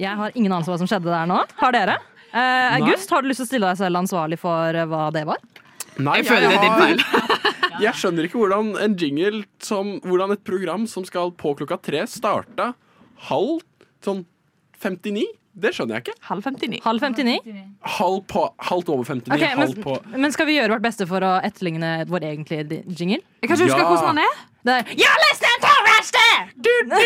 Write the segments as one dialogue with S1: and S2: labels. S1: Jeg har ingen anelse hva som skjedde der nå. Har dere? Eh, August, har du lyst til å stille deg selv ansvarlig for eh, hva det var?
S2: Nei,
S3: Jeg føler det er din feil.
S2: Jeg skjønner ikke hvordan en jingle som, Hvordan et program som skal på klokka tre, starta halv sånn 59. Det skjønner jeg ikke.
S3: Halv 59.
S1: Halv 59?
S2: Halv på, halvt over 59,
S1: Ok, men,
S2: halv på
S1: men skal vi gjøre vårt beste for å etterligne vår egentlige di- jingle?
S3: Jeg kan ikke huske
S2: Ja.
S3: hvordan han er.
S1: Det er You're listening to Rushdie! Du, du,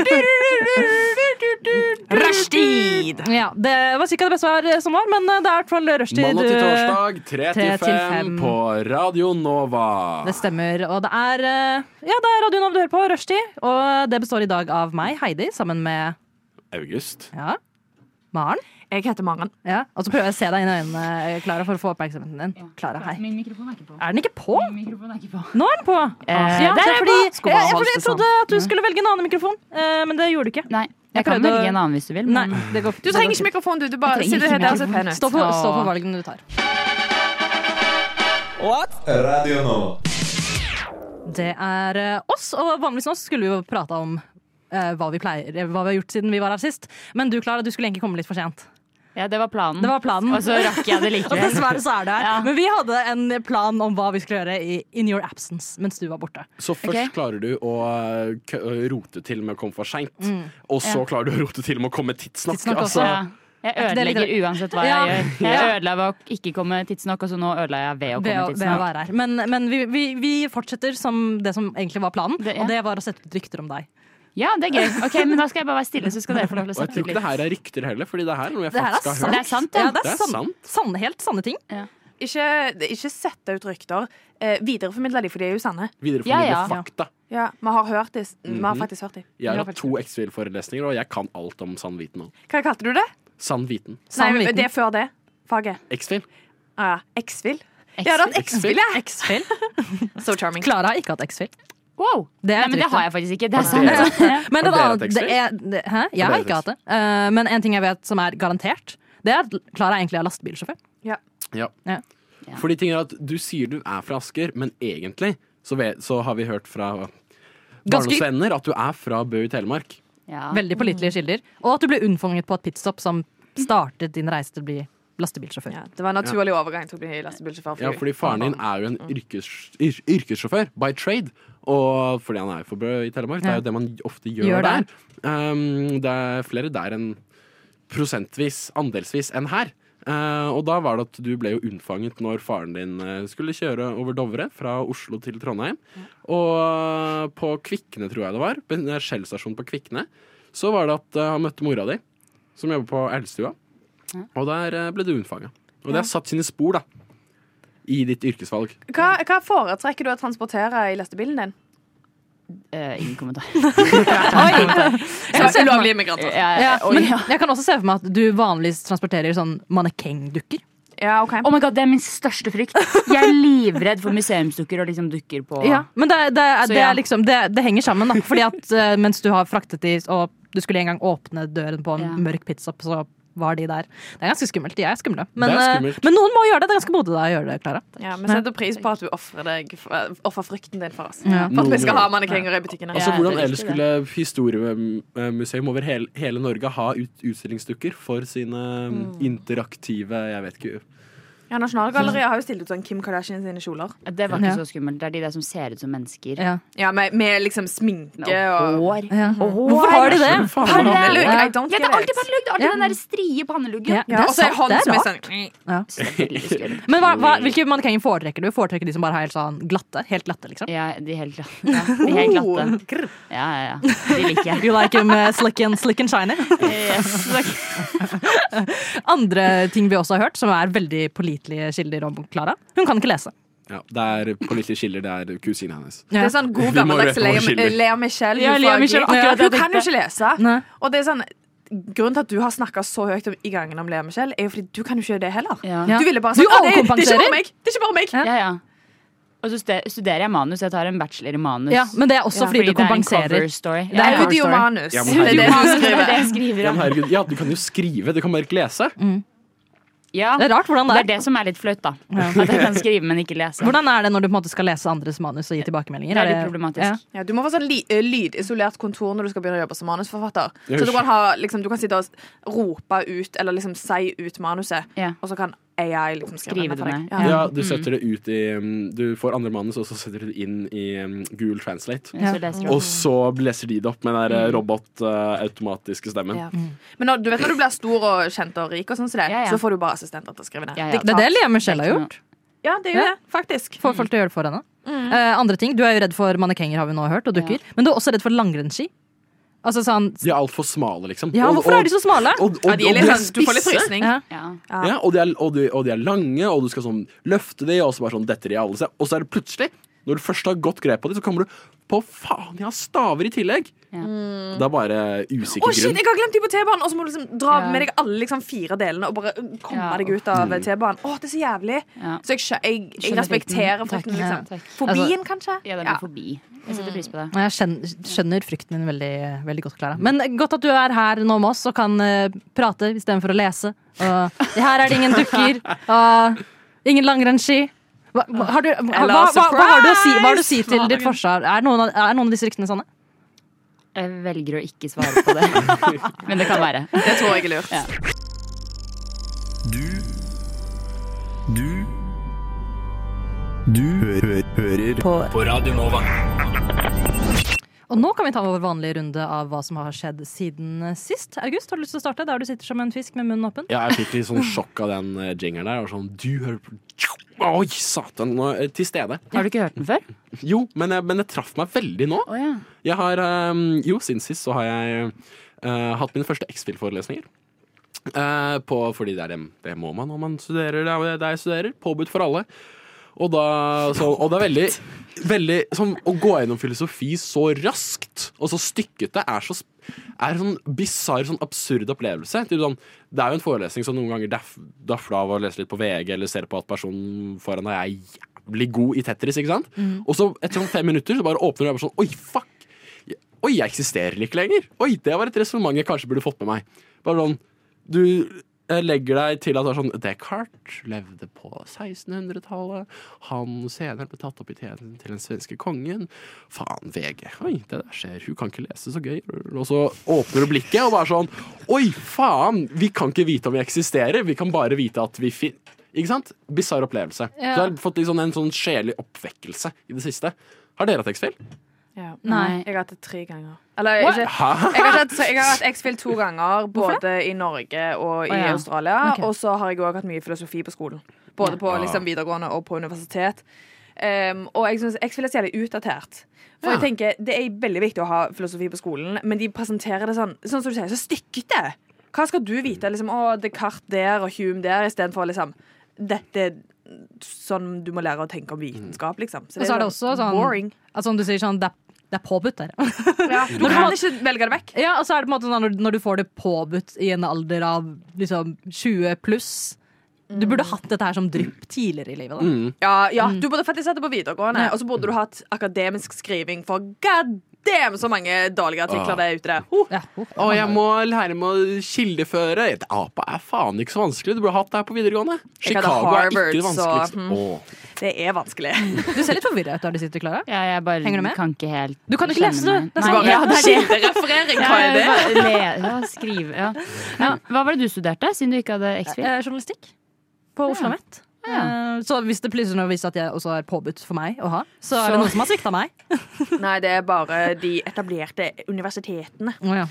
S1: du, du, du, du, du, du.
S3: Rushtid!
S1: Ja, det var sikkert det beste var- som var, men eh, det er i hvert fall rushtid.
S2: Mandag til
S1: eh,
S2: torsdag, tre til
S1: til
S2: fem
S1: fem.
S2: på Radio Nova.
S1: Det stemmer. Og det er, eh, ja, det er radioen av du hører på, rushtid. Og det består i dag av meg, Heidi, sammen med
S2: August.
S1: ja, Maren.
S3: Jeg heter Maren.
S1: Ja. Og så prøver jeg å se deg inn i øynene, Klara, for å få oppmerksomheten din. Klara, hei.
S4: Min mikrofon er ikke på.
S1: Er den ikke på?
S4: Min mikrofon er ikke på.
S1: Nå er den på!
S3: Eh,
S1: Ah, ja,
S3: der
S1: det
S3: er
S1: er
S3: den
S1: fordi,
S3: på. Skulle
S1: ja,
S3: bare
S1: fordi
S3: holdt
S1: jeg
S3: det
S1: trodde at du skulle velge en annen mikrofon, eh, men det gjorde du ikke.
S4: Nei, jeg,
S1: Jeg
S4: kan
S1: prøvde å-
S4: velge en annen hvis du vil.
S1: Nei,
S4: Men
S1: det går,
S3: Du
S1: det
S3: trenger
S1: går
S3: ikke
S1: fint.
S3: mikrofon, du. Du bare
S4: trenger
S3: sitter her
S4: ikke
S3: der og ser
S4: mikrofon.
S3: pen ut.
S1: Stå for, stå for valgene du tar.
S5: Radio Nova.
S1: Det er eh, oss, og vanligvis nå skulle vi jo prate om eh, hva vi pleier, eh, hva vi har gjort siden vi var her sist. Men du Klara, du skulle egentlig komme litt for sent.
S4: ja, det var planen.
S1: Det var planen.
S3: Altså,
S4: Og så rakk jeg det
S1: Og
S4: likevel.
S1: dessverre så er du her.
S4: Ja.
S1: Men vi hadde en plan om hva vi skulle gjøre i In your absence mens du var borte.
S2: Så først klarer du å eh, k- rote til med å komme for seint. Og så klarer du å rote til med å komme tidsnok.
S1: Tidsnok Mm. også,
S2: altså,
S4: Ja. Jeg
S1: det litt
S4: ødelegger uansett hva
S1: Ja.
S4: jeg gjør. Jeg ødela ved å ikke komme tidsnok, og så nå ødela jeg ved å
S1: Ved å,
S4: komme
S1: ved å
S4: tidsnok.
S1: være her. Men, men vi, vi, vi fortsetter som det som egentlig var planen,
S4: Det- ja.
S1: og det var å sette ut rykter om deg.
S4: Ja, det er gøy. Ok, Men da skal jeg bare være stille, så skal dere få lov
S2: og
S4: til å
S2: jeg
S4: snakke
S2: tror ikke det
S4: litt.
S2: her er rykter heller, Fordi det her er noe jeg
S1: Det her er
S2: faktisk har
S1: sant.
S2: hørt.
S4: Det er sant,
S1: Ja,
S4: ja.
S1: det er,
S2: Det er
S1: sant.
S2: sant.
S1: Sanne, helt sanne ting.
S3: Ikke, ikke sette ut rykter. Eh, videreformidle de, for de er jo sanne.
S2: Videreformidle
S4: Ja, ja.
S2: fakta.
S3: Ja, Vi har hørt de. Vi har faktisk hørt de.
S2: Jeg
S4: Ja,
S2: har hatt to X-Fil-forelesninger, og jeg kan alt om sann viten nå.
S3: Hva kalte du det?
S2: Sann viten.
S1: Sann
S3: Nei,
S1: viten.
S3: det er før det. Faget.
S2: X-Fil.
S3: Ah, ja. X-Fil. Jeg har hatt
S2: X-Fil.
S3: X-Fil, jeg.
S1: X-Fil.
S3: So charming.
S1: Klara har ikke hatt X-Fil.
S4: Wow!
S1: Det er
S4: Nei,
S1: et
S4: men det
S1: rykte.
S4: har jeg faktisk ikke. Det er
S2: Det er-
S4: sant.
S1: Men
S2: Har
S1: en
S2: dere
S1: annen-
S2: hatt
S1: det
S2: X-Fil?
S1: er, det, hæ? Jeg har
S2: dere
S1: ikke
S2: hatt
S1: hatt det. Eh, men en ting jeg vet som er garantert, det er at Klara egentlig er lastebilsjåfør.
S2: Ja.
S1: Ja.
S2: Fordi ting er at du sier du er fra Asker, men egentlig så, vet, så har vi hørt fra
S1: Ganske
S2: barndomsvenner at du er fra Bø i Telemark.
S4: Ja. eh,
S1: veldig pålitelige kilder. Og at du ble unnfanget på et pitstop som startet din reise til å bli lastebilsjåfør.
S3: Ja, det var en naturlig overgang til å bli lastebilsjåfør.
S2: Ja, fordi faren din er jo en yrkes, yr, yrkessjåfør by trade. Og fordi han er fra Bø i Telemark, det er jo det man ofte gjør,
S1: Gjør
S2: der.
S1: der.
S2: Um, det er flere der enn prosentvis, andelsvis, enn her. Eh, og da var det at du ble jo unnfanget når faren din eh, skulle kjøre over Dovre fra Oslo til Trondheim. Og uh, på Kvikne, tror jeg det var, på en eh, Shell-stasjon på Kvikne, så var det at eh, han møtte mora di, som jobber på Elstua. Og der eh, ble du unnfanga. Og det har satt sine spor, da i ditt yrkesvalg.
S3: Hva, hva foretrekker du å transportere i lastebilen din?
S4: Eh, ingen kommentar.
S1: Jeg kan se for meg,
S3: immigranter.
S1: ja,
S4: Ja,
S2: Eh,
S4: oi,
S1: men
S4: ja.
S1: jeg kan også se for meg at du vanligvis transporterer sånn mannekengdukker.
S3: Ja, ok.
S4: Oh my god, Det er min største frykt. Jeg er livredd for museumsdukker og liksom dukker på
S1: Ja, men det, det, er-
S4: Så
S1: det,
S4: ja.
S1: er liksom, det, det henger sammen, da. Fordi at eh, mens du har fraktet de, og du skulle en gang åpne døren på en
S4: Ja.
S1: mørk pitstop, så var de der. Det er ganske skummelt. De er skumle. Men,
S2: Det er
S1: eh,
S2: skummelt.
S1: men noen må gjøre det. Det er ganske modig av deg å gjøre det, Klara.
S3: Ja, Vi setter pris på at du offrer deg Offrer frykten din for oss.
S1: Ja.
S3: For at vi skal ha mannekenger i butikkene.
S2: Altså,
S4: Ja,
S2: hvordan
S4: det er
S2: ellers
S4: riktig,
S2: skulle Historiemuseum over hele, hele Norge ha ut, utstillingsdukker for sine um, interaktive Jeg vet ikke.
S3: Ja, Nasjonalgalleriet har jo stilt ut sånn Kim Kardashian sine kjoler.
S4: Det var ikke
S1: Ja.
S4: så skummelt. Det er de der som ser ut som mennesker.
S1: Ja.
S3: Ja, Med, med liksom sminke
S4: Og
S3: og
S4: hår.
S1: Ja.
S4: Og hår.
S1: Hvorfor har de det?
S2: Faen,
S4: Har de
S2: hva-
S3: Pannelugg.
S1: Ja.
S3: I don't
S4: Ja,
S3: get
S4: det er alltid
S3: it.
S4: pannelugg. Det er alltid den der strie panneluggen.
S1: Ja.
S3: Ja, og så
S1: Det
S3: ei
S1: er sant,
S3: hånd
S1: det er
S3: som er
S1: rart.
S3: sånn
S4: Selvfølgelig skummelt.
S1: Men hva, hva, hvilke mannekenger foretrekker du? Foretrekker de som bare er helt sånn glatte? Helt glatte, liksom?
S4: Ja, de helt glatte. Ja, de helt glatte. Ja, ja, ja. De liker jeg.
S1: You like them eh, slick and, slick and shiny?
S4: Yes.
S1: Andre ting vi også har hørt, som er veldig pålitelige kilder om Klara. Hun kan ikke lese.
S2: Ja, det er politiske skiller. Det er kusina hennes.
S3: Det er sånn god
S2: Vi må rett
S3: gammeldags
S2: og slett
S3: Lea,
S2: skille.
S3: Lea Michelle.
S4: Ja,
S3: hun
S4: Lea
S3: fra
S4: Michele,
S3: Glimt.
S4: akkurat
S3: hun
S4: det
S3: kan jo ikke lese.
S1: Nei.
S3: Og det er sånn Grunnen til at du har snakka så høyt om, i gangen om Lea Michelle, er jo fordi du kan jo ikke gjøre det heller.
S4: Ja.
S1: Ja.
S3: Du ville bare
S1: Du
S3: sånn, «Å, det, det er ikke
S1: overkompenserer.
S3: bare meg! Det er ikke bare meg.
S4: ja, ja. Og så ste- studerer jeg manus. Jeg tar en bachelor i manus.
S1: Ja, men det er også
S3: Ja,
S1: fordi, du
S4: det er en
S1: kompenserer.
S4: cover story.
S1: Det er
S4: Ja, cover story.
S3: Audiomanus.
S2: Ja,
S3: Ja,
S2: men
S3: det er det
S2: herregud.
S3: hun
S4: Det er
S3: skriver.
S4: det jeg skriver
S2: Ja,
S4: om.
S2: men herregud, ja, du kan jo skrive, du kan bare ikke lese.
S4: Ja,
S1: Det er rart hvordan det
S4: det er
S1: er.
S4: det som er litt flaut, da. At jeg kan skrive, men ikke lese.
S1: Hvordan er det når du på en måte skal lese andres manus og gi tilbakemeldinger?
S4: Det er litt
S1: det-
S4: problematisk.
S1: Ja.
S3: Ja, du må få sånn li eh, lydisolert kontor når du skal begynne å jobbe som manusforfatter.
S2: Ja,
S3: Så du
S2: usch.
S3: kan, ha, liksom, du kan sitte og s- rope ut, eller liksom si ut manuset,
S4: Ja.
S3: og så kan AI liksom skrive
S4: Skrive det
S3: for deg.
S4: ned.
S3: Ja.
S2: Ja, du setter det ut i um, Du får andre manus, og så setter du det inn i um, Google Translate.
S4: Så leser du.
S2: Og så leser de det opp med den der robot-automatiske stemmen.
S3: Ja. Men når, du vet når du blir stor og kjent og rik, og sånn, så, det,
S4: Ja, ja.
S3: så får du bare assistenter til å skrive ned.
S4: Ja, ja.
S1: Det er det Lea Michelle har gjort.
S3: Ja, det er jo
S1: Ja.
S3: det, faktisk.
S1: Får folk til å gjøre det for henne.
S4: Mm.
S1: Eh, andre ting, Du er jo redd for mannekenger, har vi nå hørt, og dukker. Men du er også redd for langrennsski. Altså sånn
S2: De er altfor smale, liksom.
S1: Ja,
S2: Og-
S1: hvorfor er de så smale?
S2: Og, og, og,
S3: Ja, de er litt
S2: de er
S3: sånn, du får litt
S2: spisse.
S3: frysning.
S1: Ja.
S4: Ja.
S2: Ja, og, de er, og, de, og de er lange, og du skal sånn løfte de, og så bare sånn detter de av alle seg. Og så er det plutselig, når du først har godt grep på de, så kommer du på faen, jeg har staver i tillegg!
S4: Ja.
S2: Det er bare usikker
S3: Å, shit,
S2: grunn.
S3: jeg har glemt de på T-banen! Og så må du liksom dra
S4: Ja.
S3: med deg alle liksom, fire delene og bare uh, komme
S4: Ja.
S3: deg ut av T-banen. Å, det er så jævlig!
S4: Ja.
S3: Så jeg, skjø- jeg, jeg
S4: Skjønner
S3: respekterer
S4: frykten.
S3: frykten,
S1: Ja.
S3: liksom.
S4: Takk. Altså-
S3: Fobien, kanskje?
S4: Ja, den
S3: Ja.
S4: er forbi. Jeg setter pris på det.
S1: Jeg skjøn- skjønner frykten din veldig, veldig godt, Klara. Men godt at du er her nå med oss og kan eh, prate istedenfor å lese. Og her er det ingen dukker. Og ingen langrennsski. Hva, hva, har du, hva, hva, hva, hva har du å si, hva har du å si til ditt forsvar? Er noen, av, er noen av disse ryktene sanne?
S4: Jeg velger å ikke svare på det. Men det kan være.
S3: Det tror jeg er lurt.
S4: Ja.
S6: Du Du Du hø hø hører på. på Radio Nova.
S1: Og nå kan vi ta vår vanlige runde av hva som har skjedd siden eh, sist. August, har du lyst til å starte? Der du sitter som en fisk med munnen åpen.
S2: Ja, jeg fikk litt sånn sjokk av den eh, jingeren der. Og sånn, du hører på Oi, satan! Nå, er jeg til stede.
S4: Har du ikke hørt den før?
S2: Jo, men jeg, men jeg traff meg veldig nå.
S4: Å ja.
S2: Jeg har ehm, Jo, siden sist så har jeg eh, hatt mine første X-Fill-forelesninger. Eh, på- fordi det, er, det- det må man når man studerer det er det jeg studerer. Påbudt for alle. Og, da, så, og det er veldig, veldig sånn, Å gå gjennom filosofi så raskt og så stykkete er så sp- er en sånn bisarr, sånn absurd opplevelse. Typ Sånn, det er jo en forelesning som noen ganger daff- daffer av å lese litt på VG, eller ser på at personen foran deg er jævlig god i Tetris, ikke sant? Og så etter sånn fem minutter så bare åpner du og er bare sånn Oi, fuck! Oi, jeg eksisterer ikke lenger. Oi, det var et resonnement jeg kanskje burde fått med meg. Bare sånn, Du eh, legger deg til at det er sånn Descartes levde på 1600-tallet. Han senere ble tatt opp i tjenesten til den svenske kongen. Faen, VG. Oi, det der skjer. Hun kan ikke lese, så gøy. Og så åpner du blikket og bare sånn Oi, faen! Vi kan ikke vite om vi eksisterer, vi kan bare vite at vi fin... Ikke sant? Bisarr opplevelse. Så jeg har fått litt sånn en sånn sjelelig oppvekkelse i det siste. Har dere hatt X-Fill?
S3: Ja.
S4: Nei.
S3: Jeg har hatt det tre ganger. Eller ikke,
S2: Hæ?
S3: jeg har, hatt, jeg har hatt X-Fil to ganger, både i Norge og i
S4: Å, ja.
S3: Australia.
S1: Ok.
S3: Og så har jeg òg hatt mye filosofi på skolen. Både på
S2: Ja.
S3: liksom, videregående og på universitet. Um, og jeg syns X-Fil er så jævlig utdatert. For
S2: Ja.
S3: jeg tenker, Det er veldig viktig å ha filosofi på skolen, men de presenterer det sånn Sånn som du sier, så stykkete. Hva skal du vite? Liksom, å, Descartes der og Hume der, istedenfor liksom Dette er sånn du må lære å tenke om vitenskap, liksom.
S1: Og så er det også sånn
S3: boring.
S1: Altså, som du sier sånn, det er, det er påbudt der.
S3: Ja. Du kan ikke velge det vekk.
S1: Ja, og så er det på en måte sånn når, når du får det påbudt i en alder av liksom 20 pluss Du burde hatt dette her som drypp tidligere i livet. Da.
S3: Ja, ja du burde faktisk hatt det på videregående, og så burde du hatt akademisk skriving for god damn så mange dårlige
S2: Ah.
S3: artikler det er ute der. Ho!
S1: Ja, oh,
S2: Å, jeg må lære meg å kildeføre. Et apa er faen ikke så vanskelig. Du burde hatt det her på videregående.
S3: Jeg hadde
S2: Chicago er ikke
S3: Harvard,
S2: det
S3: så,
S2: vanskeligste.
S3: hmm.
S2: Åh.
S3: Det er vanskelig.
S1: Du ser litt forvirra ut der du sitter, Klara.
S4: Ja, jeg bare
S1: Henger du med?
S4: kan ikke helt
S1: Du kan ikke
S4: skjønne
S1: lese, du.
S4: meg.
S1: Det er
S4: Nei,
S1: bare-
S4: ja, det er det.
S3: Kildereferering, hva er det?
S4: Ja, bare le- ja, skrive, ja. Men, hva var det du studerte, siden du ikke hadde X-Fil?
S1: Eh, journalistikk på Oslo OsloMet. Eh, så hvis det plutselig nå viser at jeg også er påbudt for meg å ha, så, er det
S4: Så-
S1: noen som har svikta meg.
S3: Nei, det er bare de etablerte universitetene.
S1: Oh, ja.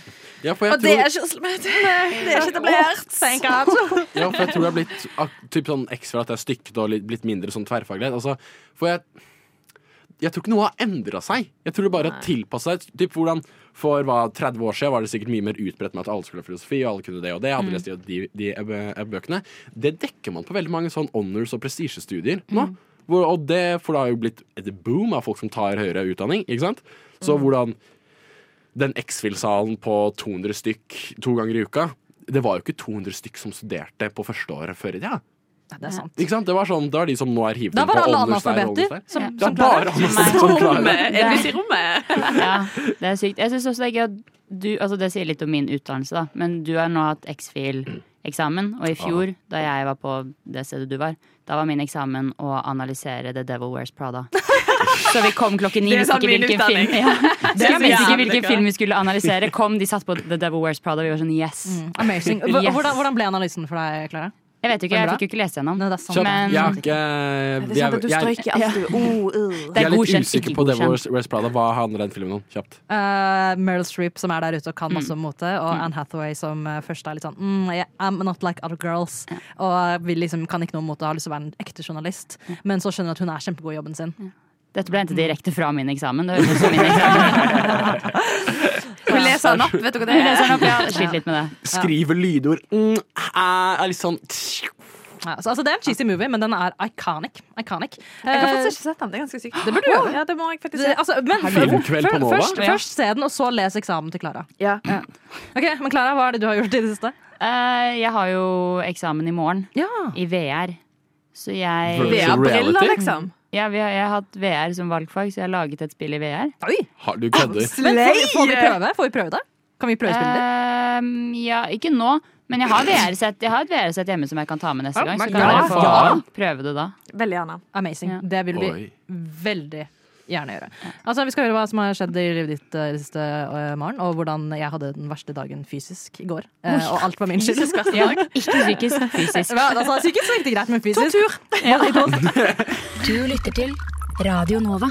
S2: Ja, for jeg
S3: Og det
S2: tror,
S3: er ikke Oslo Met. Det er ikke etablert.
S2: ja, for jeg tror jeg har blitt ak- typ sånn ekstra at jeg er stykket og litt- blitt mindre sånn tverrfaglighet. Altså, for jeg jeg tror ikke noe har endra seg. Jeg tror det bare har tilpassa seg. Typ hvordan For hva, 30 år siden var det sikkert mye mer utbredt med at alle skulle ha filosofi, og alle kunne det og det. Hadde lest de, og de, de eh, eh, bøkene. Det dekker man på veldig mange sånn honors- og prestisjestudier nå. Hvor, og det, for det har jo blitt et boom av folk som tar høyere utdanning, ikke sant. Så hvordan den X-Fill-salen på 200 stykk to ganger i uka det var jo ikke 200 stykk som studerte på første året før i tida.
S1: Nei, det er sant.
S2: Ikke sant? Det var sånn, det var de som nå er hivet
S1: Da
S2: inn på
S1: var alle
S2: honors der, honors
S1: analfabeter
S2: der.
S1: som,
S2: Det
S1: som
S2: er
S1: klarer
S2: bare analfabeter som klarer det.
S3: Rommet. Er du i rommet?
S4: Ja, det er sykt. Jeg synes også det er gøy at du, altså det sier litt om min utdannelse, da, men du har nå hatt X-Fil eksamen. Og i fjor, da jeg var på det stedet du var, da var min eksamen å analysere The Devil Wears Prada. Så vi kom klokken ni,
S3: Det er
S4: visste
S3: sånn
S4: ikke
S3: min
S4: hvilken
S3: utdanning.
S4: film
S3: Det
S4: ja.
S3: er
S4: Vi visste
S3: så
S4: ikke
S3: jævlig
S4: hvilken
S3: gøy.
S4: film vi skulle analysere. Kom, de satt på The Devil Wears Prada, vi var sånn yes.
S1: Mm. Amazing. Hva-
S4: Yes.
S1: Hvordan, hvordan ble analysen for deg, Klara?
S4: Jeg vet jo ikke,
S1: Var det
S4: jeg
S1: bra?
S4: fikk jo ikke lese gjennom.
S1: Nei, det er sant.
S2: Kjapt.
S4: Men-
S2: Jeg har ikke
S3: Det er
S2: jeg,
S3: sant at du
S2: jeg,
S3: strøyker alt du oh, uh.
S4: Det
S2: jeg
S4: er
S2: er litt
S4: godkjent,
S2: usikker
S4: ikke
S2: på
S4: godkjent.
S2: Devil's Rest Prada. Hva handler den filmen om? Kjapt.
S1: Eh, Meryl Streep, som er der ute og kan masse om mote, og Anne Hathaway, som eh, først er litt sånn mm, yeah, I'm not like other girls. Og vil liksom, kan ikke noe om mote og har lyst til å være en ekte journalist. Men så skjønner hun at hun er kjempegod i jobben sin.
S4: Dette ble hentet direkte fra min eksamen. Det høres ut som min eksamen.
S3: Vi leser den opp, vet du hva det
S4: Jeg leser
S3: er?
S4: den opp, sånn jeg har slitt litt med det.
S2: Skriver lydord mm, æ, er litt sånn
S1: Ja, så, altså, det er en cheesy movie, men den er iconic. iconic.
S3: Jeg har
S1: Eh,
S3: faktisk ikke sett den. Det er ganske sykt.
S1: Det burde du gjøre.
S3: Ja, det må jeg faktisk
S1: det-
S3: se.
S1: altså, men
S2: Filmkveld på
S1: før-
S2: Nova?
S1: Først,
S4: Ja.
S1: først se den, og så les eksamen til Klara.
S3: Ja.
S1: Ok, men Klara, hva er det du har gjort i det siste?
S4: Eh, Jeg har jo eksamen i morgen,
S1: Ja.
S4: i VR. Så jeg
S3: Det er
S2: Virtual
S3: briller,
S2: reality?
S3: liksom.
S4: ja, vi har, Jeg har hatt VR som valgfag, så jeg har laget et spill i VR.
S2: Har du kødder?
S1: Men får vi, får vi prøve? Får vi prøve det? Kan vi prøvespille det?
S4: Ehm, ja, ikke nå, men jeg har VR-sett Jeg har et VR-sett hjemme som jeg kan ta med neste
S1: Oh
S4: gang.
S1: my
S4: Så kan
S1: God.
S4: dere få
S2: Faen.
S4: prøve det da.
S3: Veldig gjerne.
S1: Amazing.
S4: Ja.
S1: Det vil vi
S2: Oi.
S1: veldig gjerne gjøre. Altså, vi skal høre hva som har skjedd i livet ditt eh, det siste eh, morgen, og hvordan jeg hadde den verste dagen fysisk i går. Eh, og alt var min skyld.
S4: Ja, ikke psykisk, fysisk.
S1: Ja, altså, psykisk så gikk det greit, men fysisk
S7: Du lytter til Radio Nova.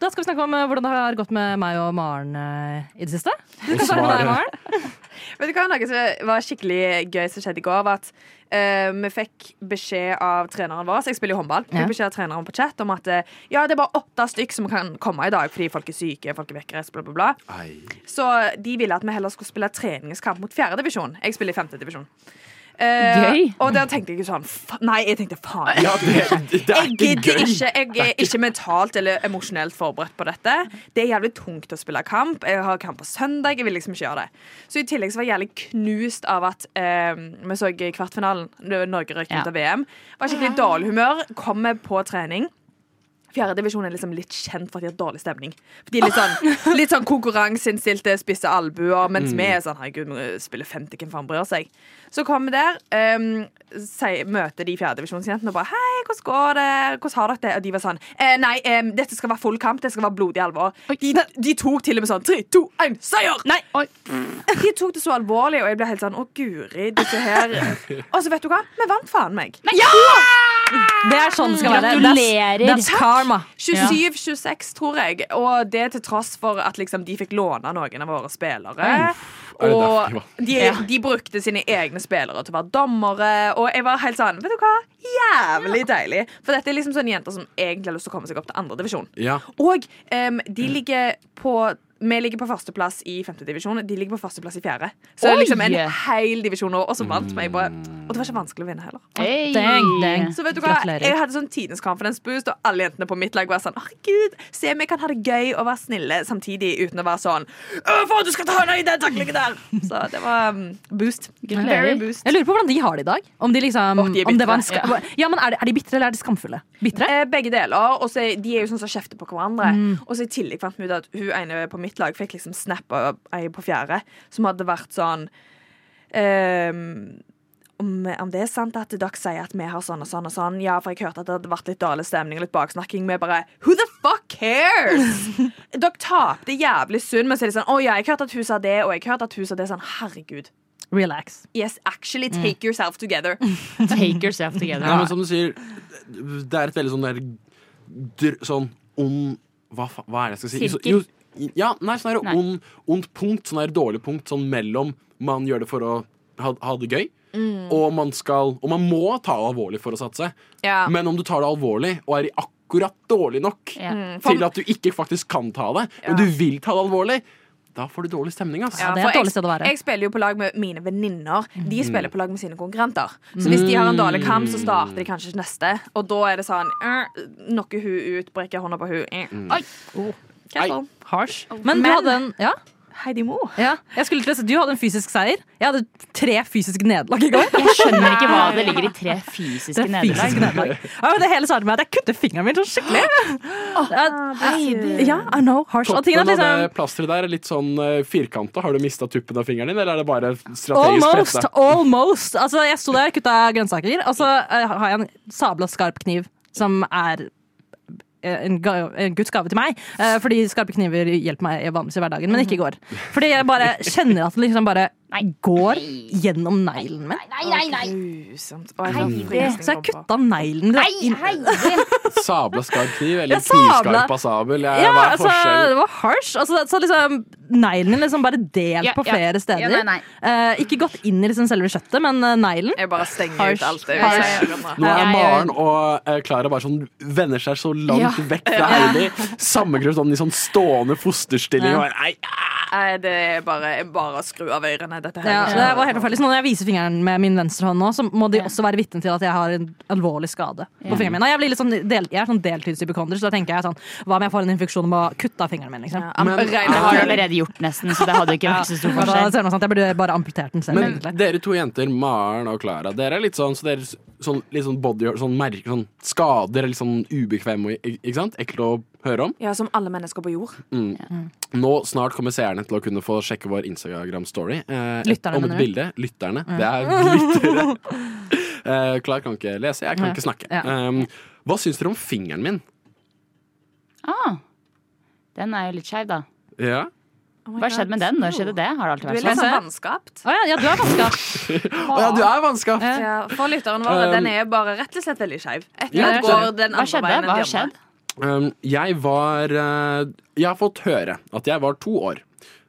S1: Da skal vi snakke om eh, hvordan det har gått med meg og Maren eh, i det siste. Du
S2: Og
S1: kan starte med deg,
S2: svaret.
S1: Maren.
S3: Vet du hva, Noe som var skikkelig gøy som skjedde i går, var at eh, vi fikk beskjed av treneren vår så Jeg spiller jo håndball. Vi
S1: Ja.
S3: Fikk beskjed av treneren på chat om at eh, ja, det er bare åtte stykk som kan komme i dag fordi folk er syke, folk er vekkreist, bla, bla, bla.
S2: Ei.
S3: Så de ville at vi heller skulle spille treningskamp mot fjerdedivisjon. Jeg spiller i femtedivisjon.
S4: Gøy.
S3: Og der tenkte jeg ikke sånn fa Nei, jeg tenkte faen.
S2: Ja, det, det er
S3: Jeg
S2: ikke
S3: gidder
S2: gøy.
S3: ikke. Jeg er ikke mentalt eller emosjonelt forberedt på dette. Det er jævlig tungt å spille kamp. Jeg har kamp på søndag. Jeg vil liksom ikke gjøre det. Så i tillegg så var jeg jævlig knust av at eh, vi så i kvartfinalen. når Norge røk
S4: Ja.
S3: ut av VM. Var skikkelig dårlig humør. Kommer på trening. Fjerdedivisjon er liksom litt kjent for at de har dårlig stemning. For de er litt sånn, litt sånn konkurranseinnstilte, spisse albuer, mens vi er sånn herregud, vi spiller 50, hvem faen bryr seg? Så kommer vi der, ehm, sier- møter de fjerdedivisjonsjentene og bare hei, hvordan går det, hvordan har dere det? Og de var sånn eh, nei, ehm, dette skal være full kamp, det skal være blodig alvor. De, de tok til og med sånn tre, to, én, seier! Nei,
S4: Oi.
S3: de tok det så alvorlig, og jeg ble helt sånn å guri, disse her Og så vet du hva, vi vant faen meg.
S1: Det er sånn det skal være.
S4: Gratulerer.
S1: That's, that's karma.
S3: 27-26, tror jeg. Og det til tross for at liksom, de fikk låne noen av våre spillere.
S2: Er det derfor de
S3: Og
S2: var-
S3: de, de brukte sine egne spillere til å være dommere. Og jeg var helt sånn Vet du hva? Jævlig deilig. For dette er liksom sånne jenter som egentlig har lyst til å komme seg opp til andredivisjon.
S2: Ja.
S3: Og em, de ligger på vi ligger på førsteplass i femtedivisjon, de ligger på førsteplass i fjerde. Så det er
S4: Oi!
S3: liksom en hel divisjon over, og så vant vi. bare- Og det var ikke vanskelig å vinne heller.
S4: Hey.
S1: Dang, dang.
S3: Så vet du hva,
S1: Gratulerer.
S3: Jeg hadde sånn tidens confidence boost, og alle jentene på mitt lag var sånn Herregud, se vi kan ha det gøy og være snille samtidig uten å være sånn «Å, For du skal ta henne i den taklingen der! Så det var um, boost.
S4: Gratulerer.
S3: Very boost.
S1: Jeg lurer på hvordan de har det i dag. Om, de liksom,
S3: Åh, de er
S1: om det var en
S3: bitre,
S1: ska ja, men er, de, er de bitre eller er de skamfulle? Bitre?
S3: Eh, begge deler. Og så er- de er jo sånn som kjefter på hverandre. Og så i tillegg fant vi ut at hun ene på mitt lag fikk liksom snap av ei på fjerde som hadde vært sånn ehm, om, om det er sant at dere sier at vi har sånn og sånn og sånn Ja, for jeg hørte at det hadde vært litt dårlig stemning og litt baksnakking. Vi bare Who the fuck cares?! dere tapte jævlig synd, men så er det sånn Å ja, jeg hørte at hun sa det, og jeg hørte at hun sa det. Sånn, herregud.
S1: Relax.
S3: Yes, actually take yourself together.
S4: Take yourself together.
S2: Nei, men som du sier, det er et veldig sånn der dr- Sånn ond hva, fa- hva er det jeg skal si?
S4: Sirkel.
S2: Jo, jo, ja, nei, sånn der
S4: Nei.
S2: ond- ondt punkt. Sånn der dårlig punkt sånn mellom man gjør det for å ha, ha det gøy, og man skal Og man må ta det alvorlig for å satse.
S3: Ja.
S2: Men om du tar det alvorlig og er i akkurat dårlig nok
S4: Ja.
S2: til at du ikke faktisk kan ta det, men du vil ta det alvorlig, da får du dårlig stemning, ass.
S1: Ja, det er et
S3: for
S1: dårlig sted å være.
S3: Jeg, jeg spiller jo på lag med mine venninner. De spiller på lag med sine konkurrenter. Så hvis de har en dårlig kamp, så starter de kanskje neste. Og da er det sånn eh, Knocker hun ut, brekker hånda på hun eh. Oi! Careful.
S4: oh.
S1: Men, du hadde en Ja?
S3: Heidi Mo.
S1: Ja, jeg skulle til å si, Du hadde en fysisk seier. Jeg hadde tre fysiske nederlag i går.
S4: Jeg skjønner ikke hva det ligger i tre fysiske
S1: Tre
S4: nederlag.
S1: fysiske nederlag. Ja, men det hele startet med at jeg kutter fingeren min sånn skikkelig. Ja, ja, I know, harsh. Og tingen er
S2: Toppen av det
S1: liksom
S2: plasteret der er litt sånn uh, firkanta. Har du mista tuppen av fingeren din, eller er det bare strategisk
S1: Almost,
S2: rette?
S1: almost. Altså, jeg sto der og kutta grønnsaker, og så eh, har jeg en sabla skarp kniv som er eh, en, ga en Guds gave til meg, eh, fordi skarpe kniver hjelper meg i vanligvis i hverdagen, men ikke i går. Fordi jeg bare kjenner at det liksom bare går gjennom neglen min.
S3: Grusomt. Å, jeg kan
S4: Heidi.
S3: frysning
S1: Så jeg
S3: komme på.
S1: kutta neglen. Nei,
S2: Sabla skarp kniv, eller
S1: Jeg sabla-
S2: knivskarpa sabel? Ja,
S1: Ja,
S2: Eh, hva er
S1: altså,
S2: forskjellen?
S1: det var harsh. Altså, så liksom, neglen min liksom bare delt
S4: Ja,
S1: på
S4: ja.
S1: flere steder.
S4: Ja, nei, nei.
S1: Eh, ikke gått inn i liksom selve kjøttet, men eh, neglen.
S3: Jeg bare stenger
S1: Harsh.
S3: ut alt det.
S1: Harsh.
S3: Jeg sier
S2: Nå
S3: nå.
S2: er
S4: Ja, jeg-
S2: Maren og eh, Klara bare sånn vender seg så langt
S4: Ja.
S2: vekk fra Heidi. Sammenkrøpt sånn i sånn stående fosterstilling. Og, nei,
S3: Nei, det er bare, jeg bare å skru av ørene. Dette her.
S1: Ja, det var helt forferdelig. Så når jeg viser fingeren med min venstre hånd nå, så må de også være vitne til at jeg har en alvorlig skade på fingeren min. Og Jeg, blir litt sånn del, jeg er sånn deltidshypokonder, så da tenker jeg sånn Hva om jeg får en infeksjon og må kutte av fingeren min, liksom?
S3: Ja, men,
S4: Det har du
S3: regner med
S4: allerede gjort, nesten, så det hadde ikke vært så stor
S1: Da
S4: forskjell.
S1: ser det meg sånn at Jeg burde bare amputert den selv,
S2: Men
S1: egentlig.
S2: dere to jenter, Maren og Klara, dere er litt sånn så dere, s- sånn, litt sånn body sånn, merke, sånn skader eller sånn ubekvemme og ikke sant? Ekle å høre om.
S3: ja, som alle mennesker på jord.
S2: Nå snart kommer seerne til å kunne få sjekke vår Instagram-story. Eh, et-
S1: Lytterne,
S2: om
S1: mener
S2: et
S1: du? Mm.
S2: bilde. Lytterne. Det er lyttere. Eh, Klara kan ikke lese, jeg kan
S1: Ja.
S2: ikke snakke.
S1: Ja.
S2: Um, hva syns dere om fingeren min?
S4: Ah, den er jo litt skeiv, da.
S2: Ja.
S4: Hva skjedde med den? Når skjedde det? Har det alltid
S3: Oh Du er
S4: vært
S3: litt
S4: sånn?
S3: sånn vanskapt.
S1: Å ja, ja, du er vaska.
S2: Å ja, du er vanskapt!
S1: Eh.
S3: Ja, for lytteren vår,
S2: Um,
S3: den er bare rett og slett veldig skeiv. Et eller
S4: Ja,
S3: annet
S4: det
S3: går den
S4: skjønner Hva
S3: andre
S4: skjedde?
S3: veien enn
S4: Hva
S3: de
S4: har skjedd?
S3: andre.
S2: Um, jeg var eh, Jeg har fått høre at jeg var to år.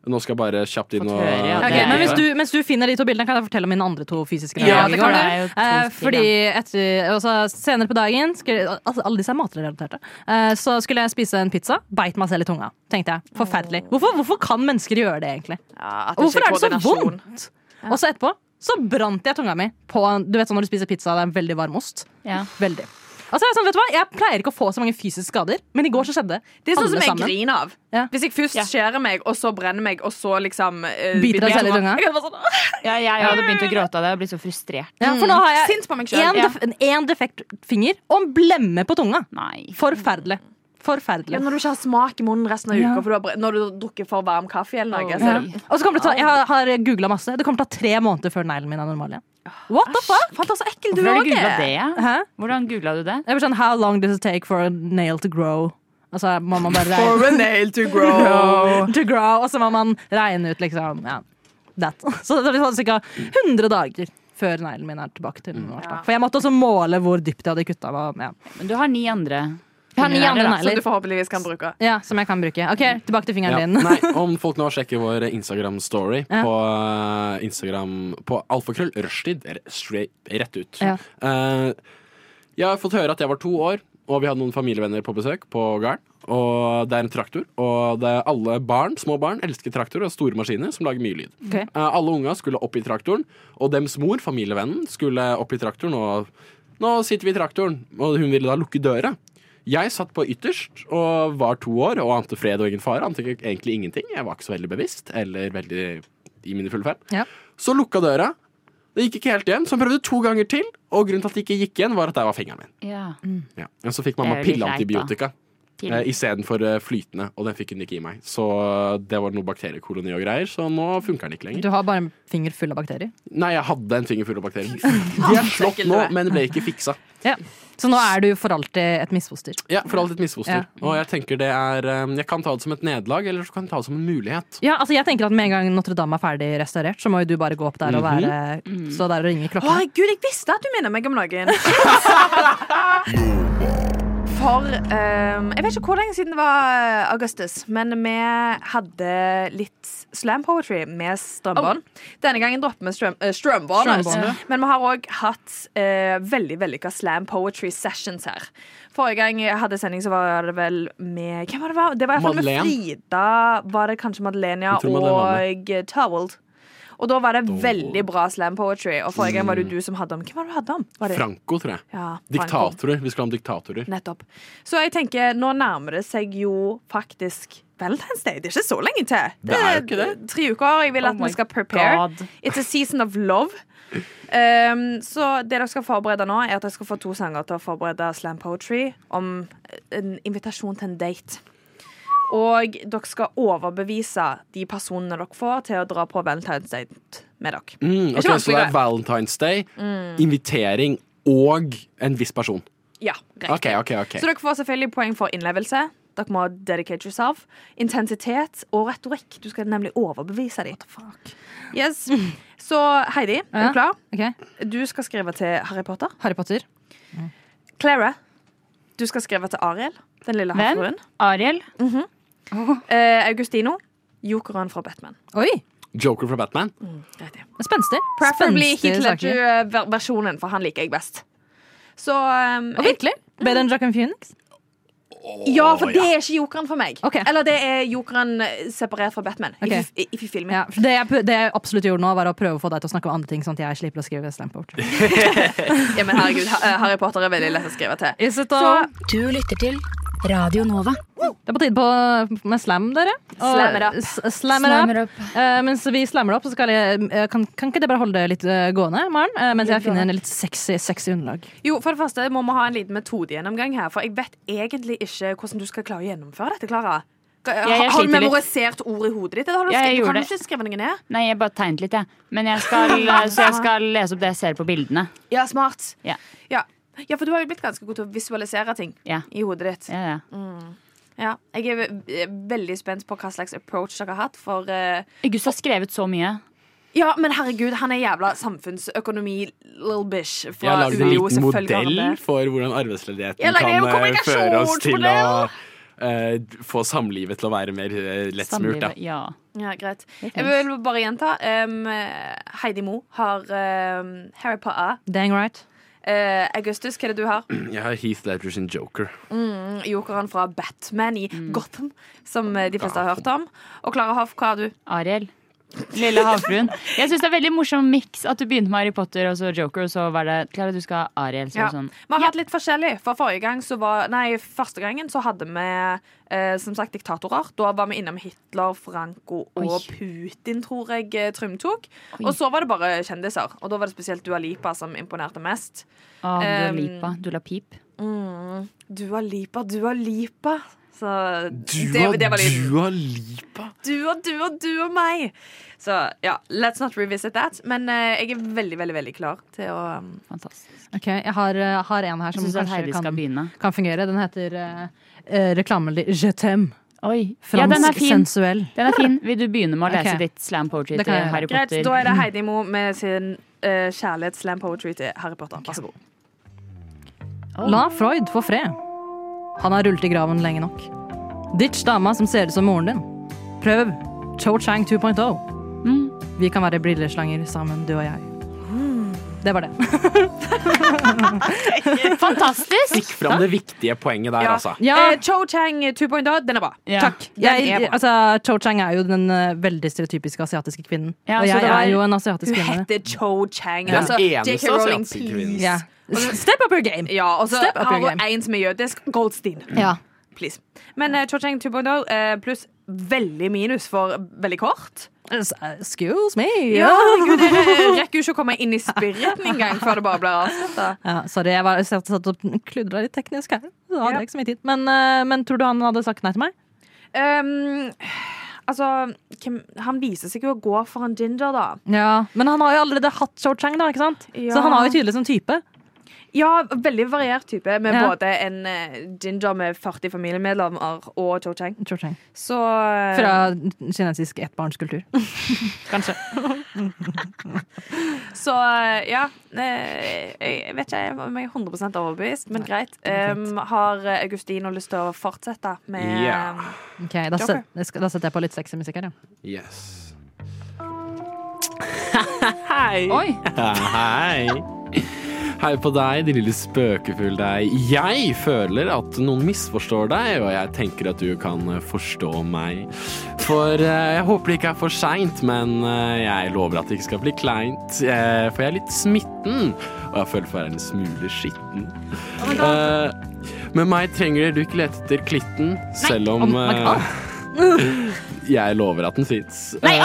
S2: Nå skal jeg bare kjapt inn
S4: Fått
S2: og
S4: høre, ja,
S1: Ok,
S4: det er-
S1: men hvis du, mens du finner de to bildene, kan jeg fortelle om mine andre to fysiske
S3: Ja,
S1: nedslag i
S3: det
S1: går,
S3: kan
S1: da.
S3: du.
S4: Det er jo to
S1: Eh,
S4: stykker.
S1: fordi etter, altså, senere på dagen skulle, altså, Alle disse er matrelaterte. Eh, så skulle jeg spise en pizza. Beit meg selv i tunga. Tenkte jeg, Forferdelig. Hvorfor, hvorfor kan mennesker gjøre det, egentlig?
S3: Ja, at
S1: Og Hvorfor
S3: ikke
S1: er det så
S3: koordinasjon.
S1: vondt? Og så etterpå så brant jeg tunga mi på Du vet sånn når du spiser pizza, det er en veldig varm ost.
S4: Ja.
S1: Veldig. Altså, jeg, er sånn, vet du hva? jeg pleier ikke å få så mange fysiske skader, men i går så skjedde det.
S3: Det er sånn
S1: Alle
S3: som jeg
S1: sammen.
S3: griner av.
S1: Ja.
S3: Hvis jeg først
S4: Ja.
S3: skjærer meg, og så brenner meg, og så liksom eh,
S1: Biter deg
S3: meg
S1: selv i tunga?
S3: Jeg kan bare sånn, «Åh!»
S4: Ja, jeg hadde begynt å gråte av det og blitt så frustrert.
S1: Ja, for nå har jeg
S3: Sint på meg
S1: én
S3: sjøl. Ja.
S1: def en defekt finger og en blemme på tunga.
S4: Nei.
S1: Forferdelig. Forferdelig.
S3: Ja, når du ikke har smak i munnen resten av
S1: Ja.
S3: uka for du har, bre- når du har drukket for varm kaffe eller noe.
S1: Ja.
S3: Så er det
S1: Og så kommer det ta, jeg har- har googla masse. Det kommer til å ta tre måneder før neglen min er normal igjen. What the fuck?
S3: Fant så ekkel du
S4: Hvorfor har
S3: òg
S4: du googla det?
S1: Hæ?
S4: Hvordan googla du det?
S1: Jeg blir sånn, How long does it take for a nail to grow? Og så må man bare regne,
S3: a nail to grow.
S1: to grow, og så må man regne ut liksom ja, that. Så det blir sånn ca. 100 dager før neglen min er tilbake til normalt. da. For jeg måtte også måle hvor dypt jeg hadde kutta. hva- Ja.
S4: Men du har ni andre.
S1: Jeg har ni
S4: Fingre,
S1: andre
S4: da,
S3: Som du
S1: negler
S3: forhåpentligvis kan bruke.
S1: ja, som jeg kan bruke. Ok, Tilbake til fingeren
S2: Ja.
S1: din.
S2: Nei, om folk nå sjekker vår Instagram-story
S1: Ja.
S2: på eh, Instagram på alfakrøll rushtid, er straight, rett ut.
S1: Ja.
S2: Eh, jeg har fått høre at jeg var to år, og vi hadde noen familievenner på besøk på gården. Og det er en traktor, og det er alle barn, små barn elsker traktor og store maskiner som lager mye lyd.
S1: Ok.
S2: Eh, alle unga skulle opp i traktoren, og dems mor, familievennen, skulle opp i traktoren. Og nå sitter vi i traktoren, og hun ville da lukke døra. Jeg satt på ytterst og var to år og ante fred og ingen fare. Ante ikke- egentlig ingenting. Jeg var ikke så veldig bevisst eller veldig i mine fulle fem.
S1: Ja.
S2: Så lukka døra. Det gikk ikke helt igjen, så hun prøvde to ganger til. Og grunnen til at det ikke gikk igjen, var at der var fingeren min.
S4: Ja.
S2: Ja. Og så fikk
S3: Eh,
S2: mamma
S4: Det er jo litt
S2: pilleantibiotika
S4: Pil.
S2: eh, istedenfor eh, flytende, og den fikk hun ikke i meg. Så eh, det var noe bakteriekoloni og greier, så nå funker den ikke lenger.
S1: Du har bare en finger full av bakterier.
S2: Nei, jeg hadde en finger full av bakterier. De er slått nå, men det ble ikke fiksa.
S1: Ja. Så nå er du for alltid et misfoster.
S2: Ja, For alt et misfoster. Og jeg tenker det er um, Jeg kan ta det som et nederlag, eller så kan jeg ta det som en mulighet.
S1: Ja, altså jeg tenker at Med en gang Notre-Dame er ferdig restaurert, så må jo du bare gå opp der og være, stå der og ringe
S3: Å,
S1: klokken.
S3: herregud, jeg visste at du minner meg om noen. For ehm, Jeg vet ikke hvor lenge siden det var eh, Augustus, men vi hadde litt slam poetry med strømbånd. Denne gangen dropper vi strøm, eh, strømbånd. altså.
S1: Strømbånd,
S3: Men vi har òg hatt eh, veldig vellykka slam poetry sessions her. Forrige gang jeg hadde sending, så var det vel med Hvem var det? var? Det var i hvert fall med
S2: Madeleine.
S3: Frida. Var det kanskje Madelenia
S2: Jeg tror Madeleine
S3: og eh, Toweld? Og da var det veldig bra slam poetry. Og forrige gang var det jo du som hadde om Hvem var det du hadde om? Var det?
S2: Franco, tror jeg.
S3: Ja, Franco. Mm.
S2: Diktatorer. Vi skulle ha om diktatorer.
S3: Nettopp. Så jeg tenker, nå nærmer det seg jo faktisk Valentine's Day. Det er ikke så lenge til.
S2: Det Oh er jo ikke det.
S3: tre uker. Jeg vil at
S4: my
S3: vi skal prepare.
S4: God.
S3: It's a season of love. Ehm, så det dere skal forberede nå, er at dere skal få to sanger til å forberede slam poetry om en invitasjon til en date. Og dere skal overbevise de personene dere får, til å dra på Valentine's Date med dere.
S2: Mm,
S3: Ikke
S2: ok, så
S3: vanskelig,
S2: det er
S3: det.
S2: Valentine's Day,
S3: Mm.
S2: invitering og en viss person.
S3: Ja, riktig.
S2: Ok, ok, ok.
S3: Så dere får selvfølgelig poeng for innlevelse. Dere må dedicate yourself. Intensitet og retorikk. Du skal nemlig overbevise dem. Yes. Så Heidi, er
S1: Ja.
S3: du klar?
S1: Ok,
S3: Du skal skrive til Harry Potter.
S1: Harry Potter.
S3: Clara, du skal skrive til Ariel. Den lille
S4: Hvem?
S3: havfruen.
S4: Ariel?
S3: Eh, Augustino. Jokeren fra Batman.
S1: Oi!
S2: Joker fra Batman.
S3: Riktig.
S1: Spenstig.
S3: Preferably
S1: Spenstig
S3: Heath
S1: saker.
S3: Ledger-versjonen, for han liker jeg best. Så um,
S1: Og virkelig. Bedre enn Jack and Phoenix.
S3: Ja, for
S2: Å,
S3: det er ikke jokeren for meg.
S1: Ok.
S3: Eller det er jokeren separert fra Batman.
S1: Ok.
S3: If, you- if you feel me.
S1: Ja, for det, jeg, pr- det jeg absolutt gjorde nå, var å prøve å få deg til å snakke om andre ting, sånn at jeg slipper å skrive slam poetry.
S3: Ja, men herregud, Ha- eh, Harry Potter er veldig lett å skrive til.
S1: Is it
S3: Så
S1: all?
S7: Du lytter til Radio Nova.
S1: Det er på tide på, med slam, dere. Og-
S3: Slam it up.
S1: s- Slam it up. Eh, mens vi slammer det opp, så skal jeg, eh, kan, kan ikke det bare holde det litt eh, gående, Maren? Eh, mens jeg finner en litt sexy, sexy underlag.
S3: jo, for det første må vi ha en liten metodegjennomgang her, for jeg vet egentlig ikke hvordan du skal klare å gjennomføre dette, Klara. Har,
S4: jeg
S3: har du
S4: sliter litt.
S3: memorisert ord i hodet ditt? eller Har du,
S4: Ja, jeg
S3: skrevet-
S4: gjorde
S3: kan du
S4: det.
S3: ikke skrive noe ned?
S4: Nei, jeg bare tegnet litt, jeg. Men jeg skal, så jeg skal lese opp det jeg ser på bildene.
S3: Ja, smart.
S4: Ja.
S3: Ja. Ja, for du har jo blitt ganske god til å visualisere ting
S4: Ja.
S3: i hodet ditt.
S4: Ja, ja.
S3: Ja. Jeg er ve- eh, veldig spent på hva slags approach dere har hatt, for eh,
S4: August har skrevet så mye.
S3: Ja, men herregud, han er jævla samfunnsøkonomi-little bish
S2: Jeg har
S3: fra
S2: lagd en
S3: UiO.
S2: liten
S3: selvfølgelig har han
S2: modell
S3: det.
S2: for hvordan arbeidsledigheten
S3: Jeg lagde
S2: kan
S3: en
S2: eh, føre oss til å
S3: kommunikasjonsmodell.
S2: eh, få samlivet til å være mer eh, lettsmurt.
S4: Samlivet, Ja.
S3: Ja, greit.
S4: Det
S3: Jeg
S4: finnes.
S3: vil bare gjenta. em, eh, Heidi Mo har em, Harry Potter.
S1: Dang right.
S3: Eh, Augustus, hva er det du har?
S4: Mm.
S2: da. Jeg har Heath Ledger sin Joker.
S3: Mm, Jokeren fra Batman i
S4: Mm.
S3: Gotham, som eh, de fleste har hørt om. Og Klara Hoff, hva har du?
S4: Ariel. Lille havfruen. Jeg syns det er veldig morsom miks at du begynte med Harry Potter og så Joker, og så var det Klara, du skal ha Ariel. Så
S3: Ja.
S4: var det sånn.
S3: Vi har hatt litt forskjellig. For forrige gang så var, nei, første gangen så hadde vi eh, som sagt diktatorer. Da var vi innom Hitler, Franco og
S4: Oi.
S3: Putin, tror jeg eh, Trym tok.
S4: Oi.
S3: Og så var det bare kjendiser. Og da var det spesielt Dua Lipa som imponerte mest.
S4: Å, Dua
S3: Um,
S4: Lipa. Dula Pip.
S3: Mm. Dua Lipa, Dua Lipa. Så
S2: Dua,
S3: det, det var litt
S2: Dua Lipa!
S3: du og du og du og meg. Så ja, let's not revisit that. Men eh, jeg er veldig, veldig veldig klar til å um,
S4: Fantastisk.
S1: Ok, Jeg har, eh, har en her
S4: Jeg
S1: som
S4: syns at
S1: kanskje
S4: Heidi skal
S1: kan,
S4: begynne.
S1: kan fungere. Den heter uh, reklamen Je t'aime.
S4: Oi. Ja, den er
S1: Fransk
S4: fin.
S1: sensuell.
S4: Den er fin. Vil du begynne med å lese
S1: Ok.
S4: ditt slam poetry
S1: Det
S4: til
S1: kan jeg gjøre.
S4: Harry
S3: Greit,
S4: Potter?
S3: da er det Heidi Mo med sin uh, kjærlighets-slam poetry til Harry Potter. Vær så god.
S1: La Freud få fred. Han har rullet i graven lenge nok. Ditch dama som ser ut som moren din. Prøv Cho Chang 2.0. oh.
S4: Mm.
S1: Vi kan være brilleslanger sammen, du og jeg.
S4: Mm.
S1: Det var det.
S4: Fantastisk!
S2: Fram det viktige poenget der,
S3: Ja.
S2: altså.
S1: Ja.
S3: Eh, Cho Chang 2.0, den er bra.
S4: Ja.
S1: Takk.
S3: Den
S1: Jeg,
S3: er bra.
S1: altså, Cho Chang er jo den eh, veldig stereotypiske asiatiske kvinnen.
S4: Ja,
S1: og
S4: så
S1: jeg
S4: det var-
S1: er jo en
S3: Hun
S1: asiatisk kvinne.
S3: heter Cho Chang.
S2: Den
S3: altså,
S2: eneste
S3: J.K. Rowling,
S2: asiatiske kvinnen.
S3: please.
S1: Ja. Step up your game!
S3: Ja, og så
S1: Step up
S3: har
S1: your
S3: hun en som er jødisk. Goldstein.
S1: Ja.
S3: Please. Men eh, Cho Chang 2.0 eh, pluss veldig minus for veldig kort.
S1: S- Excuse me!
S3: Ja, herregud, jeg rekker jo ikke å komme inn i spiriten engang før det bare blir avslutta.
S1: Ja, sorry, jeg var jeg satt satt og kludra litt teknisk her. Da hadde
S3: Ja.
S1: jeg ikke så mye tid. Men, eh, men tror du han hadde sagt nei til meg?
S3: Um, altså, hvem, han viser seg jo å gå for en ginger, da.
S1: Ja, Men han har jo allerede hatt Cho Chang, da, ikke sant?
S3: Ja.
S1: så han har jo tydelig som type.
S3: Ja, veldig variert type, med
S1: Ja.
S3: både en eh, ginger med 40 familiemedlemmer og Cho Chang.
S1: Cho Chang.
S3: Så eh,
S1: Fra kinesisk ettbarnskultur. Kanskje.
S3: Så eh, ja. eh, Jeg vet ikke om jeg er 100 overbevist, men greit.
S1: er
S3: Um, har eh, Augustino lyst til å fortsette med
S2: Ja.
S3: um,
S1: Ok, da, set, jeg skal- da setter jeg på litt sexy musikk her, ja.
S2: Yes.
S4: Oi!
S2: Hei. Hei på deg, din lille spøkefull deg. Jeg føler at noen misforstår deg, og jeg tenker at du kan forstå meg. For eh, jeg håper det ikke er for seint, men eh, jeg lover at det ikke skal bli kleint. Eh, for jeg er litt smitten, og jeg føler for jeg er en smule skitten. Eh, med meg trenger du ikke lete etter klitten, selv om
S1: my
S2: eh,
S1: God.
S2: Jeg lover at den fins. Eh,
S1: Nei,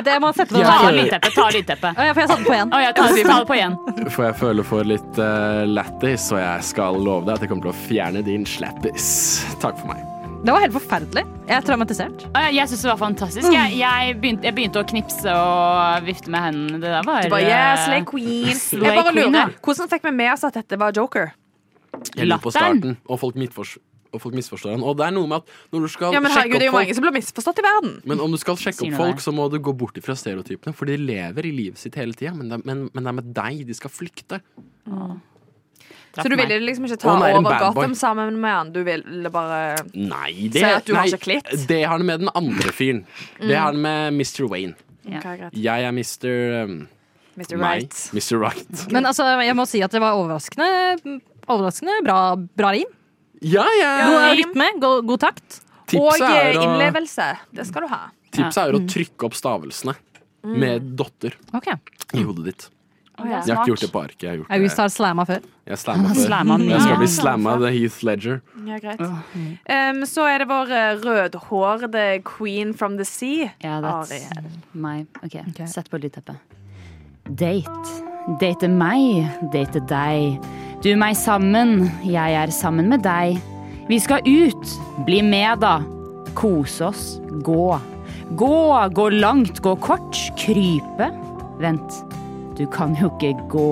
S1: det- Jeg må sette på
S4: Ta
S1: den.
S4: lydteppet, ta lydteppet.
S1: Å, ja, for jeg satte på igjen.
S4: Å ja, ta ta det på igjen.
S2: For jeg føler for litt eh, lættis, og jeg skal love deg at jeg kommer til å fjerne din slappis. Takk for meg.
S1: Det var helt forferdelig. Jeg er traumatisert.
S4: Å, ja, Jeg syns det var fantastisk. Jeg, jeg, begynte, jeg begynte å knipse og vifte med hendene. Det der var
S3: Du bare,
S4: eh,
S3: yeah, slay queen.
S4: Slay
S3: jeg bare
S4: queen, ja.
S3: lurer, Hvordan fikk vi med oss at dette var Joker?
S2: Jeg lurer på
S4: Latteren.
S2: starten, og folk, midtfors- og folk misforstår den. Og det er noe med at når du skal
S3: Ja, men herregud,
S2: sjekke
S3: Det er
S2: opp
S3: jo
S2: folk
S3: mange som blir misforstått i verden.
S2: men om du skal sjekke
S4: Sier
S2: opp
S4: noe
S2: folk,
S4: der.
S2: så må du gå bort ifra stereotypene, for de lever i livet sitt hele tida. Men, det er- men, men det er med deg de skal flykte.
S4: traff
S3: Så du
S4: meg.
S3: ville liksom ikke
S2: Og
S3: ta
S2: han er en
S3: over
S2: bad boy.
S3: Gotham sammen med han? Du ville bare
S2: Nei, det,
S3: Sier at du har
S2: nei,
S3: ikke klitt?
S2: det har han med den andre fyren. Det har han med Mr. Wayne.
S4: Ja.
S3: Ok, greit.
S2: Jeg er Mr. Um,
S3: Mr.
S2: meg.
S3: Right.
S2: Mr. Right.
S1: Men altså, jeg må si at det var overraskende, overraskende bra, bra rim.
S2: Ja, ja.
S1: God rytme, god, god takt.
S2: Tipset
S3: Og eh,
S2: er å,
S3: innlevelse. Det skal du ha.
S2: tipset er å trykke opp stavelsene med dotter
S1: Ok,
S2: i hodet ditt.
S4: Det er
S2: Jeg har ikke gjort det
S4: smart.
S2: på arket. Jeg har gjort
S1: August
S2: det.
S1: har slamma før.
S2: Jeg slamma før.
S4: Slamma
S2: Jeg skal
S4: mye.
S2: bli slamma av Heath Ledger.
S3: Ja, greit. Em, så er det vår eh, rødhårede queen from the sea.
S4: Ja, that's
S3: Ariel.
S4: my OK, sett på lydteppet. Date. Date meg. Date deg. Du meg sammen. Jeg er sammen med deg. Vi skal ut. Bli med, da. Kose oss. Gå. Gå. Gå langt. Gå kort. Krype. Vent. Du kan jo ikke gå.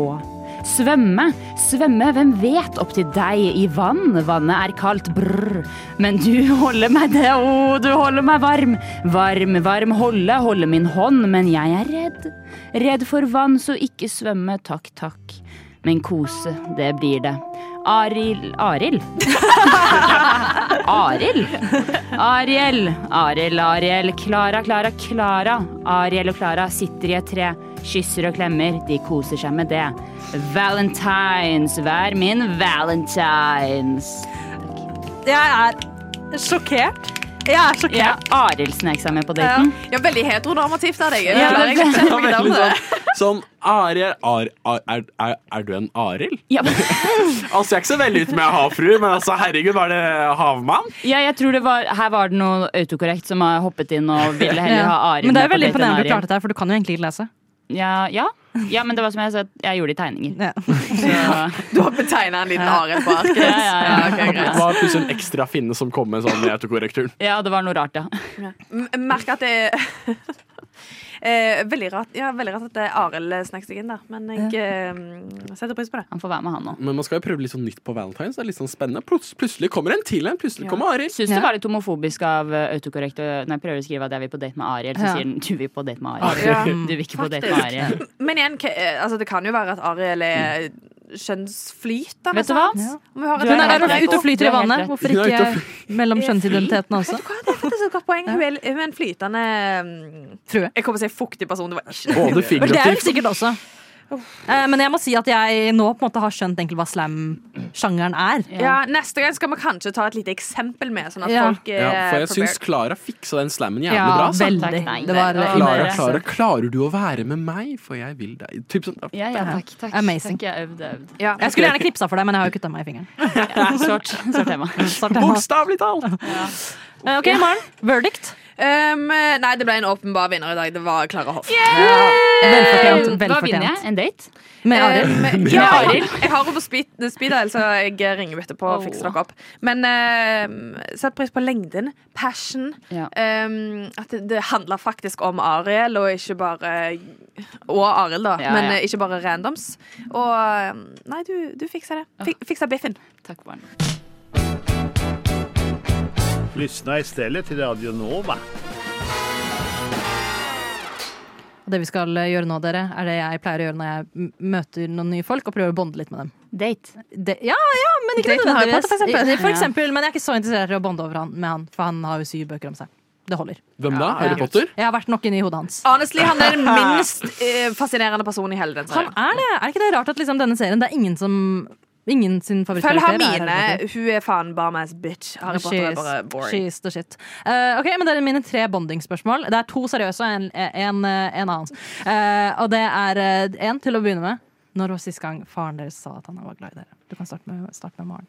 S4: Svømme, svømme, hvem vet, opp til deg i vann. Vannet er kaldt, brr. Men du holder meg det, å, du holder meg varm. Varm, varm, holde, holde min hånd, men jeg er redd. Redd for vann, så ikke svømme, takk, takk. Men kose, det blir det. Arild Arild? Arild? Ariel, Ariel, Ariel, Klara, Klara, Klara. Ariel og Klara sitter i et tre, kysser og klemmer, de koser seg med det. Valentines, vær min valentines.
S1: Jeg er sjokkert. Jeg er sjokkert.
S4: Ja, Arild snek seg med på
S3: Ja.
S4: daten.
S3: ja, veldig heteronormativt av deg. Jeg
S4: Ja,
S3: klarer ikke
S4: det-
S3: å kjenne meg
S2: Veldig
S3: igjen i det.
S2: Sånn, sånn Ariel Ar, Ar, er, er, er du en Arild?
S4: Ja,
S2: Altså, jeg er ikke så veldig ute med å ha fru, men altså, herregud, var det havmann?
S4: ja, jeg tror det var, her var det noe autokorrekt som har hoppet inn og ville heller ha
S1: Ja.
S4: Arild
S1: Men det er jo
S4: med på
S1: veldig
S4: date enn
S1: imponerende at du
S4: Ariel.
S1: klarte det her, for du kan jo egentlig ikke lese.
S4: Ja, ja. ja, men det var som jeg sa, at jeg gjorde det i tegninger.
S1: Ja.
S4: Så,
S3: Du har betegna en liten Arild på arket.
S4: ja, ja, ja.
S3: ok,
S2: Det
S3: greit.
S2: var plutselig en ekstra finne som kom med sånn i autokorrekturen.
S4: ja, det var noe rart, ja.
S3: M- Merker at det er Eh, veldig, rart, ja, veldig rart at det er Arild snek seg inn der, men jeg eh, setter pris på det.
S4: Han får være med han nå.
S2: Men man skal jo prøve litt sånn nytt på Valentine's. Det er litt sånn spennende. Plut- Plutselig kommer en til en. Plutselig
S3: Ja.
S2: kommer Arild.
S4: Syns
S1: Ja.
S4: det var litt homofobisk av eh, autokorrekt å- når jeg prøver å skrive at jeg vil på date med Ariel, så
S1: Ja.
S4: sier den du vil på date med Ariel.
S3: Ja.
S4: Du vil ikke på date med
S3: Faktisk.
S4: Ariel.
S3: Men igjen, k- eh, altså, det kan jo være at Arild er kjønnsflytende.
S4: Vet du hva?
S1: Ja.
S3: Om vi har et
S4: Du
S1: Hun
S4: helt
S1: er
S4: rett.
S1: der ute og
S4: Du
S1: flyter
S4: er
S1: i vannet.
S4: helt rett.
S1: Hvorfor
S2: Hun er ute og
S1: ikke mellom kjønnsidentitetene også?
S3: Vet du hva, det er faktisk et godt poeng. Hun er, hun er en flytende mm,
S1: Frue.
S3: Jeg kommer til å si fuktig person. Det var ikke det.
S2: Både
S1: Men det er hun
S2: figurativt
S1: sikkert også. Eh, Men jeg må si at jeg nå på en måte har skjønt egentlig hva slam-sjangeren er.
S3: Ja, neste gang skal vi kanskje ta et lite eksempel med, sånn at
S1: Ja.
S3: folk er
S2: ja, For jeg
S3: prepared.
S2: syns Klara fiksa den slammen jævlig bra.
S1: Ja,
S2: altså.
S1: veldig.
S4: Takk, nei.
S1: Det var eh,
S4: Nei,
S2: Klara,
S4: Nei,
S2: Klara, klarer du å være med meg, for jeg vil deg Typ sånn.
S4: Ja, ja, takk, takk.
S1: Amazing.
S4: Takk, jeg øvde, øvde.
S3: Ja.
S1: Jeg skulle gjerne knipsa for deg, men jeg har jo kutta meg i fingeren.
S4: Ja, svart, svart tema.
S1: Svart tema.
S2: Bokstavelig talt!
S1: Eh, Ok, Maren. Verdict.
S3: Um, nei, det ble en åpenbar vinner i dag. Det var Klara Hoff.
S1: Eh, Velfortjent.
S4: Eh, Hva vinner jeg?
S1: velfortjent.
S4: En date?
S1: Med Arild.
S3: Um, ja, jeg,
S4: Arild.
S3: jeg har henne på speed, speed dial, så jeg ringer henne etterpå og fikser dere opp. Men um, sett pris på lengden, passion.
S4: Ja.
S3: Um, at det, det handler faktisk om Ariel, og ikke bare Og Arild, da,
S4: Ja,
S3: men
S4: ja.
S3: eh, ikke bare randoms. Og um, Nei, du, du fikser det. Fik, fikser biffen.
S4: Takk, barn.
S8: Lyssna istället till Radio Nova.
S1: Og det vi skal eh, gjøre nå, dere, er det jeg pleier å gjøre når jeg m- møter noen nye folk og prøver å bonde litt med dem.
S4: Date.
S1: Det, ja, ja, men ikke
S3: Date med Harry
S1: nødvendigvis.
S3: Potter, for eksempel.
S1: I- For eksempel, men jeg er ikke så interessert i å bonde over han, med han, for han har jo syv bøker om seg. Det holder.
S2: Hvem da? Harry Potter?
S1: Jeg har vært nok inni hodet hans.
S3: Honestly, han er den minst eh, fascinerende personen i hele den
S1: Han
S3: serien.
S1: Sånn er det! Er ikke det rart at liksom denne serien, det er ingen som Ingen sin
S3: Følg
S1: favorittkarakter er
S3: Hermine.
S1: Harry Potter.
S3: Hun er faen bare ass bitch. Harry Potter er bare
S1: She's,
S3: boring.
S1: she's the shit. Eh, ok, men det er mine tre bondingspørsmål. Det er to seriøse og en, en, en annen. Eh, og det er eh, en til å begynne med. Når var sist gang faren deres sa at han var glad i dere? Du kan starte med, starte med Maren.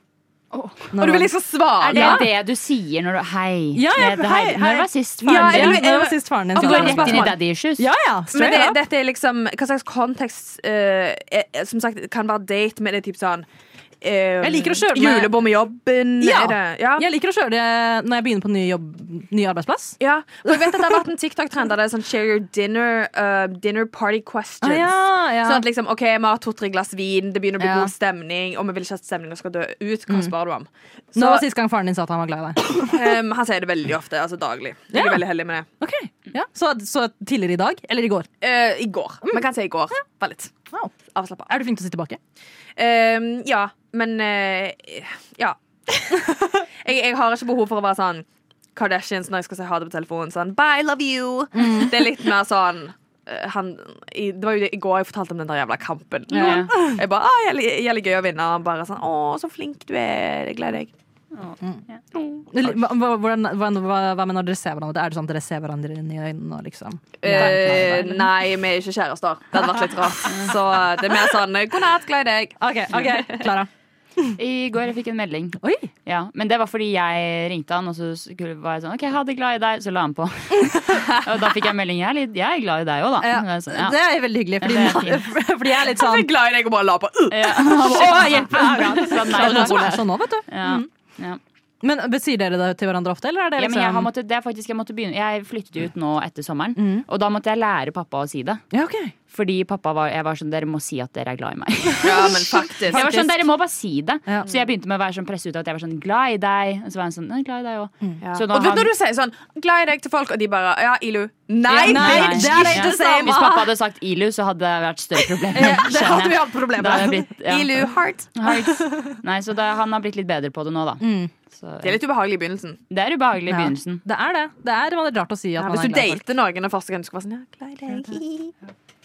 S3: Og du vil liksom svare?
S4: Er det det du sier når du Hei.
S1: Ja, ja,
S4: det er
S1: hei,
S4: deg.
S1: hei.
S4: Når var sist
S3: Ja,
S4: faren
S1: Ja,
S4: din?
S3: jeg-
S1: det var sist faren din
S3: Og
S1: sa
S4: Går
S3: bare
S1: det.
S4: rett inn i
S3: spørsmål.
S4: daddy issues?
S1: Ja, ja,
S3: Men
S1: straight
S3: det,
S1: up.
S3: dette er liksom Hva slags kontekst eh, er, Som sagt, kan være date, men det er typ sånn eh,
S1: Jeg liker å kjøre med-
S3: Julebord med jobben.
S1: Ja.
S3: Er det, ja.
S1: Jeg liker å kjøre det når jeg begynner på ny, jobb, ny arbeidsplass.
S3: Ja, for jeg vet at Det har vært en TikTok-trend der det er sånn share your dinner, uh, dinner party questions.
S1: Ah, ja, ja.
S3: Sånn at liksom, ok, Vi har to-tre glass vin, det begynner å bli
S1: Ja.
S3: god stemning, og vi vil ikke at stemningen skal dø ut. Hva spør du om? Så,
S1: Nå var sist gang faren din sa at han var glad i deg.
S3: ehm, han sier det veldig ofte. altså Daglig. Jeg er
S1: Ja.
S3: veldig heldig med det.
S1: Ok, ja. så, så tidligere i dag, eller i går.
S3: Eh, I går. Man kan si i går. Bare litt
S1: Wow.
S3: avslappa.
S1: Er du flink til å si tilbake?
S3: Ehm, ja, men eh, Ja. jeg, jeg har ikke behov for å være sånn Kardashians når jeg skal si ha det på telefonen. Sånn, Bye, love you. Det er litt mer sånn eh, han, i, Det var jo det, i går jeg fortalte om den der jævla kampen.
S4: Ja.
S3: Jeg bare, ah, jævlig, jævlig gøy å vinne. Og han bare sånn Å, så flink du er. Jeg gleder deg.
S1: Eller, hva- hva- Hvordan, hva, hva, hva med når dere ser hverandre? Er det sånn at dere ser hverandre inn i øynene? Og liksom?
S3: Eh, nei, vi er ikke kjærester. Det hadde vært litt rart. Så det er mer sånn God natt, glad i deg.
S1: OK, ok, Klara. Eh,
S4: I går jeg fikk en melding.
S1: Oi!
S4: Ja, Men det var fordi jeg ringte han, og så skulle, var jeg sånn OK, ha det glad i deg. Så la han på. og da fikk jeg melding. Jeg er, litt, jeg er glad i deg òg, da.
S1: Ja,
S4: Og jeg sånn, ja.
S1: Det er veldig hyggelig, fordi,
S4: Ja, det er
S1: fordi jeg er litt
S3: Jeg
S1: sånn
S3: er glad i deg og bare la på. Uh.
S4: Ja. sånn, Å, hjelp! Så nei,
S1: Alle
S4: takk.
S1: som er sånn nå, vet du.
S4: Ja. Ja.
S1: Men Sier dere det til hverandre ofte? Eller er det
S4: Ja, men jeg, har
S1: liksom
S4: måttet, det er faktisk, jeg, måtte begynne, jeg flyttet jo ut nå etter sommeren,
S1: Mm.
S4: og da måtte jeg lære pappa å si det.
S1: Ja, ok.
S4: Fordi pappa var, jeg var sånn Dere må si at dere er glad i meg.
S3: Ja, men faktisk.
S4: Jeg var sånn, dere må bare si det
S1: Ja.
S4: Så jeg begynte med å være sånn presse ut av at jeg var sånn glad i deg. Og så var han sånn «Nei, glad i deg også.
S1: Mm.
S3: Ja.
S4: Så
S3: Og
S4: når
S3: vet, du
S4: han-
S3: når du sier sånn 'glad i deg' til folk, og de bare 'ja, Ilu'. Nei,
S4: Ja,
S1: nei,
S3: det er
S1: det
S3: ikke
S1: ikke
S3: det samme.
S4: Hvis pappa hadde sagt ILU, så hadde det vært større problemer.
S1: Det hadde vi hatt problemer
S4: Da hadde
S1: med.
S4: jeg blitt, ja.
S3: Ilu heart.
S4: Hearts. Nei, så da, han har blitt litt bedre på det nå, da.
S1: Mm.
S4: Så,
S3: Det er litt ubehagelig i begynnelsen.
S4: det er ubehagelig i
S1: Ja.
S4: begynnelsen.
S1: Det er det. Det er veldig rart å si at
S3: Ja,
S1: man
S3: hvis du
S1: er glad i folk.
S3: dater noen og første gang du skal være sånn 'ja, glad i deg'.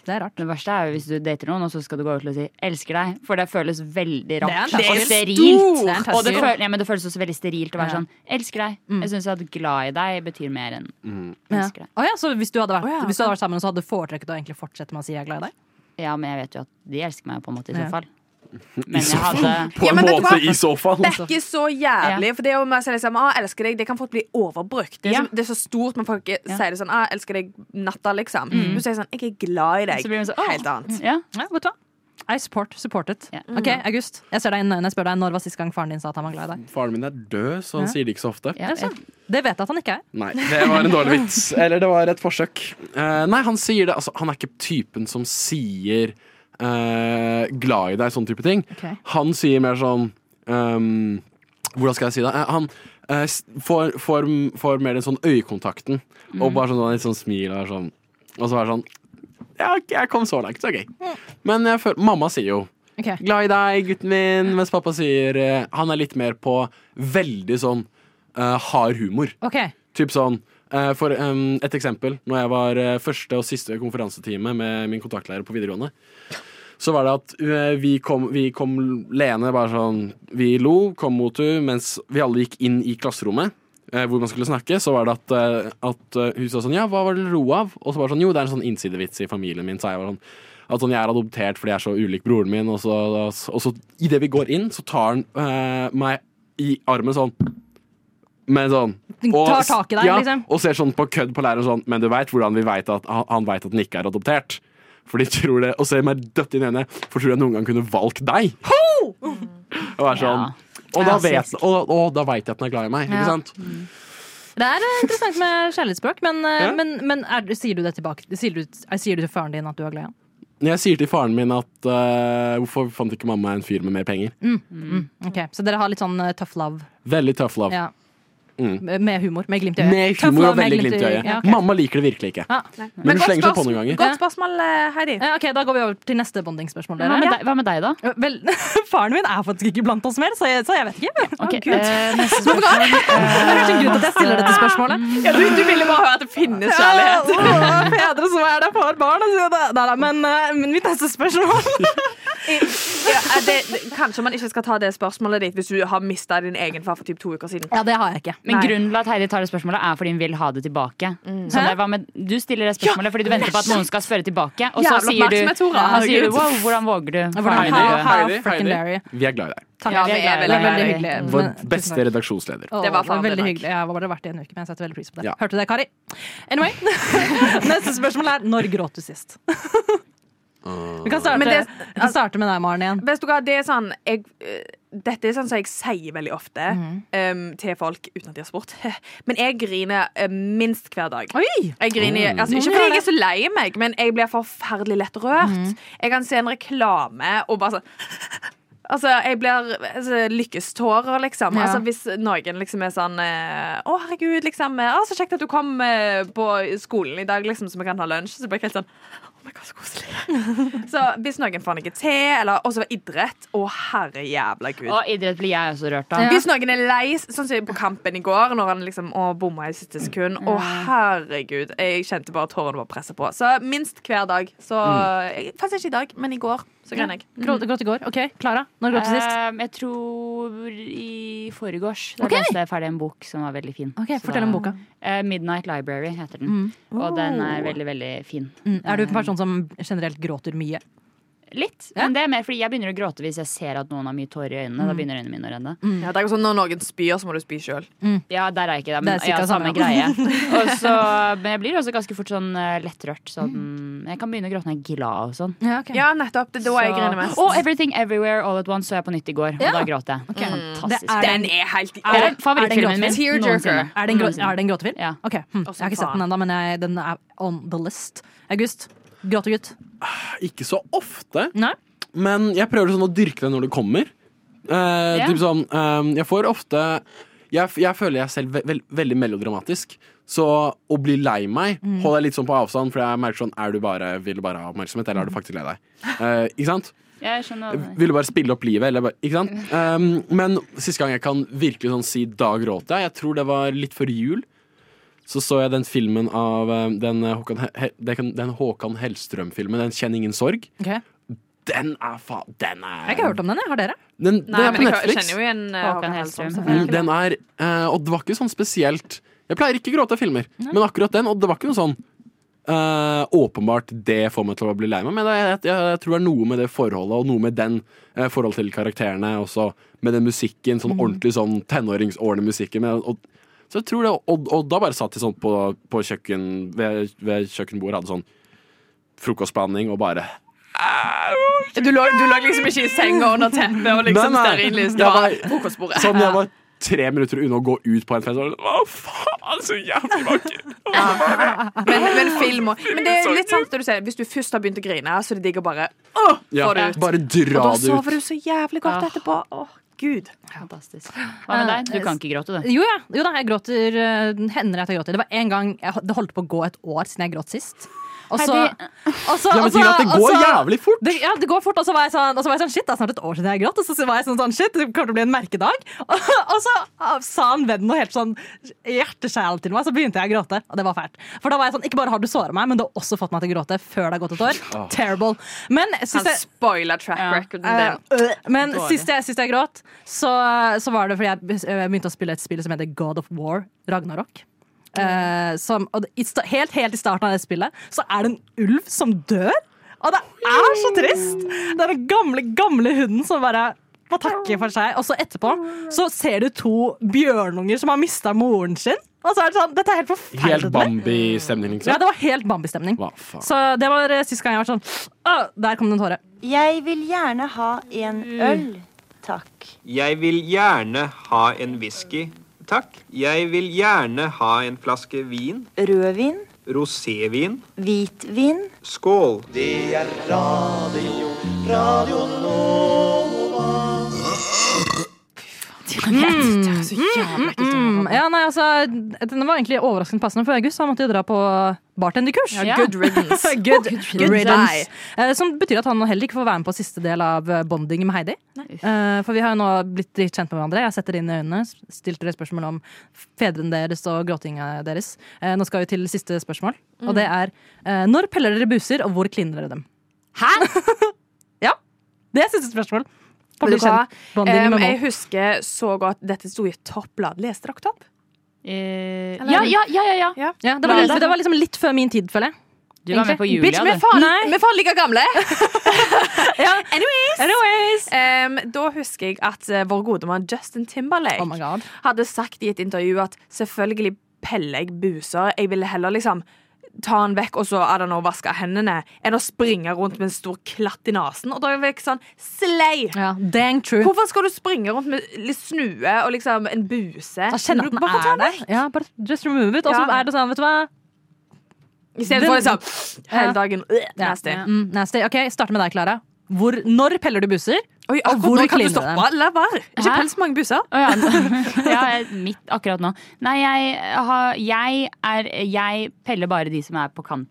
S1: Det er rart.
S4: Det verste er jo hvis du dater noen, og så skal du gå over til å si 'elsker deg'. For det føles veldig
S1: Det er en
S4: rart
S1: terskel.
S4: og
S1: Stor.
S4: sterilt.
S1: Det er en terskel.
S4: Og det, føl ja, men det føles også veldig sterilt å være
S1: Ja. Mm.
S4: sånn 'elsker deg'. Jeg syns at 'glad i deg' betyr mer enn
S1: Ja.
S4: 'elsker deg'.
S1: Å ja, så hvis du hadde vært,
S3: Å ja,
S1: hvis du hadde vært sammen, så hadde du foretrukket å egentlig fortsette med å si 'jeg er glad i deg'?
S4: Ja, men jeg vet jo at de elsker meg, på en måte, i så
S1: Ja.
S4: fall. Men jeg hadde
S2: På
S3: Ja,
S2: en
S3: men vet du
S2: måte,
S3: hva?
S2: i så fall.
S3: Bekke så jævlig. For det å si liksom, ah, 'elsker deg', det kan fort bli overbrukt. Det er,
S4: Ja.
S3: så, det er så stort, men folk sier det sånn ah, 'elsker deg natta', liksom. Du sier sånn 'jeg er glad i deg'.
S4: Så blir man sånn, «Åh».
S3: Helt annet.
S4: Ja.
S1: Ja, vet du hva? I support, supported.
S4: Ja.
S1: Ok, August, jeg ser deg inn i øynene. Jeg spør deg når var siste gang faren din sa at han var glad i deg?
S2: Faren min er død, så han
S1: Ja.
S2: sier det ikke så ofte.
S4: Ja, jeg,
S1: Det sånn. vet jeg at han ikke er.
S2: Nei, det var en dårlig vits. Eller det var et forsøk. Eh, nei, han sier det. Altså, han er ikke typen som sier eh, 'glad i deg', sånn type ting.
S1: Ok.
S2: Han sier mer sånn ehm, Hvordan skal jeg si det? Eh, han eh, s- får, får, får mer den sånn øyekontakten, og bare sånn, litt sånn smil og er sånn Og så er det sånn ja, ok, jeg kom så langt, så gøy. Men jeg føler, mamma sier jo
S1: Ok.
S2: 'glad i deg, gutten min', mens pappa sier eh, Han er litt mer på veldig sånn eh, hard humor.
S1: Ok,
S2: Typ sånn eh, For em, et eksempel. Når jeg var eh, første og siste konferansetime med min kontaktlærer på videregående, så var det at eh, vi kom, vi kom leende bare sånn Vi lo, kom mot henne, mens vi alle gikk inn i klasserommet. eh, Hvor man skulle snakke, så var det at, eh, at eh, hun sa sånn Ja, hva var det dere lo av? Og så var det sånn Jo, det er en sånn innsidevits i familien min, sa jeg. Var sånn, at sånn, jeg er adoptert fordi jeg er så ulik broren min, og så, og så idet vi går inn, så tar han eh, meg i armen sånn. Men sånn
S1: Tar tak i deg,
S2: ja,
S1: liksom.
S2: Og ser sånn på kødd på læreren sånn Men du veit hvordan vi vet at han, han veit at han ikke er adoptert? For de tror det Og ser meg dødt inn i øynene, for tror jeg noen gang kunne valgt deg. Og er sånn
S4: Ja.
S2: Og da
S4: Ja,
S2: vet og, og da vet jeg at han er glad i meg,
S1: Ja.
S2: ikke sant?
S1: Det er eh, interessant med kjærlighetsspråk, men, eh,
S2: Ja.
S1: men, men er, sier du det tilbake? Sier du, sier du til faren din at du er glad i ham?
S2: Når jeg sier til faren min at eh, Hvorfor fant ikke mamma en fyr med mer penger?
S1: Ok, Så dere har litt sånn eh, tough love?
S2: Veldig tough love.
S1: Ja. Med humor, med glimt i øyet?
S2: Mm. Med
S1: Tough
S2: humor
S1: love
S2: og veldig glimt i øyet.
S1: Ja, ok.
S2: Mamma liker det virkelig ikke.
S1: Ja.
S2: Men hun slenger seg
S3: godt
S2: på
S3: spørsmål-
S2: noen ganger.
S3: Godt spørsmål, eh, Heidi.
S1: Ja, ok, Da går vi over til neste bondingsspørsmål.
S4: hva,
S1: Dere.
S4: med deg, hva med deg, da?
S1: Ja. Vel, faren min er faktisk ikke blant oss mer, så jeg, så jeg vet ikke.
S4: Ok,
S1: Gud.
S4: eh, neste spørsmål.
S1: Det er kanskje en grunn til at jeg stiller dette spørsmålet.
S3: Ja, du, du ville bare høre at det finnes kjærlighet.
S1: Ja, og fedre som er der for barn. altså, det- Nei, nei, men, eh, men mitt neste spørsmål
S3: ja, det, det- kanskje man ikke skal ta det spørsmålet ditt hvis du har mista din egen far for typ to uker siden.
S1: Ja, det har jeg ikke.
S4: Men
S3: Nei.
S4: grunnen til at Heidi tar det spørsmålet, er fordi hun vil ha det tilbake. Så det, hva med, du stiller det spørsmålet fordi du venter på at noen skal spørre tilbake, og så
S3: Jævla
S4: sier du,
S3: oppmerksomhet, Tora.
S4: ja, så sier du
S3: Herregud.
S4: wow, hvordan våger du?
S1: Hvordan
S4: Faren
S1: har,
S4: din død.
S1: har
S2: Heidi,
S1: frøken
S2: Heidi.
S1: Derry?
S2: Vi er glad i deg.
S1: Takk,
S3: Ja,
S1: vi er glad i deg.
S3: veldig, veldig
S1: Veldig
S3: hyggelig.
S1: hyggelig.
S2: Vår
S1: Men- tusen
S2: beste
S1: takk.
S2: redaksjonsleder.
S1: Å,
S3: Det var faen meg
S1: veldig
S3: takk.
S1: hyggelig. Jeg har bare vært i en uke, men jeg setter veldig pris på det.
S2: Ja.
S1: Hørte du det, Kari? Anyway. Neste spørsmål er når gråt du sist? Vi kan starte,
S3: Men det-
S1: vi kan starte med deg, Maren, igjen.
S3: Vet du hva, det er sånn jeg, eh, Dette er sånn som jeg sier veldig ofte em, til folk uten at de har spurt. Men jeg griner eh, minst hver dag.
S1: Oi!
S3: Jeg griner, altså,
S1: Noen
S3: ikke
S1: gjør
S3: fordi jeg
S1: det.
S3: er så lei meg, men jeg blir forferdelig lett rørt. Jeg kan se en reklame og bare sånn Altså, jeg blir altså, lykkestårer, liksom.
S1: Ja.
S3: Altså, hvis noen liksom er sånn eh, Å, herregud, liksom. eh, Å, så kjekt at du kom eh, på skolen i dag, liksom, så vi kan ha lunsj. Så blir jeg helt sånn Oh my God, så koselig. så hvis noen får noe te, eller også idrett Å, herre jævla gud.
S4: Og idrett blir jeg også rørt av.
S1: Ja.
S3: Hvis noen er lei, sånn som på kampen i går, når han liksom å, bomma i siste sekund Å, herregud. Jeg kjente bare tårene var presset på. Så minst hver dag. Så jeg- Faktisk ikke i dag, men i går så grein jeg.
S1: Gråt, gråt i går. OK, Klara. Når gråt du sist?
S4: Ehm, jeg tror i forgårs. Da
S1: Ok.
S4: leste jeg ferdig en bok som var veldig fin.
S1: Ok,
S4: Så
S1: Fortell
S4: da-
S1: om boka.
S4: Eh, Midnight Library heter den. Og den er veldig, veldig fin.
S1: Mm. Er du en person som generelt gråter mye?
S4: Litt. Men det er mer fordi jeg begynner å gråte hvis jeg ser at noen har mye tårer i øynene. Da begynner øynene mine å renne.
S3: Ja, det er jo sånn Når noen spyr, så må du spy sjøl.
S4: Ja, der er jeg ikke det,
S1: Det
S4: men
S1: er
S4: ja,
S1: sikkert samme,
S4: samme greie. Og så- men jeg blir også ganske fort sånn eh, lettrørt. Sånn, jeg kan begynne å gråte når jeg er glad og sånn.
S1: Ja, ok.
S3: Ja, nettopp. Det er da jeg griner mest.
S4: Og Everything Everywhere All At Once så jeg på nytt i går, og da gråt jeg. Mm. Fantastisk.
S1: Det er-
S3: den er helt
S4: Det er
S1: er
S4: favorittfilmen min
S3: gråtefilm?
S4: noensinne.
S1: Er det en, grå, er det en gråtefilm?
S4: Ja.
S1: Ok, hm. Jeg har ikke sett den ennå, men jeg, den er on the list. August. Gråtegutt.
S2: Ikke så ofte,
S1: Nei?
S2: men jeg prøver sånn å dyrke det når det kommer. Eh,
S4: Ja.
S2: typ sånn, eh, jeg får ofte jeg, jeg føler jeg selv ve vel- veldig melodramatisk. Så å bli lei meg
S1: Mm.
S2: holder jeg litt sånn på avstand, for jeg merker sånn Er du bare, vil du bare ha oppmerksomhet,
S1: Mm.
S2: eller er du faktisk lei deg? Eh, ikke sant?
S4: Jeg skjønner hva du mener.
S2: Ville bare spille opp livet. Eller bare, ikke sant? Um, men siste gang jeg kan virkelig sånn si da gråt jeg, jeg tror det var litt før jul. Så så jeg den filmen av um, den eh, Håkan, He- den- den Håkan Hellstrøm-filmen, den 'Kjenn ingen sorg'.
S1: Ok. Jeg
S2: Den er faen Den er
S1: har ikke hørt om den, jeg. Har dere?
S2: Den, den
S3: Nei,
S2: er på
S3: men jeg
S2: Netflix.
S3: kjenner jo igjen eh,
S4: Håkan
S3: Håkan
S4: Hellstrøm.
S3: Hellstrøm.
S2: Mm,
S3: selvfølgelig.
S2: Den er eh, Og det var ikke sånn spesielt Jeg pleier ikke å gråte av filmer, men akkurat den, og det var ikke noe sånn eh, åpenbart det får meg til å bli lei meg, men jeg, jeg, jeg, tror det er noe med det forholdet, og noe med den eh, forholdet til karakterene, og så med den musikken,
S3: Mm.
S2: sånn ordentlig sånn tenåringsårene musikken. Men, og, så jeg tror det, og, og da bare satt jeg sånn på, på kjøkken, ved, ved kjøkkenbordet, hadde sånn frokostbehandling og bare
S3: Du, lå, du lå liksom ikke i senga under teppet og
S2: Nei,
S3: liksom
S2: nei.
S3: stearinlys. Det
S2: Ja,
S3: var
S2: nei.
S3: frokostbordet.
S2: Sånn jeg var tre minutter unna å gå ut på en fest, og sånn, hva faen, så jævlig vakker!
S3: Men, men film og Men det er litt sant det du sier. Hvis du først har begynt å grine, så er det digg å bare åh,
S2: Ja,
S3: få det ut.
S2: bare dra
S3: Og da
S2: det ut.
S3: sover du så jævlig godt etterpå. Åh, gud.
S4: Fantastisk. Hva med deg? Du kan ikke gråte, du.
S1: Jo, ja. jo da, jeg gråter. eh, Hender at jeg gråter. Det var en gang jeg, Det holdt på å gå et år siden jeg gråt sist. Og så og så-
S2: Ja, men
S1: og så-
S2: ting er at det går
S1: og så-
S2: jævlig fort.
S1: Det, ja, det går fort, og så var jeg sånn, og så var jeg sånn Shit, det er snart et år siden jeg gråt. Og så var jeg sånn, sånn shit, det kommer til å bli en merkedag. Og, og så ah, sa en venn noe helt sånn hjerteskjærende til meg, så begynte jeg å gråte. Og det var fælt. For da var jeg sånn, ikke bare har du såret meg, men du har også fått meg til å gråte før det har gått et år.
S2: Ah.
S1: Terrible. Men sist
S3: Han
S1: jeg,
S3: spoiler track recorden
S1: eh,
S3: din.
S1: øh, men
S4: Dårlig.
S1: sist jeg, sist jeg gråt, så, så var det fordi jeg be- jeg begynte å spille et spill som heter God of War, Ragnarok. Eh, som, og det, i sta- helt, helt i starten av det spillet så er det en ulv som dør. Og det er så trist! Det er den gamle, gamle hunden som bare må takke for seg. Og så etterpå så ser du to bjørnunger som har mista moren sin. Og så er det sånn, dette er helt
S2: Helt
S1: forferdelig.
S2: Bambi-stemning,
S1: Ja,
S2: liksom.
S1: det var helt Bambi-stemning.
S2: Hva faen?
S1: Så det var eh, sist gang jeg var sånn «Åh, Der kom det en tåre.
S9: Jeg vil gjerne ha en øl, takk.
S10: Jeg vil gjerne ha en whisky. Takk. Jeg vil gjerne ha en flaske vin.
S9: Rødvin,
S10: Rosévin.
S9: hvitvin.
S10: Skål.
S1: Mm, ja, nei, altså, den var egentlig overraskende passende for August. så Han måtte jo dra på bartenderkurs.
S4: Ja.
S3: Good riddance.
S1: Good riddance.
S3: riddance.
S1: Eh, Som betyr at han heller ikke får være med på siste del av eh, bonding med Heidi. Eh, For vi har jo nå blitt litt kjent med hverandre. Jeg setter inn i øynene, stilte dere spørsmål om fedrene deres og gråtinga deres. Eh, Nå skal vi til siste spørsmål, og
S3: Mm.
S1: det er eh, Når peller dere buser, og hvor kliner dere dem?
S4: Hæ?
S1: Ja, det spørsmål.
S3: Vet du hva?
S1: Bonding
S3: Em,
S1: med
S3: jeg
S1: mål.
S3: husker så godt Dette sto i et topplad. Leste dere topp? Eller-
S4: ja, ja, ja, ja, ja.
S1: Ja, det, var, litt- det var liksom litt før min tid, føler jeg.
S4: Du var med på
S1: Egentlig.
S4: Julia,
S3: Vi er
S4: du.
S3: faen,
S1: Nei.
S3: vi er faen like gamle!
S1: Ja.
S3: Anyways,
S1: Anyways.
S3: em, da husker jeg at eh, vår gode mann Justin Timberlake
S1: Oh my god.
S3: hadde sagt i et intervju at selvfølgelig peller jeg buser. Jeg ville heller liksom ta den vekk og så er det noe å vaske hendene enn å springe rundt med en stor klatt i nesen. Og da er jeg sånn slay!
S1: Ja, dang true.
S3: Hvorfor skal du springe rundt med litt snue og liksom en buse?
S1: Jeg kjenner
S3: Du-
S1: at den
S3: Bare ta
S1: er
S3: den
S1: der.
S3: vekk.
S1: Ja, bare just remove it. Og så
S3: Ja.
S1: er det sånn, vet du hva.
S3: I stedet for liksom hele
S1: Ja.
S3: dagen. øh, Nasty.
S4: Ja.
S1: Mm, nasty. Ok, jeg starter med deg, Klara. Hvor, når peller du buser?
S3: Oi,
S1: Og hvor
S3: akkurat nå kan du
S1: cleaner
S3: stoppe.
S1: du
S3: La være. Ikke
S4: Hæ?
S3: pels mange buser.
S4: Å ja. ja, jeg- mitt akkurat nå. Nei, jeg, har, jeg, er, jeg peller bare de som er på kanten.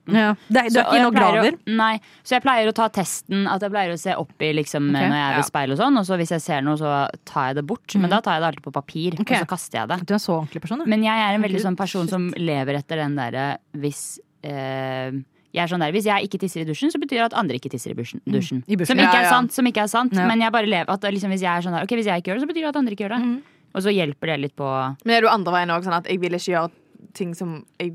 S1: Det, er- du
S4: Så-
S1: er ikke inne og
S4: og jeg pleier
S1: graver?
S4: Å, nei, så jeg pleier å ta testen. At jeg pleier å se oppi liksom, når jeg er ved speil og sånn. Og så hvis jeg ser noe, så tar jeg det bort. Men da tar jeg det alltid på papir,
S1: Mm. Ok.
S4: og så kaster jeg det.
S1: Du er en så ordentlig person, du.
S4: Men jeg er en veldig sånn person som lever etter den derre hvis eh, jeg er sånn der, Hvis jeg ikke tisser i dusjen, så betyr det at andre ikke tisser i busjen-
S1: Mm.
S4: dusjen.
S1: I busjen.
S4: Som ikke
S3: Ja,
S4: er
S3: ja.
S4: sant. Som ikke er sant
S1: Ja.
S4: Men jeg bare lever, at, liksom, hvis jeg er sånn der, ok, hvis jeg ikke gjør det, så betyr det at andre ikke gjør det.
S1: Mm.
S4: Og så hjelper det litt på
S3: Men er du andre veien òg, sånn at jeg vil ikke gjøre ting som jeg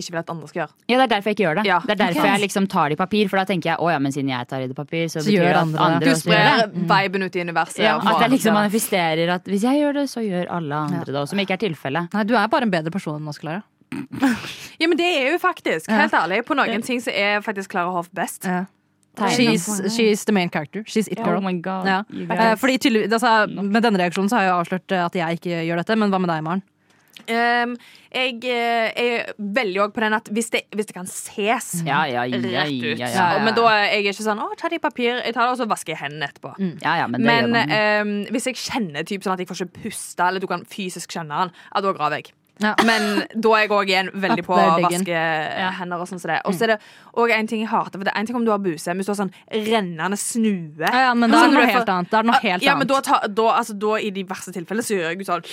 S3: ikke vil at andre skal gjøre?
S4: Ja, det er derfor jeg ikke gjør det.
S3: Ja.
S4: Det er derfor
S3: Ok.
S4: jeg liksom tar det i papir, for da tenker jeg å ja, men siden jeg tar i det i papir, så,
S1: Så gjør
S4: betyr det at
S1: andre
S4: andre,
S1: det.
S3: Du
S4: også gjør
S3: sprer
S4: det.
S3: viben ut i universet.
S4: Ja,
S3: og
S4: at
S3: faen.
S4: jeg liksom manifesterer at hvis jeg gjør det, så gjør alle andre det også, som ikke er tilfellet.
S1: Nei, du er bare en bedre person enn oss, Klara.
S3: ja, men det er jo faktisk, helt ærlig, på noen ting så er faktisk Klara Hoff best.
S1: Ja.
S4: Tegne.
S1: She's, she's the main character. She's it girl.
S4: Oh my god.
S1: Ja.
S4: you
S1: Eh,
S4: guys.
S1: Fordi tydelig, altså, Med denne reaksjonen så har jeg jo avslørt eh, at jeg ikke gjør dette, men hva med deg, Maren?
S3: Um, jeg eh, er veldig òg på den at hvis det, hvis det kan ses
S4: ja, ja, ja, ja,
S3: rett ut
S4: ja, ja.
S1: ja.
S3: Men da er jeg ikke sånn 'Å, ta det i papir'. Jeg tar det, og så vasker jeg hendene etterpå.
S1: Mm.
S4: ja, ja, men det
S3: Men
S4: gjør man.
S3: ehm, hvis jeg kjenner typ, sånn at jeg får ikke puste, eller du kan fysisk kjenne den, ja, da graver jeg.
S1: Ja.
S3: Men da er jeg òg igjen veldig på å
S1: Up there digging.
S3: vaske hender og sånn som det.
S1: Mm.
S3: Og så er det òg en ting jeg hater. For det er en ting om du har buse, men hvis du har sånn rennende snue
S1: Ja, ja, men da
S3: Sånn
S1: er det
S3: når
S1: noe
S3: du er
S1: helt
S3: for-
S1: annet. Da er det noe helt
S3: Ja, men da,
S1: annet.
S3: ta, da, altså, da i de verste tilfellene så gjør jeg jo sånn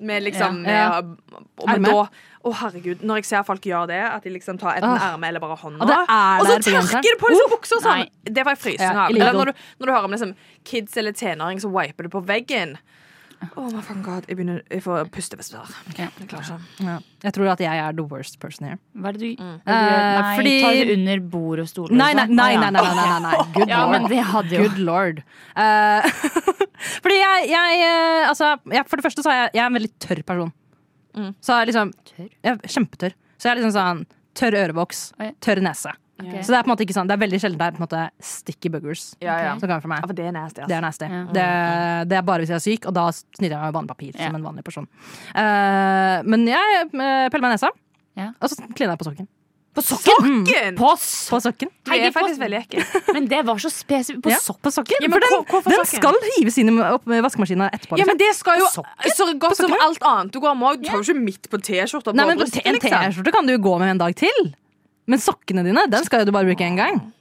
S3: med liksom
S1: Ja, ja.
S3: med- og- Men
S1: Arme.
S3: da Å, herregud. Når jeg ser folk gjøre det, at de liksom tar enten
S1: Åh.
S3: ermet eller bare hånda,
S1: Og det er Uh,
S3: og så
S1: der på
S3: tørker
S1: genseren.
S3: det på liksom buksa og sånn!
S4: Nei.
S3: Det var jeg frysen
S1: Ja,
S3: av.
S1: illegal.
S3: Eller når du, når du hører om liksom, kids eller tenåring som wiper det på veggen. Å, my fucking god. Jeg, begynner, jeg får pustevesper.
S4: Ja.
S3: Jeg klarer ikke.
S1: Ja. Jeg tror at jeg er the worst person here.
S4: Hva er det du, hva er det du gjør?
S1: Eh,
S4: Nei,
S1: fordi-
S4: ta det under bord og stol. og
S1: Nei, nei,
S4: sånn.
S1: nei,
S4: Å,
S1: nei,
S4: ja.
S1: nei, nei, nei, nei. Good
S4: Ja,
S1: lord.
S4: men det hadde jo
S1: Good lord. Eh, fordi jeg, jeg eh, Altså, jeg, for det første så er jeg, jeg er en veldig tørr person. Så jeg er liksom
S4: Mm. Tørr?
S1: Jeg er kjempetørr. Så jeg er liksom sånn tørr ørevoks,
S4: Oi.
S1: tørr nese.
S4: Ok.
S1: Så det er på en måte ikke sånn Det er veldig sjelden det er på en måte sticky boogers
S3: Ja, ja.
S1: som kommer fra
S3: Ja,
S1: meg.
S3: for det er nasty,
S1: Det er
S3: altså.
S1: nasty.
S4: Ja.
S1: Det, det er bare hvis jeg er syk, og da snyter jeg meg med vannpapir
S4: Ja.
S1: som en vanlig person. Eh, men jeg eh, peller meg i nesa,
S4: Ja.
S1: og så kliner jeg på sokken.
S3: På sokken!
S4: På
S1: På sokken.
S3: Du er
S4: Heidi, på-
S3: faktisk veldig ekkel.
S4: Men det var så spesifikt. På
S1: Ja,
S4: sopp.
S1: på sokken.
S3: Ja, men
S1: For den,
S3: hvor- hvorfor
S1: den
S3: sokken?
S1: skal hives inn i opp med vaskemaskinen etterpå.
S3: Ja,
S1: liksom.
S3: men det skal jo
S1: På sokken?
S3: så godt som
S1: sokken?
S3: alt annet du går med òg. Du tar jo ikke midt på T-skjorta.
S1: Nei, men En
S3: liksom.
S1: T-skjorte kan du jo gå med en dag til. Men sokkene dine den skal jo du bare bruke én gang.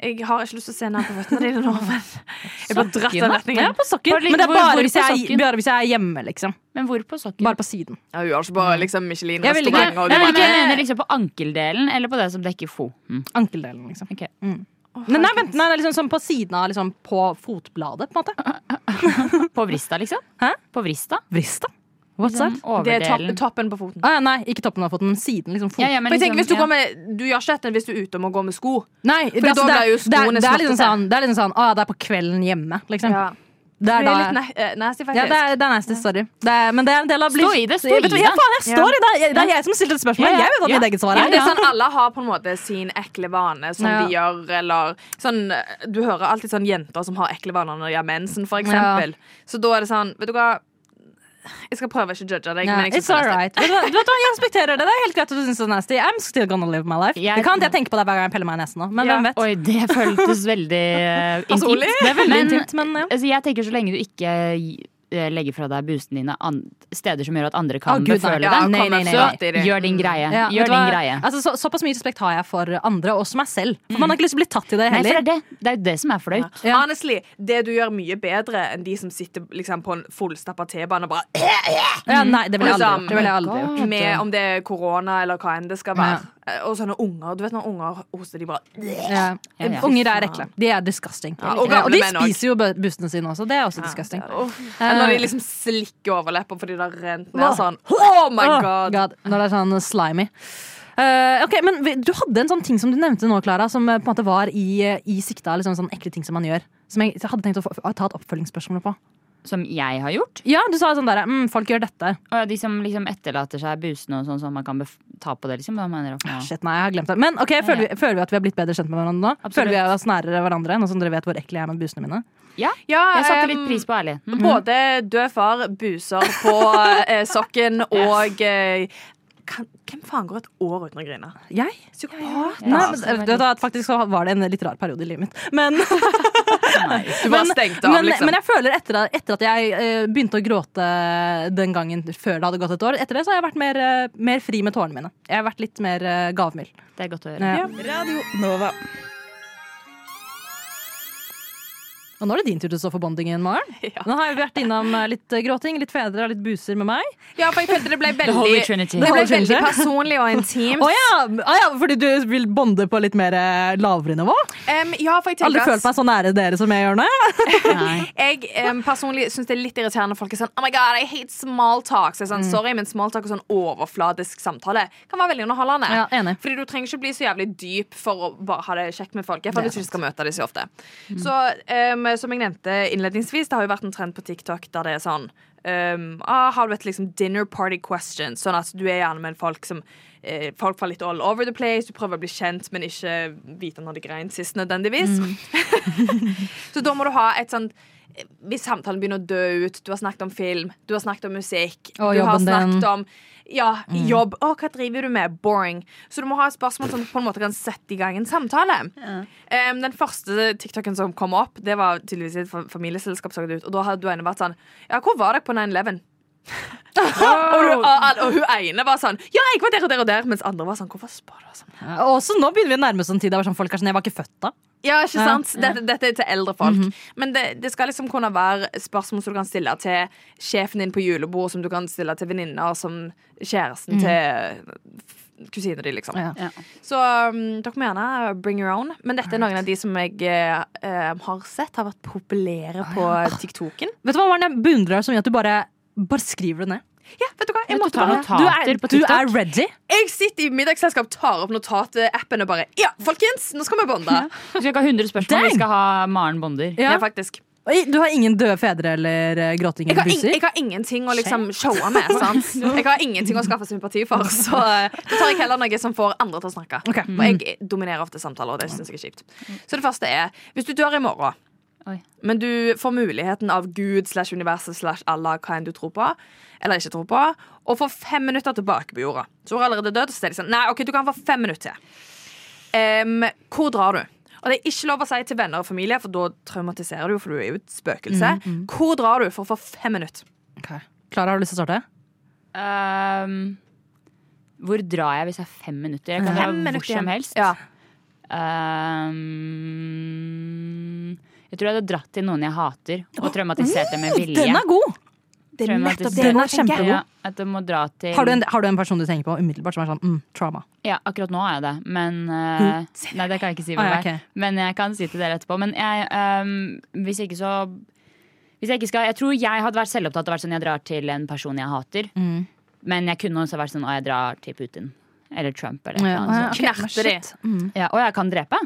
S3: Jeg har ikke lyst til å se ned på føttene dine nå, men jeg blir dratt den
S1: Ja,
S3: retningen.
S1: på sokken.
S4: Bare litt-
S1: Men det er
S4: hvor- hvor
S1: bare hvis,
S4: på
S1: jeg,
S4: sokken?
S1: bare hvis jeg er hjemme, liksom.
S4: Men hvor på sokken?
S1: Bare på siden.
S3: Ja, hun har ikke bare liksom
S1: Jeg vil ikke-
S3: Michelin-restaurant. og
S4: Nei,
S3: du bare-
S4: nei, men jeg mener liksom på ankeldelen eller på det som dekker foten.
S1: Ankeldelen, liksom.
S4: Ok.
S1: Mm. Men nei, vent, nei, det er liksom sånn på siden av liksom på fotbladet, på en måte.
S4: På vrista, liksom.
S1: Hæ?
S4: På vrista.
S1: Vrista. What's that?
S4: Liksom,
S3: Det er topp,
S4: Overdelen.
S3: toppen på foten.
S1: Ah, ja, nei, ikke toppen av foten, men siden. Liksom, fot.
S4: Ja, ja, men
S3: For jeg tenker,
S4: liksom-
S3: hvis Du
S4: ja.
S3: går med Du gjør ikke dette hvis du er ute og må gå med sko.
S1: Nei, det,
S3: da
S1: det,
S3: blir
S1: er-
S3: jo
S1: det, er-
S3: skoene
S1: det er liksom sånn,
S3: snortete.
S1: det er liksom sånn Å ja, det er på kvelden hjemme, liksom.
S3: Ja.
S1: Det
S3: Det
S1: er
S3: er
S1: da
S3: litt na- eh, nasty, faktisk.
S1: ja, det er, det er nasty, sorry. Det er, men det er en del av
S4: Stå i det, stå
S1: Vet du hva,
S4: i
S1: Ja,
S4: det.
S1: faen, jeg står i det! Jeg- Det er
S4: Ja.
S1: jeg som stiller et spørsmål.
S4: Ja, ja.
S1: Jeg vet hva mitt
S4: Ja.
S1: eget svar
S4: Ja,
S1: er.
S3: Men det er sånn, Alle har på en måte sin ekle vane som
S1: Ja.
S3: de gjør. Eller, sånn, du hører alltid sånn jenter som har ekle vaner når de har mensen, for eksempel. Så da er det sånn Vet du hva, jeg skal prøve å ikke judge deg.
S1: Ja,
S3: men jeg
S1: it's all right. Vet du, hva- vet du hva, jeg respekterer det. Det er helt greit at du syns det er nasty. I'm still gonna live my life.
S4: Jeg-
S1: Det kan hende jeg tenker på det hver gang jeg peller meg i nesen nå, men
S3: Ja.
S1: hvem vet.
S4: Oi, det føltes veldig eh, intimt.
S1: Personlig. Det er veldig
S4: Men-
S1: intimt, men ja.
S4: Altså, jeg tenker så lenge du ikke eh, legger fra deg busene dine an steder som gjør at andre kan
S1: Å, Gud, nei.
S4: beføle
S1: Ja,
S4: deg,
S1: nei, nei, nei,
S4: så
S3: nei. Alltid det.
S4: gjør din greie.
S1: Ja, vet
S4: gjør
S1: du hva?
S4: din greie.
S1: Altså, så, såpass mye respekt har jeg for andre, og også meg selv. For Man har ikke lyst til å bli tatt i det
S4: Nei, for det
S1: heller.
S4: er det. Det er jo det som er flaut.
S3: Mm.
S1: Ja.
S3: Honestly, det du gjør mye bedre enn de som sitter liksom, på en fullstappa T-bane og bare liksom
S1: Ja, nei, det ville jeg aldri gjort. Det ville jeg aldri gjort.
S3: med om det er korona eller hva enn det skal være. Eh, Og sånne unger. Du vet når unger hoster, de bare
S1: Ja. Unger er ekle. De er disgusting.
S3: Ja, og
S1: og,
S3: gamle
S1: de
S3: menn også.
S1: spiser jo bu- bussene sine også. Det er også disgusting.
S3: Eller
S1: Eh.
S3: når de liksom slikker overlepper fordi det har rent ned sånn. Oh my
S1: Åh,
S3: god!
S1: Når det er sånn slimy. Eh, ok, men vi- Du hadde en sånn ting som du nevnte nå, Clara, som eh, på en måte var i, eh, i sikte av liksom, sånne ekle ting som man gjør. Som jeg hadde tenkt å få, å ta et oppfølgingsspørsmål på.
S4: Som jeg har gjort?
S1: Ja, du sa sånn der, mm, folk gjør dette.
S4: Å ja, de som liksom etterlater seg busene og sånn, sånn man kan bef ta på det, liksom? Hva mener dere? nå?
S1: Shit, nei, jeg har glemt det. Men ok, føler vi, føler vi at vi har blitt bedre kjent med hverandre nå?
S4: Absolutt.
S1: Føler vi oss nærere hverandre, nå som dere vet hvor ekle jeg er med busene mine?
S4: Ja,
S3: Ja,
S4: jeg satte litt
S1: Um,
S3: em,
S4: pris på Mm, ærligheten.
S3: Både død far, buser på eh, sokken og eh, kan, Hvem faen går et år uten å grine?
S1: Jeg?
S3: Psykopat.
S1: Nei,
S4: Ja,
S1: men,
S4: så det var
S1: vet du hva, faktisk så var det en litt rar periode i livet mitt. Men,
S3: Du bare stengte av,
S1: men,
S3: liksom.
S1: men jeg føler etter, at- etter at jeg eh, begynte å gråte den gangen før det hadde gått et år, etter det så har jeg vært mer, eh, mer fri med tårene mine. Jeg har vært litt mer eh, gavmild.
S4: Det er godt å høre.
S1: Ja. Og nå er det din tur til å stå for bondingen, Maren.
S3: Ja.
S1: Nå har jeg vært innom eh, litt eh, gråting, litt fedre og litt buser med meg.
S3: Ja, for jeg følte det ble
S4: Holy
S3: veldig,
S4: Trinity.
S3: det ble
S1: Holy Trinity.
S3: veldig personlig og intimt.
S1: Å ja, å ja, fordi du vil bonde på litt mer eh, lavere nivå?
S3: Em, ja, for jeg tenker
S1: Aldri
S3: at-
S1: følt meg så nære dere som jeg gjør nå. jeg.
S4: Nei.
S3: Jeg em, personlig syns det er litt irriterende når folk er sånn Oh my god, I hate small talk. Så jeg er sånn, Sorry, men small talk og sånn overfladisk samtale kan være veldig underholdende.
S1: Ja, enig.
S3: Fordi du trenger ikke bli så jævlig dyp for å bare ha det Mm. kjekt med folk. Jeg føler ikke du skal møte dem så ofte. Så em, som jeg nevnte innledningsvis, det har jo vært en trend på TikTok der det er sånn em, ah, har du et liksom dinner party question? Sånn at du er gjerne med folk som eh, Folk var litt all over the place, du prøver å bli kjent, men ikke vite når de grein sist nødvendigvis. Så da må du ha et sånn sånt hvis samtalen begynner å dø ut, du har snakket om film, du har snakket om musikk
S1: Og
S3: Du har
S1: jobben din. Mm.
S3: snakket om ja, jobb. Å, hva driver du med? Boring. Så du må ha et spørsmål som på en måte kan sette i gang en samtale. Em, den første TikToken som kom opp, det var tydeligvis i et fa- familieselskap. Så det ut, og da hadde du ene vært sånn Ja, hvor var dere på 9-11? og, du- og, og, og hun ene var sånn Ja, jeg var der og der og der. Mens andre var sånn Hvorfor spør du? oss om det?"
S1: Og også nå begynner vi å nærme oss en tid der hvor sånn folk er sånn Jeg var ikke født da.
S3: Ja, ikke sant? Dette, dette er til eldre folk. Men det, det skal liksom kunne være spørsmål som du kan stille til sjefen din på julebord, som du kan stille til venninner, som kjæresten til kusina di, liksom.
S1: Ja.
S4: Ja.
S3: Så um, dere må gjerne bring your own. Men dette er noen av de som jeg eh, eh, har sett har vært populære på TikToken.
S1: Vet du hva, Maren, jeg beundrer deg så mye at du bare, bare skriver det ned.
S3: Ja, vet du hva? Jeg
S4: Vet du,
S3: måtte
S4: ta
S3: bare
S4: notater
S1: Du er,
S4: på
S1: du
S4: TikTok.
S1: er ready.
S3: Jeg sitter i middagsselskap, tar opp notatappen og bare Ja, folkens, nå skal vi bonde!
S4: Vi skal ikke ha 100 spørsmål,
S1: Dang!
S4: vi skal ha Maren Bonder.
S3: Ja,
S1: Ja.
S3: faktisk.
S1: Oi, Du har ingen døde fedre eller eh, gråting
S3: Jeg
S1: eller
S3: har, ing-
S1: buser?
S3: jeg har ingenting å liksom showe med. Sant? Jeg har ingenting å skaffe sympati for. Så eh, da tar jeg heller noe som får andre til å snakke.
S1: Ok.
S3: Og jeg dominerer ofte samtaler, og det syns jeg er kjipt. Så det første er hvis du dør i morgen,
S4: Oi.
S3: men du får muligheten av Gud slash universet slash Allah, hva enn du tror på, eller ikke tror på, og får fem minutter tilbake på jorda, så er du allerede død, så sier de sånn Nei, OK, du kan få fem minutter til. Em, hvor drar du? Og det er ikke lov å si til venner og familie, for da traumatiserer du, for du er jo et spøkelse. Hvor drar du for å få fem minutter?
S1: Ok. Klara, har du lyst til å starte?
S4: Ehm, hvor drar jeg hvis jeg har fem minutter? Jeg kan dra
S3: Fem
S4: hvor
S3: minutter
S4: som
S3: igjen.
S4: helst.
S3: Ja.
S4: Ehm, jeg tror jeg hadde dratt til noen jeg hater, og traumatisert dem med vilje.
S1: Den mm, er god!
S3: Det er
S4: Traumatisert-
S3: nettopp
S1: Den
S3: det.
S1: er kjempegod.
S4: Ja, at jeg må dra til
S1: Har du, en, har du en person du tenker på umiddelbart som er sånn mm, trauma?
S4: Ja, akkurat nå har jeg det, men
S1: Mm.
S4: eh, Nei, det kan jeg ikke si.
S1: Ah, ja,
S4: hvem det er.
S1: ok.
S4: Men jeg kan si til dere etterpå. Men jeg, ehm, hvis ikke så hvis jeg, ikke skal, jeg tror jeg hadde vært selvopptatt og vært sånn jeg drar til en person jeg hater.
S1: Mm.
S4: Men jeg kunne også vært sånn å, jeg drar til Putin. Eller Trump, eller noe
S1: Ja,
S4: annet.
S1: ok,
S3: sånn Knerte
S1: shit.
S3: de.
S1: Mm.
S4: sånt. Ja, og jeg kan drepe.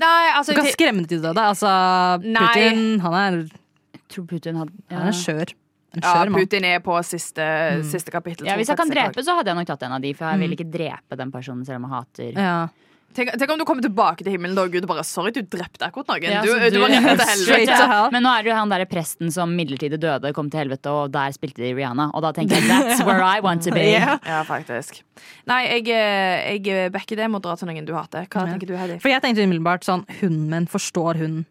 S3: Nei, altså,
S1: Du kan
S3: til-
S1: skremme til døde. Altså,
S3: Nei.
S1: Putin, han er,
S4: Jeg tror Putin hadde
S1: han er skjør. En
S3: ja,
S1: skjør mann.
S3: Putin er på siste, siste kapittel.
S4: Mm. Ja,
S3: tror
S4: hvis jeg kan
S3: faktisk
S4: drepe, så hadde jeg nok tatt en av de, for jeg vil ikke drepe den personen selv om jeg hater.
S1: Mm. Ja.
S3: Tenk, tenk om du kommer tilbake til himmelen da, og Gud bare Sorry, du drepte akkurat noen.
S4: Ja,
S3: du,
S4: så
S3: du, var rett til
S1: Straight
S3: helvete.
S1: to hell.
S4: Men nå er det jo han derre presten som midlertidig døde, kom til helvete, og der spilte de Rihanna. Og da tenker jeg that's where I want to be.
S3: Ja, faktisk. Nei, jeg, eh, jeg backer det med å dra til noen du hater. Hva tenker du, Heidi?
S1: For jeg tenkte umiddelbart sånn Hunden min, forstår hun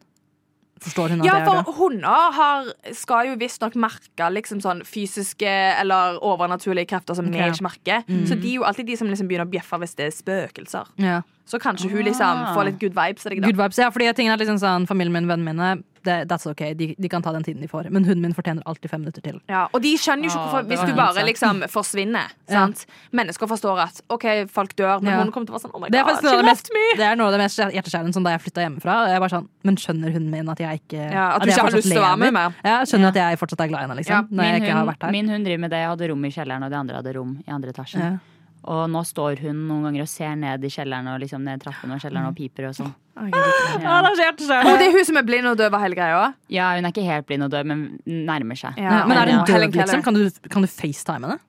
S1: Forstår hun at
S3: Ja,
S1: jeg er
S3: for
S1: død?
S3: hunder har, skal jo visstnok merke liksom sånn fysiske eller overnaturlige krefter som vi
S1: Ok.
S3: ikke merker. Så
S4: Mm.
S3: de er jo alltid de som liksom begynner å bjeffe hvis det er spøkelser.
S1: Ja.
S3: Så kanskje hun liksom
S4: Ah.
S3: får litt good vibes av deg, da.
S1: Good vibes. Ja, fordi jeg tenker at liksom sånn, familien min, vennene mine det, that's ok, de, de kan ta den tiden de får. Men hunden min fortjener alltid fem minutter til.
S3: Ja, og de skjønner jo ikke
S1: Å,
S3: hvorfor,
S1: Ah, det
S3: hvis
S1: var
S3: du
S1: helt
S3: bare
S1: sant.
S3: liksom forsvinner. Sant? Mennesker forstår at OK, folk dør, men
S1: Ja.
S3: hunden kommer til å være sånn Oh my
S1: Det er,
S3: god,
S1: faktisk noe av
S3: she
S1: det,
S3: left
S1: mest, det er noe av det mest hjerteskjærende som da jeg flytta hjemmefra. Og jeg bare sånn, Men skjønner hunden min at jeg ikke
S3: Ja, at du
S1: jeg
S3: ikke har
S1: fortsatt
S3: lyst til å være
S1: lever?
S3: med mer.
S1: Ja, jeg skjønner at jeg fortsatt er glad i henne,
S4: Ja,
S1: liksom. når
S4: min,
S1: jeg ikke har
S4: hund,
S1: vært her.
S4: min hund driver med det. Jeg hadde rom i kjelleren, og de andre hadde rom i andre etasjen.
S1: Ja.
S4: Og nå står hun noen ganger og ser ned i kjelleren og liksom ned trappene og
S1: Mm.
S4: kjelleren og piper og sånn.
S3: Ja, det er Og det er hun som er blind og døv og hele greia òg?
S4: Ja, hun er ikke helt blind og død, men nærmer seg.
S3: Ja.
S1: Ja, men er hun
S3: Ja. Helen
S1: død,
S3: Keller.
S1: liksom? Kan du, kan du facetime henne?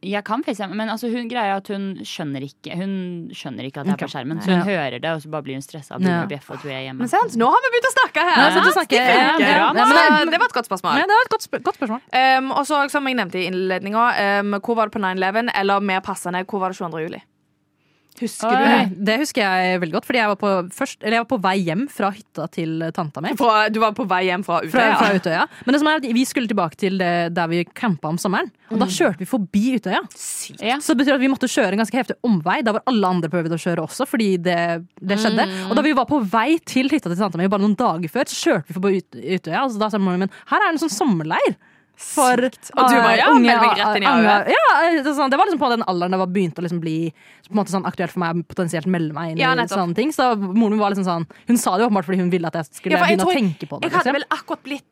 S4: Jeg kan facetime, men altså, hun greier at hun skjønner ikke Hun skjønner ikke at jeg er på
S1: Ok.
S4: skjermen, så hun
S1: Ja.
S4: hører det, og så bare blir hun stressa og begynner
S1: Ja.
S4: å bjeffe og tror jeg er hjemme.
S3: Men sant, nå har vi begynt å snakke her.
S1: Ja, så du
S3: sant?
S1: snakker-
S3: Det funker.
S1: ja, bra.
S3: Nei,
S1: Men-
S3: men det var et godt spørsmål.
S1: Nei, det var et godt, spør godt spørsmål.
S3: Um, og så, som jeg nevnte i innledninga, um, hvor var det på 9-11? Eller mer passende, hvor var det 22. juli? Husker du det?
S1: Eh, Det husker jeg veldig godt, fordi jeg var på, først, eller jeg var på vei hjem fra hytta til tanta mi.
S3: Fra, du var på vei hjem fra Utøya?
S1: Fra, fra Utøya. Men det som er at vi skulle tilbake til det, der vi campa om sommeren, og da
S3: Mm.
S1: kjørte vi forbi Utøya.
S3: Sykt.
S4: Ja.
S1: Så det betyr at vi måtte kjøre en ganske heftig omvei. Da var alle andre prøvd å kjøre også, fordi det, det skjedde.
S3: Mm.
S1: Og da vi var på vei til hytta til tanta mi bare noen dager før, så kjørte vi forbi Ut- Utøya. Og så da sa moren min her er det en sånn sommerleir. For
S3: Og du bare,
S1: eh,
S3: ja, meld meg rett inn i
S1: unge-
S3: AUF.
S1: ja, eh, det, er sånn, det var liksom på den alderen det var begynt å liksom bli på en måte sånn aktuelt for meg å potensielt melde meg inn
S3: Ja,
S1: i
S3: nettopp.
S1: sånne ting. Så moren min var liksom sånn Hun sa det jo åpenbart fordi hun ville at jeg skulle
S3: Ja, for jeg
S1: begynne
S3: tror-
S1: å tenke på det.
S3: Jeg
S1: liksom.
S3: hadde vel akkurat blitt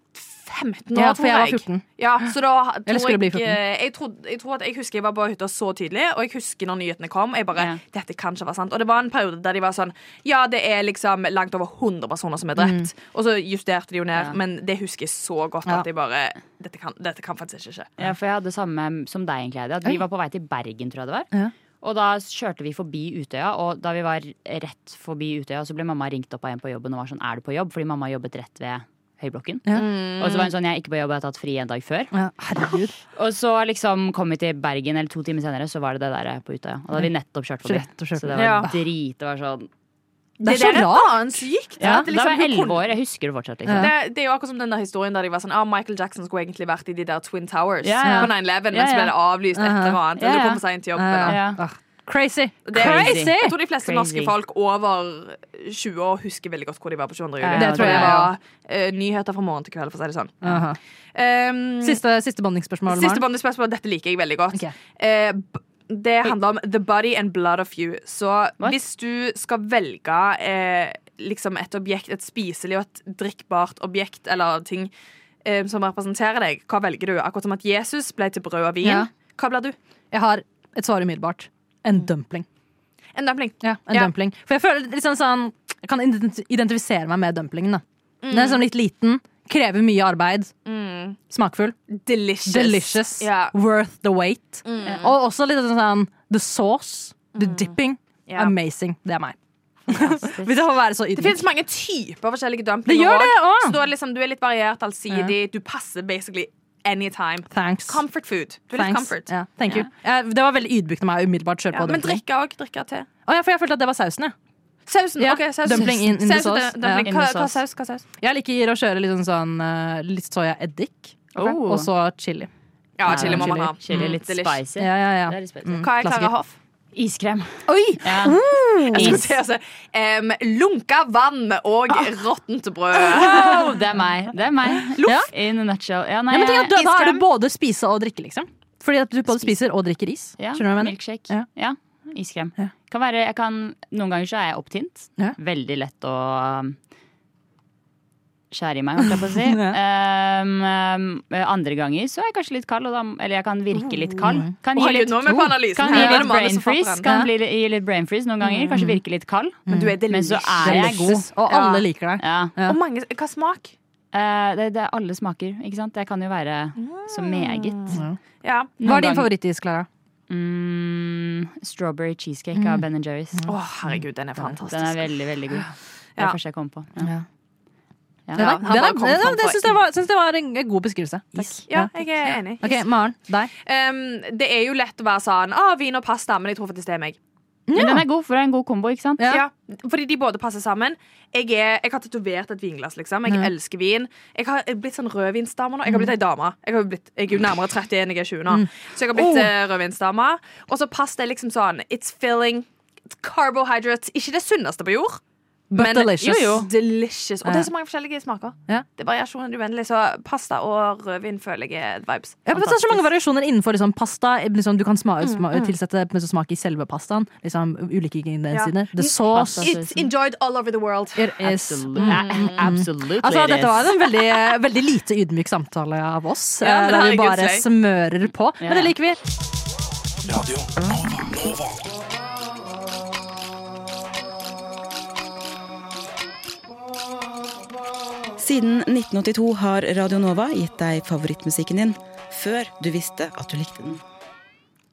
S3: 15 år,
S1: Ja, for
S3: tror
S1: jeg var
S3: jeg.
S1: 14.
S3: Ja, så da ha-
S1: Eller
S3: tror
S1: skulle bli
S3: jeg,
S1: 14.
S3: eh, jeg, trodde, jeg tror at jeg husker jeg var på hytta så tidlig, og jeg husker når nyhetene kom. Jeg bare,
S4: Ja.
S3: dette kan ikke være sant Og det var en periode der de var sånn Ja, det er liksom langt over 100 personer som er drept. Og så justerte de jo ned,
S4: Ja.
S3: men det husker jeg så godt
S1: Mm. Ja.
S3: at jeg bare Dette kan, dette kan faktisk ikke skje.
S4: Ja, for jeg hadde samme som deg egentlig, Heidi. At vi var på vei til Bergen, tror jeg det var.
S1: Ja.
S4: Og da kjørte vi forbi Utøya, og da vi var rett forbi Utøya, så ble mamma ringt opp av en på jobben og var sånn, er du på jobb? Fordi mamma jobbet rett ved Høyblokken.
S1: Ja.
S4: Og så var hun sånn, jeg er ikke på jobb, jeg har tatt fri en dag før.
S1: Ja, herregud.
S4: Og så liksom kom vi til Bergen, eller to timer senere, så var det det der på Utøya. Og da hadde vi nettopp kjørt forbi.
S1: Rett og slett.
S4: Så det var
S3: Ja.
S4: drit. Det var sånn
S1: Det er
S3: der
S1: så rart.
S3: faen sykt.
S4: ja,
S3: at det
S4: Da
S3: liksom-
S4: var
S3: hun
S4: jeg
S3: kunne-
S4: elleve år, jeg husker det fortsatt.
S1: Ja.
S4: Liksom.
S3: Det, det er jo akkurat som den der historien der de var sånn ah, Michael Jackson skulle egentlig vært i de der Twin Towers
S4: Ja, ja.
S3: på 9-11, men
S4: Ja,
S3: så ble
S4: ja.
S3: det avlyst et eller annet. Eller
S4: Ja, ja.
S3: kom for sent til jobb.
S1: Ja,
S3: Eller.
S4: Ja.
S1: Ah, Crazy!
S3: Det er,
S4: Crazy!
S3: Jeg tror de fleste
S4: Crazy.
S3: norske folk over 20 år husker veldig godt hvor de var på 22. juli.
S4: Ja,
S1: det tror jeg
S3: var eh, nyheter fra morgen til kveld, for å si det sånn.
S1: Aha.
S3: Um,
S1: Siste, siste bandingsspørsmål.
S3: siste
S1: Maren.
S3: bandespørsmål. Dette liker jeg veldig godt.
S1: Ok.
S3: Eh, b- det handler om the body and blood of you. Så
S4: What?
S3: hvis du skal velge eh, liksom et objekt, et spiselig og et drikkbart objekt eller ting eh, som representerer deg, hva velger du? Akkurat som at Jesus ble til brød og vin.
S1: Ja.
S3: Hva blir du?
S1: Jeg har et svar umiddelbart. En dumpling.
S3: En dumpling.
S1: Ja, en
S3: Ja.
S1: dumpling. For jeg føler litt sånn, sånn Jeg kan ident- identifisere meg med dumplingen. Da. Den
S3: Mm.
S1: er sånn litt liten, krever mye arbeid. Smakfull.
S3: Delicious.
S1: Delicious.
S3: Mm. Ja. Mm.
S1: Worth the wait. Og også litt sånn, sånn the sauce. The dipping.
S3: Ja.
S1: Amazing. Det er meg.
S4: Fantastisk.
S1: Hvis jeg får være så
S3: Det
S1: ydmyk.
S3: finnes mange typer forskjellige
S1: Det
S3: dumplinger
S1: gjør det
S3: også.
S1: også.
S3: Så da er det liksom, du er litt variert, allsidig. Du passer basically anytime.
S1: Thanks.
S3: Comfort food. Du er litt
S1: Thanks.
S3: comfort.
S1: Ja, thank you. Eh, Det var veldig ydmykt av meg å umiddelbart kjøre
S3: Ja,
S1: på
S3: men
S1: dumpling.
S3: drikke òg. Drikke te.
S1: Å, ja, for jeg følte at det var sausen, jeg.
S3: Sausen.
S1: Ja,
S3: ok, sausen.
S1: dumpling in- in the
S3: Sausen,
S1: sauce.
S3: dumpling.
S4: Ja.
S3: Hva,
S4: In the
S3: hva
S4: sauce.
S3: saus? Hva saus?
S1: Jeg liker å kjøre litt sånn, sånn eh, litt soyaeddik.
S4: Oh.
S1: Og så chili.
S3: Ja,
S4: Ja,
S3: chili må man ha.
S4: Chili
S3: Mm,
S4: litt
S3: delish.
S4: spicy.
S1: Ja, ja, ja.
S4: Det er litt spicy.
S3: Mm. Hva er
S1: Klassiker.
S3: Klara Hoff?
S4: Iskrem.
S1: Oi!
S4: Ja.
S3: Jeg skulle
S4: Is.
S3: til å si em, lunka vann og råttent brød.
S4: Wow, det er meg. Det er meg.
S1: Loff.
S4: In a nutshell. Ja, nei,
S1: Ja, men tenk at da, da er
S4: Eh, iskrem.
S1: det både spise og drikke, liksom. Fordi at du både spiser og drikker is.
S4: Ja,
S1: Skjønner du hva jeg mener?
S4: milkshake.
S1: Ja.
S4: Ja. Iskrem.
S1: Ja.
S4: Kan være, jeg kan, noen ganger så er jeg opptint.
S1: Ja.
S4: Veldig lett å um, skjære i meg, holdt jeg på å si. um, um, andre ganger så er jeg kanskje litt kald, og da, eller jeg kan virke litt kald.
S1: Mm.
S4: Kan
S3: Oi,
S4: gi litt,
S3: nå er vi på analysen
S4: kan
S3: her.
S4: gi
S3: Nå er det
S4: litt
S3: Manu
S4: brain
S3: som fatter
S4: freeze,
S3: den.
S4: kan bli, gi litt brain freeze noen ganger. Kanskje virke litt kald.
S3: Men du er
S4: Men
S3: delicious.
S4: så er jeg
S1: Mm.
S4: god.
S1: Delicious. Og alle liker deg.
S4: Ja.
S1: Ja.
S3: Og mange, hva smak?
S4: Eh, det, det er alle smaker, ikke sant? Jeg kan jo være så meget.
S3: Ja.
S1: Mm. Hva er
S4: Noen
S1: din
S4: gang-
S1: favorittis, Klara?
S4: Mm, strawberry cheesecake
S1: Mm.
S4: av Ben Jerry's.
S3: Å, herregud, den er fantastisk.
S4: Den er veldig, veldig god. Det er
S3: Ja.
S4: det første jeg kom på. Ja.
S1: Den er-
S3: Ja, han
S1: den
S3: bare
S1: er- den
S3: kom
S1: er-
S3: sånn
S1: det
S3: på-
S1: syns jeg var- syns det var en god beskrivelse. Is.
S3: Ja, jeg er enig.
S1: Ok, Maren. Mm. Deg.
S3: Em, det er jo lett å være sånn ah, vin og pasta, men jeg tror faktisk det er meg.
S4: Men den er god, for det er en god kombo, ikke sant?
S1: Ja.
S3: Ja. fordi de både passer sammen. Jeg, er, jeg har tatovert et vinglass, liksom. Jeg elsker vin. Jeg har blitt sånn rødvinsdame nå. Jeg har
S1: Mm.
S3: blitt ei dame. Jeg, har jo blitt, jeg er jo nærmere 30 enn jeg er 20 nå. Så jeg
S1: Oh.
S3: har blitt eh, rødvinsdame. Og så passer det liksom sånn. It's filling. It's carbohydrates. Ikke det sunneste på jord.
S1: But delicious.
S3: Jo, jo. Delicious. Og det er så
S1: Ja.
S3: mange forskjellige smaker.
S1: Ja.
S3: Det er variasjoner uendelig, så pasta og rødvin føler jeg er vibes.
S1: Ja, men det er så mange variasjoner innenfor liksom, pasta. Liksom, du kan sma
S3: Mm,
S1: sma
S3: mm.
S1: tilsette men så smak i selve pastaen. Liksom, ulike ingredienser.
S3: Ja.
S1: The sauce.
S3: It's enjoyed all over the world.
S1: It is.
S4: Absolut-
S1: Mm.
S4: eh, Absolutely
S1: Altså,
S4: it is.
S1: dette var en veldig, eh, veldig lite ydmyk samtale av oss.
S3: Ja, men
S1: eh, der vi bare
S3: herregud, slay.
S1: smører på.
S4: Ja.
S1: Men det liker vi.
S11: Siden 1982 har Radio Nova gitt deg favorittmusikken din før du visste at du likte den.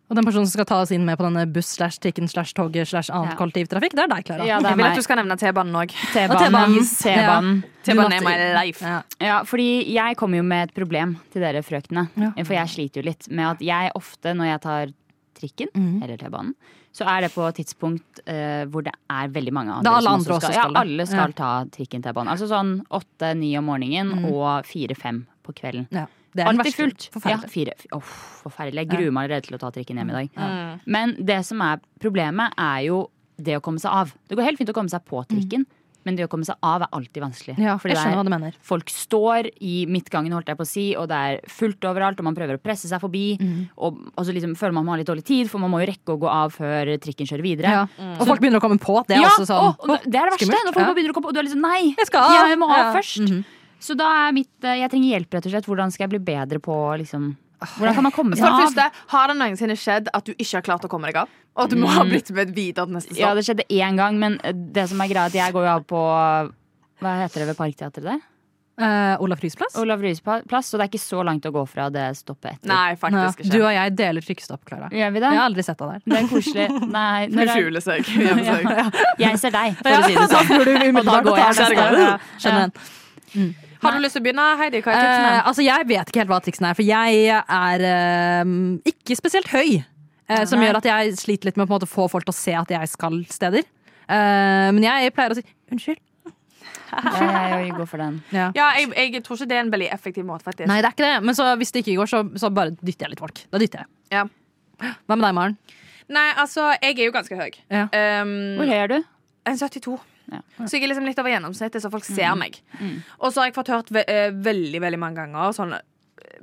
S1: Og den personen som skal ta oss inn med på denne buss slash trikken slash toget slash annen
S4: Ja.
S1: kollektivtrafikk, det er deg, Klara.
S4: Ja, det
S3: Jeg
S4: er
S3: vil at
S4: meg.
S3: du skal nevne T-banen òg.
S1: Og
S4: T-banen. T-banen.
S3: T-banen
S1: Du
S3: er my
S1: måtte-
S3: life.
S1: Ja.
S4: Ja, fordi jeg kommer jo med et problem til dere frøkene.
S1: Ja.
S4: For jeg sliter jo litt med at jeg ofte når jeg tar trikken
S1: Mhm.
S4: eller T-banen, så er det på et tidspunkt eh, hvor det er veldig mange andre,
S1: Da alle
S4: som
S1: andre også skal
S4: Ja,
S1: det.
S4: alle skal ta trikken T-banen. Altså sånn åtte-ni om morgenen
S1: Mhm.
S4: og fire-fem på kvelden.
S1: Ja. Det er den
S4: Alltid
S1: verste.
S4: fullt. Ja,
S1: Forferdelig.
S4: fire. Åh, forferdelig. Jeg gruer meg allerede til å ta trikken hjem i dag.
S3: Mm.
S4: Men det som er problemet, er jo det å komme seg av. Det går helt fint å komme seg på trikken, men det å komme seg av er alltid vanskelig.
S1: Mm. Ja,
S4: Fordi
S1: jeg
S4: det er-
S1: skjønner hva du mener.
S4: Folk står i midtgangen, holdt jeg på å si, og det er fullt overalt, og man prøver å presse seg forbi.
S1: Mm.
S4: Og, og så liksom føler man man har litt dårlig tid, for man må jo rekke å gå av før trikken kjører videre.
S1: Ja. Og folk begynner å komme på. Det er
S4: Ja,
S1: også sånn
S4: og, og det er det verste,
S1: skummelt.
S4: når
S1: Ja.
S4: folk bare begynner å komme på, og du er liksom nei,
S1: Jeg skal av.
S4: jeg må av
S1: Ja. Mhm.
S4: først. Så da er mitt eh, Jeg trenger hjelp, rett og slett. Hvordan skal jeg bli bedre på liksom Hvordan kan man komme seg
S3: For det
S4: av?
S3: første, Har det noensinne skjedd at du ikke har klart å komme deg av? Og at du må ha blitt med videre til neste stopp?
S4: Ja, det skjedde én gang, men eh, det som er greia, er at jeg går jo av på Hva heter det ved Parkteatret der?
S1: Eh, Olav Ryes plass?
S4: Olav Ryes pa- plass, så det er ikke så langt å gå fra det stoppet etter.
S3: Nei,
S1: Ja.
S3: faktisk
S1: Du
S3: ikke.
S1: og jeg deler trykkstopp, Klara. Jeg
S4: Gjør vi det?
S1: har aldri sett deg der.
S4: Det er koselig. Nei,
S3: Hun
S4: når er-
S3: skjuler seg. gjemmer seg.
S4: Jeg ser deg, for å si det sånn.
S1: Tror du umiddelbart
S4: Og da
S1: og
S4: går jeg
S1: tar
S4: neste
S1: den.
S4: gang.
S1: Ja, Skjønner den.
S3: Har du lyst til å begynne, Heidi? Hva er tipsene?
S1: Eh, altså, jeg vet ikke helt hva triksene er, for jeg er eh, ikke spesielt høy. eh, som
S4: Nei.
S1: gjør at jeg sliter litt med å på en måte, få folk til å se at jeg skal steder. Eh, men jeg pleier å si unnskyld.
S4: Ja, jeg går for den.
S1: Ja.
S3: Ja, jeg, jeg tror ikke det er en veldig effektiv måte, faktisk.
S1: Nei, det er ikke det. Men så, hvis det ikke går, så, så bare dytter jeg litt folk. Da dytter jeg.
S3: Ja.
S1: Hva med deg, Maren?
S3: Nei, altså, jeg er jo ganske høy.
S1: Ja.
S3: Um,
S4: Hvor høy er du?
S3: En 72.
S4: Ja.
S3: Så jeg er liksom litt over gjennomsnittet, så folk ser meg. Og så har jeg fått hørt ve eh, veldig veldig mange ganger sånn eh,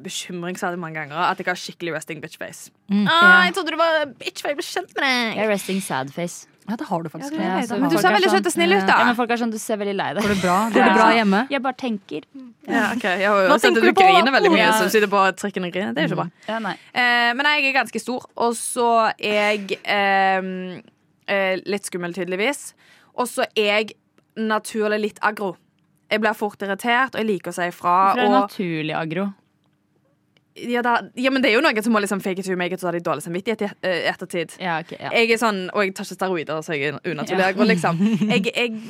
S3: bekymringsverdig mange ganger at jeg har skikkelig resting bitch face. ah, jeg trodde du var bitch, for jeg ble kjent med deg.
S4: Jeg er resting sad face.
S1: Ja, det har du faktisk.
S4: Ja,
S3: Jeg
S4: så
S3: vet, men du
S4: folk
S3: ser
S4: er
S3: veldig
S4: sånn-
S3: søt og snill ut, da.
S4: Ja, men folk er sånn, du ser veldig lei deg.
S1: Går det bra, går det bra hjemme?
S4: Jeg bare tenker.
S3: Ja, ok. Jeg har jo
S1: Hva
S3: sett
S1: tenker
S3: at du
S1: du på?
S3: griner veldig mye,
S4: Ja.
S3: så du sitter på trikken og griner. Det er jo ikke bra.
S4: Ja, nei.
S3: Eh, men jeg er ganske stor, og så er jeg ehm, eh, litt skummel, tydeligvis. Og så er jeg naturlig litt aggro. Jeg blir fort irritert, og jeg liker å si ifra.
S4: For det er
S3: Og,
S4: naturlig aggro.
S3: ja, da, ja, men det er jo noen som må liksom fake it to make it, så har de dårlig samvittighet i et- eh, ettertid.
S4: Ja, ok, ja.
S3: Jeg er sånn, Og jeg tar ikke steroider, så jeg er unaturlig
S4: Ja.
S3: aggro, liksom. Jeg, jeg,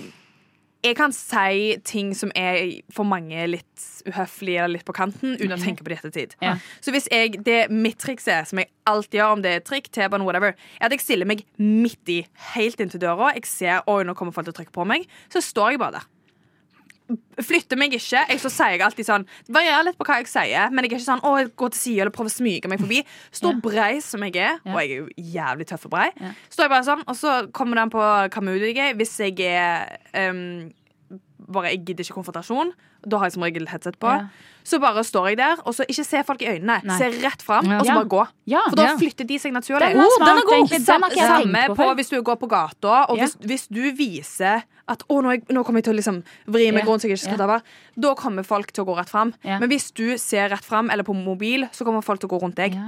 S3: jeg kan si ting som er for mange litt uhøflige eller litt på kanten, uten å tenke på det i ettertid.
S4: Mhm. Ja.
S3: Så hvis jeg, det mitt triks er, som jeg alltid gjør om det er trikk, T-bane, whatever, er at jeg stiller meg midt i, helt inntil døra. Jeg ser oi, nå kommer folk til å trykke på meg. Så står jeg bare der. Flytter meg ikke. Jeg så sier jeg alltid sånn Det varierer litt på hva jeg sier, men jeg er ikke sånn å, jeg går til siden eller prøver å smyge meg forbi. Står brei som jeg er, og jeg er jo jævlig tøff og brei, står jeg bare sånn, og så kommer det an på hva mood jeg er. Hvis jeg er ehm, bare jeg gidder ikke konfrontasjon. Da har jeg som regel headset på.
S4: Ja.
S3: Så bare står jeg der, og så ikke se folk i øynene.
S4: Nei.
S3: Se rett fram, og så
S4: Ja.
S3: bare gå.
S4: Ja.
S3: For da
S1: Ja.
S3: flytter de seg naturlig.
S4: Den er
S1: Oh,
S4: smart,
S1: den er god.
S4: egentlig. Den har ikke jeg
S3: Samme
S4: tenkt
S3: på
S4: før.
S3: hvis du går på gata, og
S4: Ja.
S3: hvis, hvis du viser at å, nå, er jeg- nå kommer jeg til å liksom vri meg
S4: Ja.
S3: rundt så jeg ikke skal
S4: Ja.
S3: ta over, da kommer folk til å gå rett fram.
S4: Ja.
S3: Men hvis du ser rett fram eller på mobil, så kommer folk til å gå rundt deg.
S4: Ja.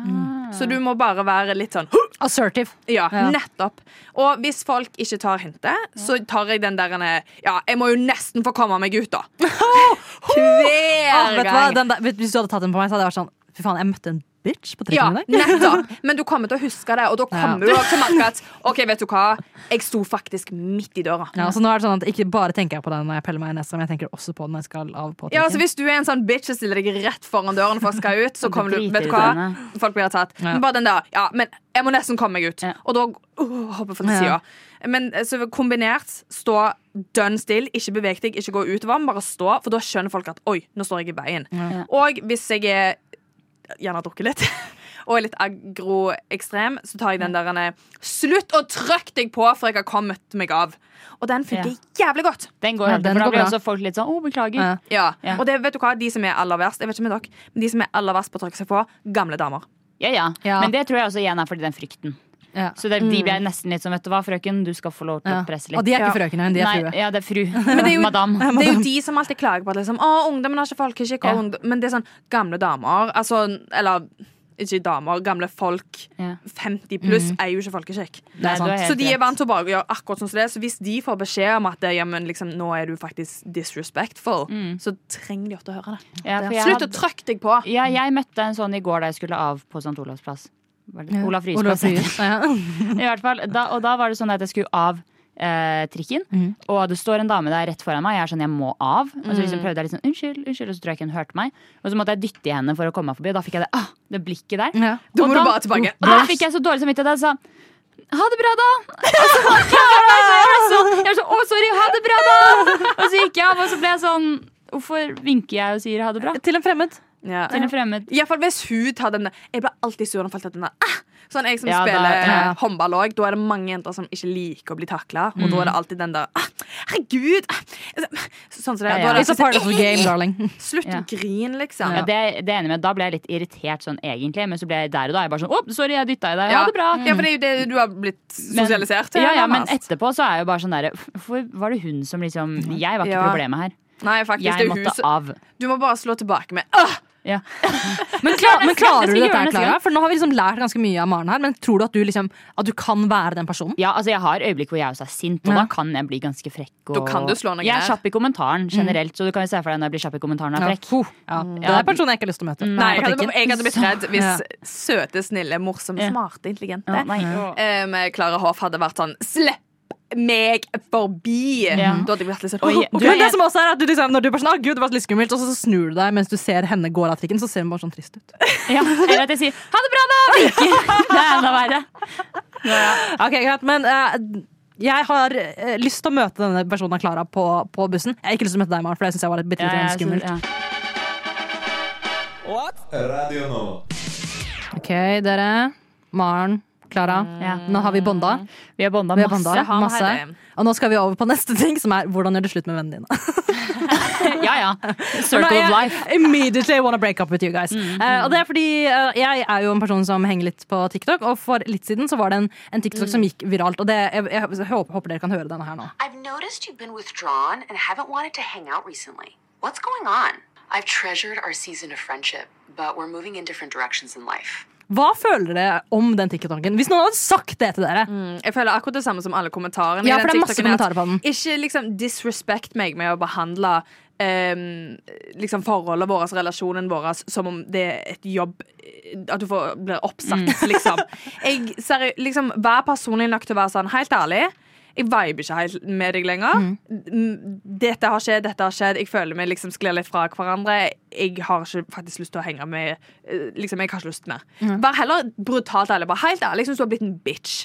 S3: Så du må bare være litt sånn
S1: Assertive.
S3: ja,
S1: Ja.
S3: nettopp. Og hvis folk ikke tar hintet, så tar jeg den der Ja, jeg må jo nesten få komme meg ut, da.
S1: Ah, vet
S3: Hver
S1: du hva?
S3: gang.
S1: Den der, vet- hvis du hadde tatt den på meg, så hadde jeg vært sånn Fy faen, jeg møtte en bitch på
S3: Ja,
S1: trikken i dag.
S3: nettopp. Men du kommer til å huske det, og da kommer du til å merke at OK, vet du hva, jeg sto faktisk midt i døra.
S1: Ja, så nå er det sånn at Ikke bare tenker jeg på den når jeg peller meg i nesa, men jeg tenker også på den når jeg skal av på
S3: Ja, altså
S1: trikken.
S3: Hvis du er en sånn bitch og stiller deg rett foran døren for å skal ut, så kommer du Vet du hva?
S4: Dritirriterende.
S3: Folk blir tatt. Men bare den der. Ja, men jeg må nesten komme meg ut.
S4: Ja.
S3: Og da uh, hopper for den sida.
S1: Ja.
S3: Men eh, så kombinert, stå dønn still, ikke beveg deg, ikke gå utover, men bare stå, for da skjønner folk at oi, nå står jeg i veien. Og hvis jeg er Gjerne drukker litt. og er litt agroekstrem, så tar jeg den der eh, Slutt å trykke deg på, for jeg har kommet meg av. Og den funker jævlig godt.
S4: Den går,
S3: Ja,
S4: helt,
S3: den
S4: for da
S3: går
S4: blir
S3: bra.
S4: også folk litt sånn 'Å, beklager'.
S3: Ja. Og det, vet du hva, de som er aller verst, jeg vet ikke med dere, men de som er aller verst på å trykke seg på, gamle damer.
S4: Ja, ja.
S3: Ja.
S4: Men det tror jeg også igjen er fordi den frykten. Så det, de
S3: Mm.
S4: ble nesten litt som Vet du hva, frøken, du skal få lov til
S1: Ja.
S4: å presse litt.
S1: Og de er ikke frøkene, de er
S4: Nei,
S1: frue.
S4: Ja, det er fru.
S3: Men det er jo,
S4: Madame.
S3: Det er jo de som alltid klager på at liksom, Å, ungdommen har ikke folkeskikk. og
S4: Ja.
S3: ungdom- Men det er sånn gamle damer altså, Eller ikke damer, gamle folk 50 pluss
S4: Mhm.
S3: er jo ikke folkeskikk.
S4: Nei, du har helt
S3: Så de er
S4: rett.
S3: vant til å bare gjøre akkurat sånn som det. er. Så hvis de får beskjed om at det, ja, men liksom, nå er du faktisk disrespectful, så trenger de ofte å høre det.
S4: Ja, for
S3: Det er-
S4: jeg
S3: Slutt
S4: hadde-
S3: å trykke deg på!
S4: Ja, jeg møtte en sånn i går da jeg skulle av på St. Olavs plass. Var det-
S1: Ja.
S4: Olav Ryes
S1: Olav
S4: plass. heter
S1: Ryes,
S4: det. I hvert fall, da, og da var det sånn at jeg skulle av eh, trikken,
S3: Mm.
S4: og det står en dame der rett foran meg. Jeg er sånn, jeg må av. Og så liksom
S1: Mm.
S4: prøvde jeg litt sånn, unnskyld, unnskyld, og så tror jeg ikke hun hørte meg. Og så måtte jeg dytte i henne for å komme meg forbi, og da fikk jeg det, ah, det blikket der.
S3: Da
S4: Og
S3: må du bare tilbake.
S4: Og da fikk jeg så dårlig samvittighet at jeg sa ha det bra, da! Og så gikk jeg av, og jeg ble så, jeg ble så, å, sorry, ha det bra, da! Og så gikk jeg av, og så ble jeg sånn Hvorfor vinker jeg og sier ha det bra?
S1: Til en fremmed.
S3: Ja.
S4: Til en fremmed.
S3: Iallfall hvis hun tar den der. Jeg blir alltid sur når folk tar den der. Ah! Sånn jeg som
S4: Ja, da-
S3: spiller
S4: ja.
S3: eh, håndball òg, da er det mange jenter som ikke liker å bli takla. Og da er
S4: Mm.
S3: det alltid den der ah, Herregud! Ah! Sånn som det.
S4: Ja,
S3: er.
S4: ja.
S3: Da er det
S4: It's a part of the game, darling.
S3: Slutt å grine, liksom.
S4: Ja, det, det er jeg enig med. Da ble jeg litt irritert sånn egentlig, men så ble jeg der og da er jeg bare sånn Å, sorry, jeg dytta i deg. Ha
S3: Ja.
S4: det bra.
S3: Ja, for det er jo det du har blitt
S4: Men-
S3: sosialisert til.
S4: Ja, ja, men
S3: nærmest.
S4: etterpå så er jeg jo bare sånn derre Hvorfor var det hun som liksom
S1: Mhm.
S4: Jeg var ikke
S3: Ja.
S4: problemet her.
S3: Nei, faktisk,
S4: Jeg
S3: det er jo
S4: måtte
S3: hun som-
S4: av.
S3: Du må bare slå tilbake med ah!
S1: Men, klar, men klarer du dette
S4: Jeg skal gjøre
S1: her,
S4: det neste
S1: Klara?
S4: gang.
S1: For nå har vi liksom lært ganske mye av Maren her, men tror du at du, liksom, at du kan være den personen?
S4: Ja, altså Jeg har øyeblikk hvor jeg også er sint, og
S1: Ja.
S4: da kan jeg bli ganske frekk. Og...
S1: Da kan du slå noen
S4: jeg er
S1: her.
S4: kjapp i kommentaren generelt, så du kan jo se for deg når jeg blir kjapp i kommentaren og er
S1: Ja.
S4: frekk.
S1: Ja.
S4: Mm.
S1: Det er en person jeg ikke har lyst til å møte.
S3: Nei, jeg hadde,
S1: Butikken.
S3: jeg hadde blitt redd hvis
S1: Ja.
S3: søte, snille, morsomme, smarte, intelligente
S1: Ja, nei.
S3: um, Klara Hoff hadde vært sånn Slipp meg forbi!
S1: Ja.
S3: Da hadde jeg blitt litt sånn
S1: Og
S3: «Åh,
S1: jeg-
S3: åh,
S1: Men det som også er at du liksom, når du bare sånn, «Å, gud, det var litt skummelt, og så så snur du deg mens du ser henne gå av trikken, så ser hun bare sånn trist ut.
S4: Ja, Eller at jeg sier 'ha det bra, da', vinker. Det er enda verre.
S1: Ok, greit, men eh, jeg har eh, lyst til å møte denne personen Klara på, på bussen. Jeg har ikke lyst til å møte deg, Maren, for det syns jeg var litt, bitte litt
S4: Ja, jeg
S1: skummelt.
S4: synes- ja.
S5: Radio Nova.
S1: Ok, dere. Maren, Klara. Nå har vi bonda.
S4: Vi har bonda Mm. masse. eh. Har vi
S1: masse.
S4: det?
S1: Og nå skal vi over på neste ting, som er hvordan gjør du slutt med vennene dine?
S4: ja, ja. Circle of life. Mm,
S1: I immediately wanna break up with you guys. Eh, og det er fordi eh, jeg er jo en person som henger litt på TikTok, og for litt siden så var det en, en TikTok
S4: Mm.
S1: som gikk viralt. Og det, jeg, jeg, håper, håper dere kan høre denne her nå.
S12: I've noticed you've been withdrawn and haven't wanted to hang out recently. What's going on? I've treasured our season of friendship, but we're moving in different directions in life.
S1: Hva føler dere om den TikToken? Hvis noen hadde sagt det til dere.
S3: Mm, Jeg føler akkurat det samme som alle kommentarene. i
S1: Ja,
S3: den
S1: for det er masse
S3: TikToken, at
S1: kommentarer på den.
S3: Ikke liksom disrespect meg med å behandle ehm, liksom forholdet vårt, relasjonen vår, som om det er et jobb eh, At du får, blir oppsagt, liksom. Jeg, seri, liksom. Vær personlig nok til å være sånn helt ærlig. Jeg viber ikke helt med deg lenger. Mm, Dette har skjedd, dette har skjedd. Jeg føler vi liksom sklir litt fra hverandre. Jeg har ikke faktisk lyst til å henge med eh, Liksom, jeg har ikke lyst mer.
S1: Mm.
S3: Vær heller brutalt ærlig. Bare helt ærlig, jeg syns du har blitt en bitch.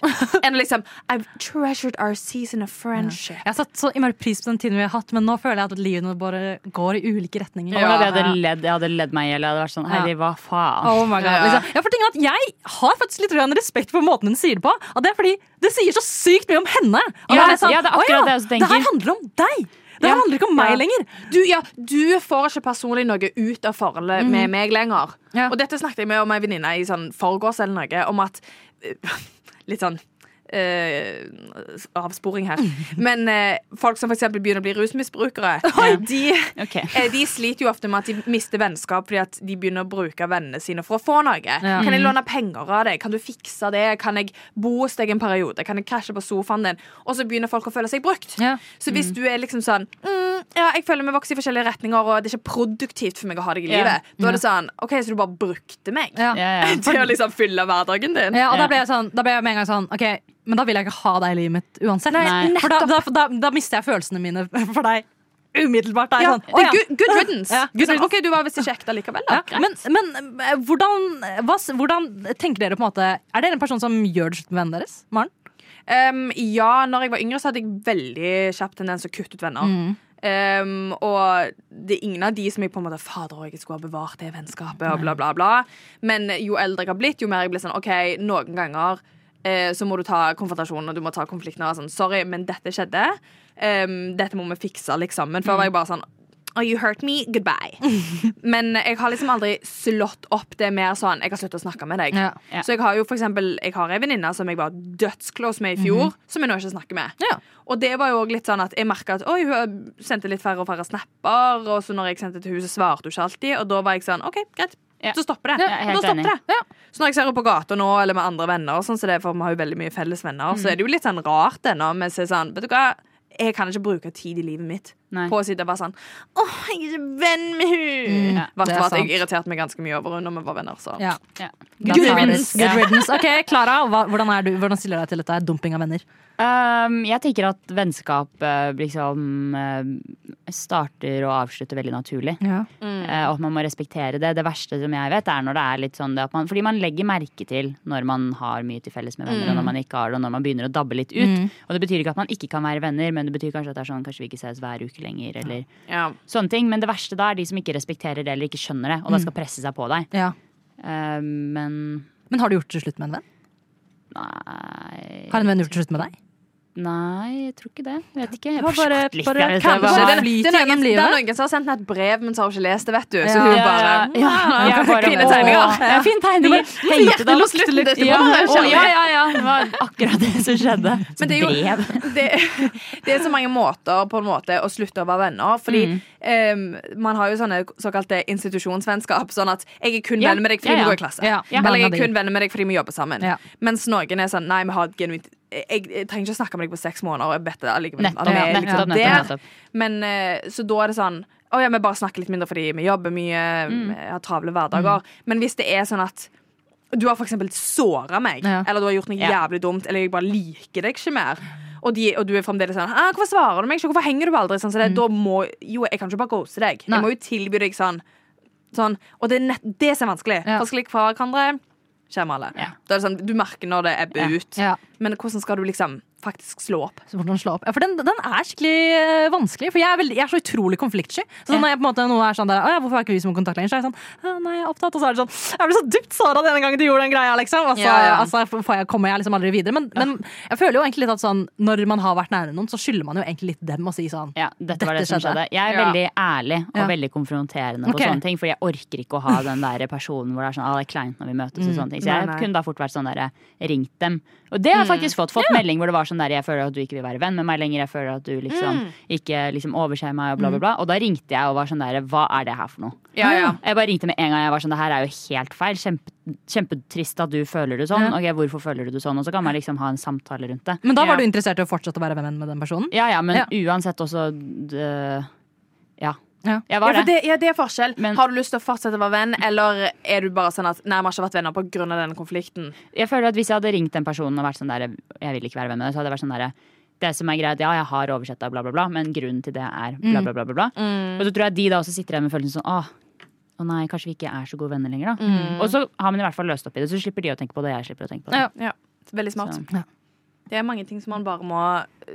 S3: Enn å liksom I've treasured our season of friendship.
S1: Jeg har satt så innmari pris på den tiden vi har hatt, men nå føler jeg at livet nå bare går i ulike retninger.
S4: Og da hadde jeg, ledd, jeg hadde ledd meg i hjel. Jeg hadde vært sånn
S1: Ja.
S4: Herre, hva faen?
S1: Oh my God, liksom. ja, for ting er at jeg har faktisk litt grann respekt for måten hun sier det på. Og det er fordi det sier så sykt mye om henne. Og
S4: Ja,
S1: da er jeg sånn,
S4: ja, det er
S1: «Å
S4: akkurat det jeg også tenker.»
S1: Det her handler om deg. Det her
S3: Ja.
S1: handler ikke om meg
S3: Ja.
S1: lenger.
S3: Du, ja, du får ikke personlig noe ut av forholdet
S1: Mhm.
S3: med meg lenger. Og dette snakket jeg med om ei venninne i sånn forgårs eller noe, om at eh, Litt sånn eh, avsporing her.
S1: Mhm.
S3: Men eh, folk som f.eks. begynner å bli rusmisbrukere, de, eh, de sliter jo ofte med at de mister vennskap fordi at de begynner å bruke vennene sine for å få noe.
S1: Ja.
S3: Kan jeg
S1: Mhm.
S3: låne penger av deg? Kan du fikse det? Kan jeg bo hos deg en periode? Kan jeg krasje på sofaen din? Og så begynner folk å føle seg brukt. Så hvis du er liksom sånn mm, Ja, jeg føler vi vokser i forskjellige retninger, og det er ikke produktivt for meg å ha deg i
S1: Ja.
S3: livet. Da er det sånn OK, så du bare brukte meg til å liksom fylle hverdagen din.
S1: Ja, og da ble, jeg sånn, da ble jeg med en gang sånn OK, men da vil jeg ikke ha deg i livet mitt uansett.
S3: Nei,
S1: For da, da, da, da mister jeg følelsene mine for deg umiddelbart. Da er jeg
S3: Ja,
S1: sånn,
S3: det
S1: «Å,
S3: er good, good riddance.
S1: Ja,
S3: Good
S1: sånn,
S3: riddance. OK, du var visst ikke ekte likevel, da.
S1: Ja, men men eh, hvordan, hva, s- hvordan tenker dere på en måte Er dere en person som gjør det slutt med vennene deres? Maren?
S3: Um, ja, når jeg var yngre, så hadde jeg veldig kjapp tendens å kutte ut venner.
S1: Mm.
S3: Um, og det er ingen av de som jeg på en måte Fader, jeg skulle ha bevart det vennskapet, og bla, bla, bla. Men jo eldre jeg har blitt, jo mer jeg blir sånn OK, noen ganger eh, så må du ta konfrontasjonen og du må ta konflikten. Og være sånn, Sorry, men dette skjedde. Um, dette må vi fikse, liksom. Men før var jeg bare sånn Oh, you hurt me, goodbye. Men jeg har liksom aldri slått opp det mer sånn Jeg har sluttet å snakke med deg.
S1: Ja, ja.
S3: Så jeg har jo for eksempel Jeg har en venninne som jeg var dødsclose med i fjor,
S1: Mhm.
S3: som jeg nå ikke snakker med. Og det var jo også litt sånn at jeg merka at oi, hun sendte litt færre og færre snapper, og så når jeg sendte til henne, så svarte hun ikke alltid, og da var jeg sånn OK, greit. Så stopper det.
S1: Ja, jeg er helt
S3: da stopper
S1: enig.
S3: det. Så når jeg ser henne på gata nå, eller med andre venner, og sånn, så det er for vi har jo veldig mye felles venner,
S1: Mm.
S3: så er det jo litt sånn rart ennå, men så er det sånn Vet du hva, jeg kan ikke bruke tid i livet mitt
S4: Nei.
S3: på å sitte og være sånn Åh, jeg er ikke venn med hun
S1: Mm,
S3: Hvert
S1: det er
S3: fall at
S1: sant.
S3: jeg irriterte meg ganske mye over henne når vi var venner. Så.
S1: Ja.
S3: Good
S1: Da tar vi-
S3: riddance.
S1: Good
S3: Ja.
S1: riddance. Ok, Klara, hva- hvordan, er du- hvordan stiller du deg til dette? Er dumping av venner?
S4: Um, jeg tenker at vennskap eh, liksom eh, starter og avslutter veldig naturlig.
S1: Ja.
S4: Eh, og at man må respektere det. Det verste som jeg vet, er når det er litt sånn det at man Fordi man legger merke til når man har mye til felles med venner,
S1: Mm.
S4: og når man ikke har det, og når man begynner å dabbe litt ut.
S1: Mm.
S4: Og det betyr ikke at man ikke kan være venner, men det betyr kanskje at det er sånn kanskje vi ikke ses hver uke lenger, eller sånne ting. Men det verste da er de som ikke respekterer det, eller ikke skjønner det, og da
S1: Mm.
S4: skal presse seg på deg.
S1: Ja.
S4: Eh, men
S1: Men har du gjort det til slutt med en venn?
S4: Nei
S1: Har en venn gjort det til slutt med deg?
S4: Nei, jeg tror ikke det. Jeg vet ikke.
S1: Det
S4: Jeg
S1: var bare-
S4: forsøkte litt,
S1: bare
S4: jeg vet ikke. Jeg
S1: kanskje
S4: bare-
S1: det flyter
S3: Det er noen,
S1: gjennom
S3: det er
S1: livet.
S3: noen som har sendt henne et brev, men så har hun ikke lest det, vet du. Så
S4: Ja.
S3: hun
S4: Ja,
S3: bare
S4: ja, ja. Jeg
S3: «Nei,
S4: bare,
S3: Fine
S4: «Åh,
S3: tegninger.
S4: ja, fin tegning.
S3: Du bare,
S4: Hengte det opp.
S3: Hjertelukt litt.
S4: Ja,
S3: bare,
S4: å, ja, ja,
S3: kjærlighet.
S4: ja. Det var akkurat det som skjedde. Så
S3: Men det er jo
S4: brev.
S3: det, det er så mange måter på en måte å slutte å være venner. Fordi
S1: Mm.
S3: eh, man har jo sånne såkalte institusjonsvennskap. Sånn at jeg er kun
S1: Ja,
S3: venn med deg
S1: ja,
S3: fordi
S1: ja.
S3: vi går i klasse.
S1: Ja, ja.
S3: Eller jeg
S1: Mange av
S3: er
S1: de.
S3: kun venn med deg fordi vi jobber sammen.
S1: Ja.
S3: Mens noen er sånn Nei, vi har et genuint jeg, jeg trenger ikke å snakke med deg på seks måneder. og Jeg vet det allikevel at
S4: Nettopp,
S3: vi er
S4: nettopp,
S3: liksom
S4: nettopp,
S3: der.
S4: nettopp.
S3: Men, eh, så da er det sånn Å ja, vi bare snakker litt mindre fordi vi jobber mye,
S4: Mm.
S3: vi har travle
S1: Mm.
S3: hverdager. Men hvis det er sånn at du har for eksempel såra meg,
S1: Ja.
S3: eller du har gjort noe
S1: Ja.
S3: jævlig dumt, eller jeg bare liker deg ikke mer. Og, de, og du er fremdeles sånn «Ah, 'Hvorfor svarer du meg ikke? Hvorfor henger du aldri?' Sånn, så det, Da må jo jeg kan ikke bare ghoste deg.
S1: Mm. Nei.
S3: Jeg må jo tilby deg sånn. sånn og det er nett, det som er vanskelig. For slik fra hverandre skjermer alle. Da er det sånn, du merker når det ebber ut. Men hvordan skal du liksom faktisk slå opp?
S1: Så hvordan slå opp. Ja, for den, den er skikkelig eh, vanskelig, for jeg er, veldig, jeg er så utrolig konfliktsky. Så når jeg på en måte noe er sånn der, «Å ja, 'Hvorfor har ikke vi som kontakt lenger?' Så er jeg sånn «Å, 'Nei, jeg er opptatt', og så er det sånn 'Jeg ble så dypt såra denne gangen du gjorde den greia', liksom. Og så
S3: Ja, ja.
S1: altså, får jeg, kommer jeg liksom aldri videre. Men, men jeg føler jo egentlig litt at sånn når man har vært nære noen, så skylder man jo egentlig litt dem å si sånn
S4: Ja, dette var det som skjedde. Jeg er veldig ærlig og
S1: Ja.
S4: veldig konfronterende på
S1: Ok.
S4: sånne ting, fordi jeg orker ikke å ha den der personen hvor det er sånn, ah, det er kleint når vi møtes og
S1: Mm.
S4: sånne ting. Så
S1: Nei,
S4: jeg
S1: nei.
S4: kunne da fort vært sånn der, ringt dem. Og det har jeg
S1: Mm.
S4: faktisk fått. Fått melding hvor det var sånn der, jeg føler at du ikke vil være venn med meg lenger, jeg føler at du liksom
S1: Mm.
S4: ikke liksom overser meg og bla,
S1: Mm.
S4: bla, bla. Og da ringte jeg og var sånn der, hva er det her for noe?
S1: Ja, ja.
S4: Jeg bare ringte med en gang jeg var sånn, det her er jo helt feil. Kjempe, kjempetrist at du føler det sånn.
S1: Ja.
S4: Ok, hvorfor føler du det sånn? Og så kan man liksom ha en samtale rundt det.
S1: Men da var du interessert i å fortsette å være venn med den personen?
S4: Ja, ja, men
S1: Ja.
S4: uansett også det- Ja.
S1: Ja.
S4: Jeg var
S3: ja, for
S4: det.
S3: det, ja, det er forskjell. har du lyst til å fortsette å være venn, eller er du bare sånn at Nei, vi har ikke vært venner pga. denne konflikten?
S4: Jeg føler at Hvis jeg hadde ringt den personen og vært sånn der, jeg vil ikke være venn med deg, så hadde jeg vært sånn der, det som er greit, ja, jeg har oversett deg, bla, bla, bla, men grunnen til det er bla,
S1: Mm.
S4: bla, bla. bla, bla.
S1: Mm.
S4: Og så tror jeg de da også sitter igjen med følelsen sånn, åh, å nei, kanskje vi ikke er så gode venner lenger, da.
S1: Mm.
S4: Og så har man i hvert fall løst opp i det, så slipper de å tenke på det, jeg slipper å tenke på det.
S3: Ja. Veldig smart.
S4: Så-
S3: Det er mange ting som man bare må eh,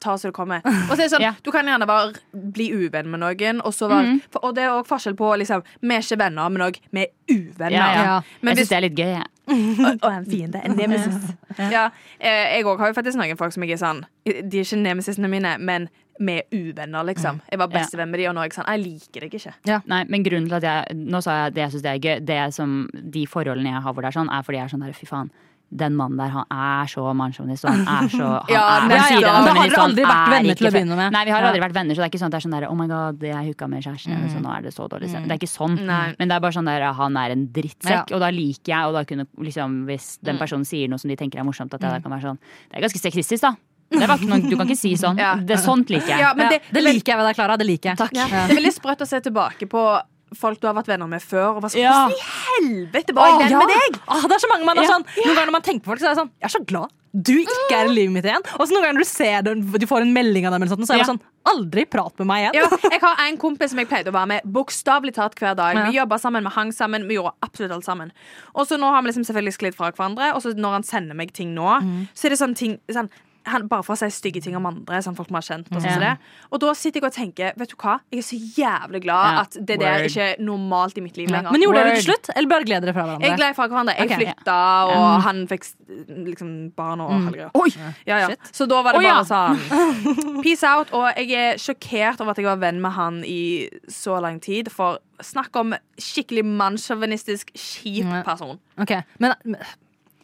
S3: ta så det kommer. Og så er det sånn,
S4: Ja.
S3: Du kan gjerne bare bli uvenn med noen, og, så være,
S4: Mhm.
S3: for, og det er også forskjell på liksom, Vi er ikke venner, men òg vi er uvenner.
S4: Ja, ja.
S3: Men hvis-
S4: jeg syns det er litt gøy, jeg.
S3: og, og en fiende. En nemesis. Ja, eh, jeg òg har jo faktisk noen folk som jeg er sånn De er ikke nemesisene mine, men vi er uvenner,
S4: Mm.
S3: liksom. Jeg var bestevenn med de, og nå er jeg sånn Jeg liker deg ikke.
S4: Nei, men grunnen til at jeg Nå sa jeg at det jeg syns det er gøy. Det som, de forholdene jeg har hvor det er sånn, er fordi jeg er sånn der, fy faen. Den mannen der, han er så mannssjåvinist, og han er så han
S1: Ja,
S4: er,
S1: men
S4: han sier
S1: da-
S4: det, han
S1: da har
S4: mener
S1: dere
S4: sånn,
S1: aldri vært
S4: er
S1: venner
S4: ikke
S1: til å
S4: fe-
S1: begynne med.
S4: Nei, vi har
S1: Ja. Mm.
S4: aldri vært venner, så det er ikke sånn at det er sånn der Oh my god, det jeg hooka med kjæresten hennes, og sånn, nå er det så dårlig stemning. Det er ikke sånn. Men det er bare sånn der, han er en drittsekk,
S1: Ja. Mm.
S4: og da liker jeg, og da kunne liksom Hvis den personen sier noe som de tenker er morsomt, at jeg da kan være sånn Det er ganske sexistisk, da. Det var ikke noe, du kan ikke si sånn. Det, sånt liker jeg.
S3: Ja, men det-
S1: det liker jeg ved deg, Klara. Det liker jeg.
S3: Ja.
S1: Ja.
S3: Det er veldig sprøtt å se tilbake på folk du har vært venner med før. Og bare, sånn,
S1: Ja.
S3: Hvordan i helvete var jeg
S1: Åh,
S3: venn
S1: ja.
S3: med deg?
S1: Åh, det er så mange man er
S3: Ja.
S1: sånn Noen ganger når man tenker på folk, så er det sånn Jeg er så glad du ikke er i livet mitt igjen. Og så noen ganger når du ser den, du får en melding av dem, eller sånt, så er det
S3: Ja.
S1: sånn Aldri prat med meg igjen.
S3: Ja, jeg har en kompis som jeg pleide å være med bokstavelig talt hver dag. Vi
S1: Ja.
S3: jobba sammen, vi hang sammen, vi gjorde absolutt alt sammen.
S1: Mm.
S3: Og så nå har vi liksom selvfølgelig sklidd fra hverandre, og så når han sender meg ting nå, så er det sånne ting sånn han, bare for å si stygge ting om andre som folk man har kjent. Og, sånn som
S13: Ja.
S3: det. og da sitter jeg og tenker Vet du hva, jeg er så jævlig glad
S1: Ja.
S3: at det der
S1: Word.
S3: ikke er normalt i mitt liv lenger.
S1: Men gjorde dere det til slutt, eller bare gled dere fra hverandre?
S3: Jeg gled fra hverandre. Jeg
S1: Ok.
S3: flytta, og
S1: Ja.
S3: han fikk liksom barn og
S1: Mm.
S3: hele greia. Ja, ja. Så da var
S1: Å,
S3: det
S1: ja.
S3: bare sånn Peace out. Og jeg er sjokkert over at jeg var venn med han i så lang tid. For snakk om skikkelig mannssjåvinistisk, kjip
S1: Ja.
S3: person.
S1: Ok, men men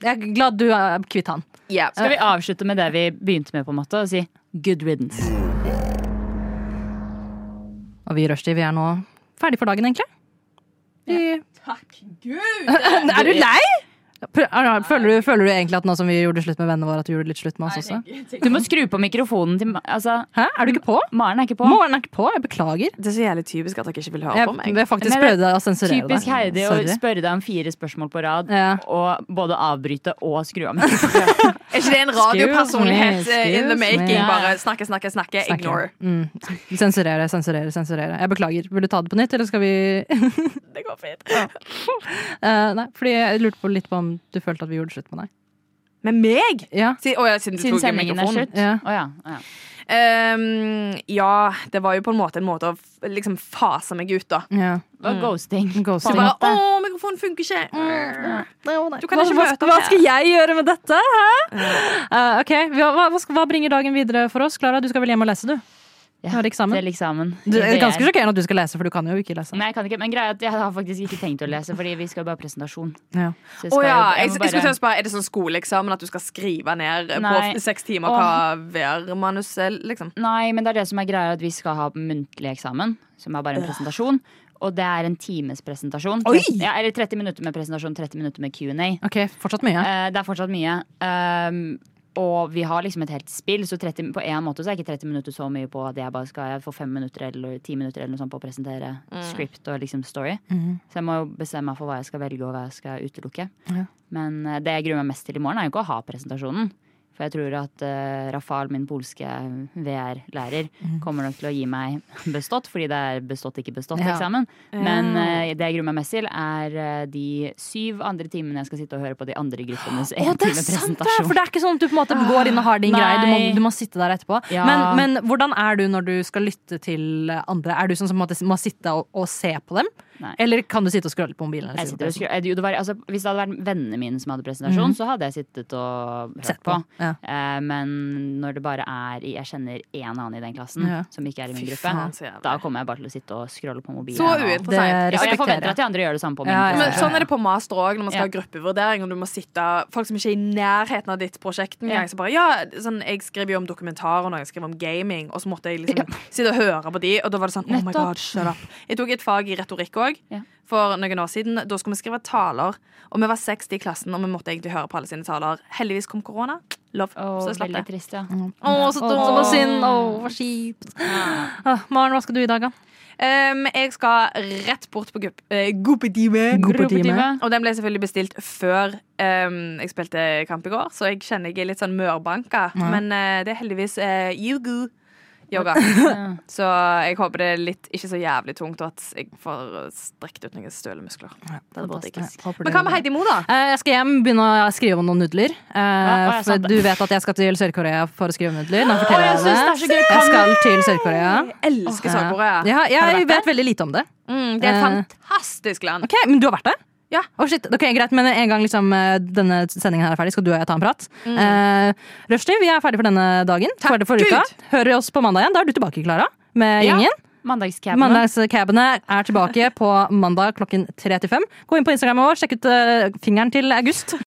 S1: jeg er glad du er kvitt han.
S4: Skal vi avslutte med det vi begynte med, på en måte, og si good riddance?
S1: Og vi i Rushdie, vi er nå ferdig for dagen, egentlig.
S3: Takk Gud!
S1: er du lei? Prø- er- er- Føler du, føler du egentlig at nå som vi gjorde slutt med vennene våre, at du gjorde litt slutt med oss også?
S4: Du må skru på mikrofonen til Ma- altså,
S1: Hæ, er du ikke på?
S4: Maren er ikke på.
S1: Maren er ikke på, jeg beklager.
S3: Det er så jævlig typisk at dere ikke vil høre
S1: Jeg-
S3: på meg.
S1: jeg faktisk
S4: Men det er
S1: prøvde å sensurere deg.
S4: Typisk Heidi å
S1: Sorry.
S4: spørre deg om fire spørsmål på rad, og både avbryte og skru av.
S3: Er ikke det en radiopersonlighet
S4: Excuse me,
S3: eh, in the
S4: excuse me.
S3: making?
S4: Ja.
S3: Bare snakke, snakke, snakke.
S1: Snakke.
S3: Ignore.
S1: Mm. Sensurere, sensurere, sensurere. Jeg beklager. Vil du ta det på nytt, eller skal vi
S3: Det går fint.
S1: Eh, Nei, fordi jeg lurte på litt på om du følte at vi gjorde slutt med deg.
S3: Med meg?
S1: Ja.
S3: Si- å ja, siden du
S1: Siden
S3: tok i
S1: sendingen er
S3: mikrofonen.
S1: slutt? Ja.
S3: Ehm, ja, det var jo på en måte en måte å f- liksom fase meg ut, da.
S1: Ja.
S4: var ghosting.
S3: Så bare, å, mikrofonen funker ikke! Mm, Du kan
S1: hva,
S3: ikke
S1: hva,
S3: møte
S1: hva
S3: meg.
S1: skal jeg gjøre med dette? Hæ? Eh, ok, hva, hva, hva skal- hva bringer dagen videre for oss? Klara, du skal vel hjem og lese, du?
S4: Ja,
S1: du har eksamen.
S4: til eksamen.
S1: Du, det er ganske
S4: Det er-
S1: sjokkerende at du skal lese, for du kan jo ikke lese.
S4: Nei, jeg kan ikke, men greia er at jeg har faktisk ikke tenkt å lese, fordi vi skal jo bare ha presentasjon.
S1: Ja.
S4: Så jeg
S3: Å ja,
S4: skal jo- jeg
S3: jeg,
S4: må
S3: jeg skulle
S4: bare-
S3: til å spørre, Er det sånn skoleeksamen at du skal skrive ned eh,
S4: Nei.
S3: på seks timer
S4: Åh.
S3: hva værmanuset liksom?
S4: Nei, men det er det som er greia, at vi skal ha muntlig eksamen, som er bare en
S3: Øh.
S4: presentasjon. Og det er en times presentasjon.
S1: Oi!
S4: Ja, eller 30 minutter med presentasjon, 30 minutter med Q&A.
S1: Ok, fortsatt mye.
S4: Eh, Det er fortsatt mye. Um, og vi har liksom et helt spill, så 30, på en måte så er ikke 30 minutter så mye på at jeg bare skal jeg få fem minutter eller ti minutter eller noe sånt på å presentere
S1: Mm.
S4: script og liksom story.
S1: Mhm.
S4: Så jeg må jo bestemme meg for hva jeg skal velge og hva jeg skal utelukke.
S1: Ja.
S4: Men eh, det jeg gruer meg mest til i morgen, er jo ikke å ha presentasjonen. For jeg tror at eh, Rafal, min polske VR-lærer,
S1: Mm.
S4: kommer nok til å gi meg bestått, fordi det er bestått, ikke
S13: Ja.
S4: bestått-eksamen. Men
S13: Ja.
S4: eh, det jeg gruer meg mest til, er eh, de syv andre timene jeg skal sitte og høre på de andre gruppenes
S1: Å, det er sant, det! For det er ikke sånn at du på en måte
S4: Ah,
S1: går inn og har din greie. Du må,
S4: nei.
S1: du må sitte der etterpå.
S4: Ja.
S1: Men, men hvordan er du når du skal lytte til andre? Er du sånn som på en måte må sitte og, og se på dem?
S4: Nei.
S1: Eller kan du sitte og scrolle på mobilen?
S4: Jeg
S1: Eller
S4: sitter og skru- eh, jo, det var, altså, hvis det hadde vært vennene mine som hadde presentasjon,
S1: Mhm.
S4: så hadde jeg sittet og hørt
S1: Sett
S4: på.
S1: på, ja.
S4: Eh, men når det bare er Jeg kjenner én annen i den klassen
S1: Ja.
S4: som ikke er i min
S1: Fy
S4: gruppe,
S1: faen, så
S4: da kommer jeg bare til å sitte og scrolle på mobilen.
S3: Så
S4: og-
S3: uinteressant. Det
S4: Ja, og jeg
S3: respekterer
S4: forventer
S3: jeg.
S4: at de andre gjør det samme på
S1: Ja,
S4: min.
S1: ja, ja.
S3: Men
S4: presentasjon.
S3: sånn er det på master òg, når man skal ha
S4: Ja.
S3: gruppevurdering. Og du må sitte Folk som ikke er i nærheten av ditt prosjekt engang.
S4: Ja.
S3: Så bare, ja, sånn, jeg skriver jo om dokumentar, og noen skriver om gaming, og så måtte jeg liksom sitte og høre på de, og da var det sånn Oh my
S4: Nettopp.
S3: god, shut up. Jeg tok et fag i retorikk òg, for noen år siden. Da skulle vi skrive taler, og vi var 60 i klassen, og vi måtte egentlig høre på alle sine taler. Heldigvis kom korona. Love.
S4: Åh,
S3: så jeg slapp
S4: veldig
S3: det.
S4: trist, ja.
S1: Sånn Å, så dumt og synd. Å, hva kjipt. Ah, Maren, hva skal du i dag, da?
S3: Um, jeg skal rett bort på grupp, eh, gruppetime.
S1: Gruppetime.
S3: Og den ble selvfølgelig bestilt før um, jeg spilte kamp i går, så jeg kjenner jeg er litt sånn mørbanka.
S1: Ja.
S3: Men eh, det er heldigvis uh, yugu yoga. så jeg håper det er litt ikke så jævlig tungt, og at jeg får strekt ut noen støle muskler. Det hadde vært digg.
S1: Fantastisk. Håper
S3: Men
S1: du-
S3: hva med Heidi Mo, da?
S1: Eh, Jeg skal hjem, begynne å skrive om noen nudler. Eh,
S3: ja,
S1: for
S3: sant det.
S1: du vet at jeg skal til Sør-Korea for å skrive om nudler. Nå
S3: Å,
S1: forteller
S3: jeg
S1: jeg det.
S3: synes det er så gøy.
S1: Jeg
S3: Kan-
S1: skal til Sør-Korea.
S3: elsker
S1: Åh,
S3: Sør-Korea.
S1: Ja,
S3: Har du
S1: jeg
S3: vært
S1: vet veldig lite om det.
S3: Mm, det er et
S1: Eh,
S3: fantastisk land.
S1: Ok, Men du har vært der?
S3: Ja.
S1: Å, shit. Ok, Greit, men en gang liksom, eh, denne sendingen her er ferdig, skal du og jeg ta en prat.
S3: Mm.
S1: Eh, Rushdie, vi er ferdig for denne dagen. Ferdig for uka. Hører oss på mandag igjen. Da er du tilbake, Klara, med
S4: Ja.
S1: gjengen.
S4: Mandagscabene.
S1: Mandagscabene er tilbake på mandag klokken tre til fem. Gå inn på Instagram vår, sjekk ut eh, fingeren til August.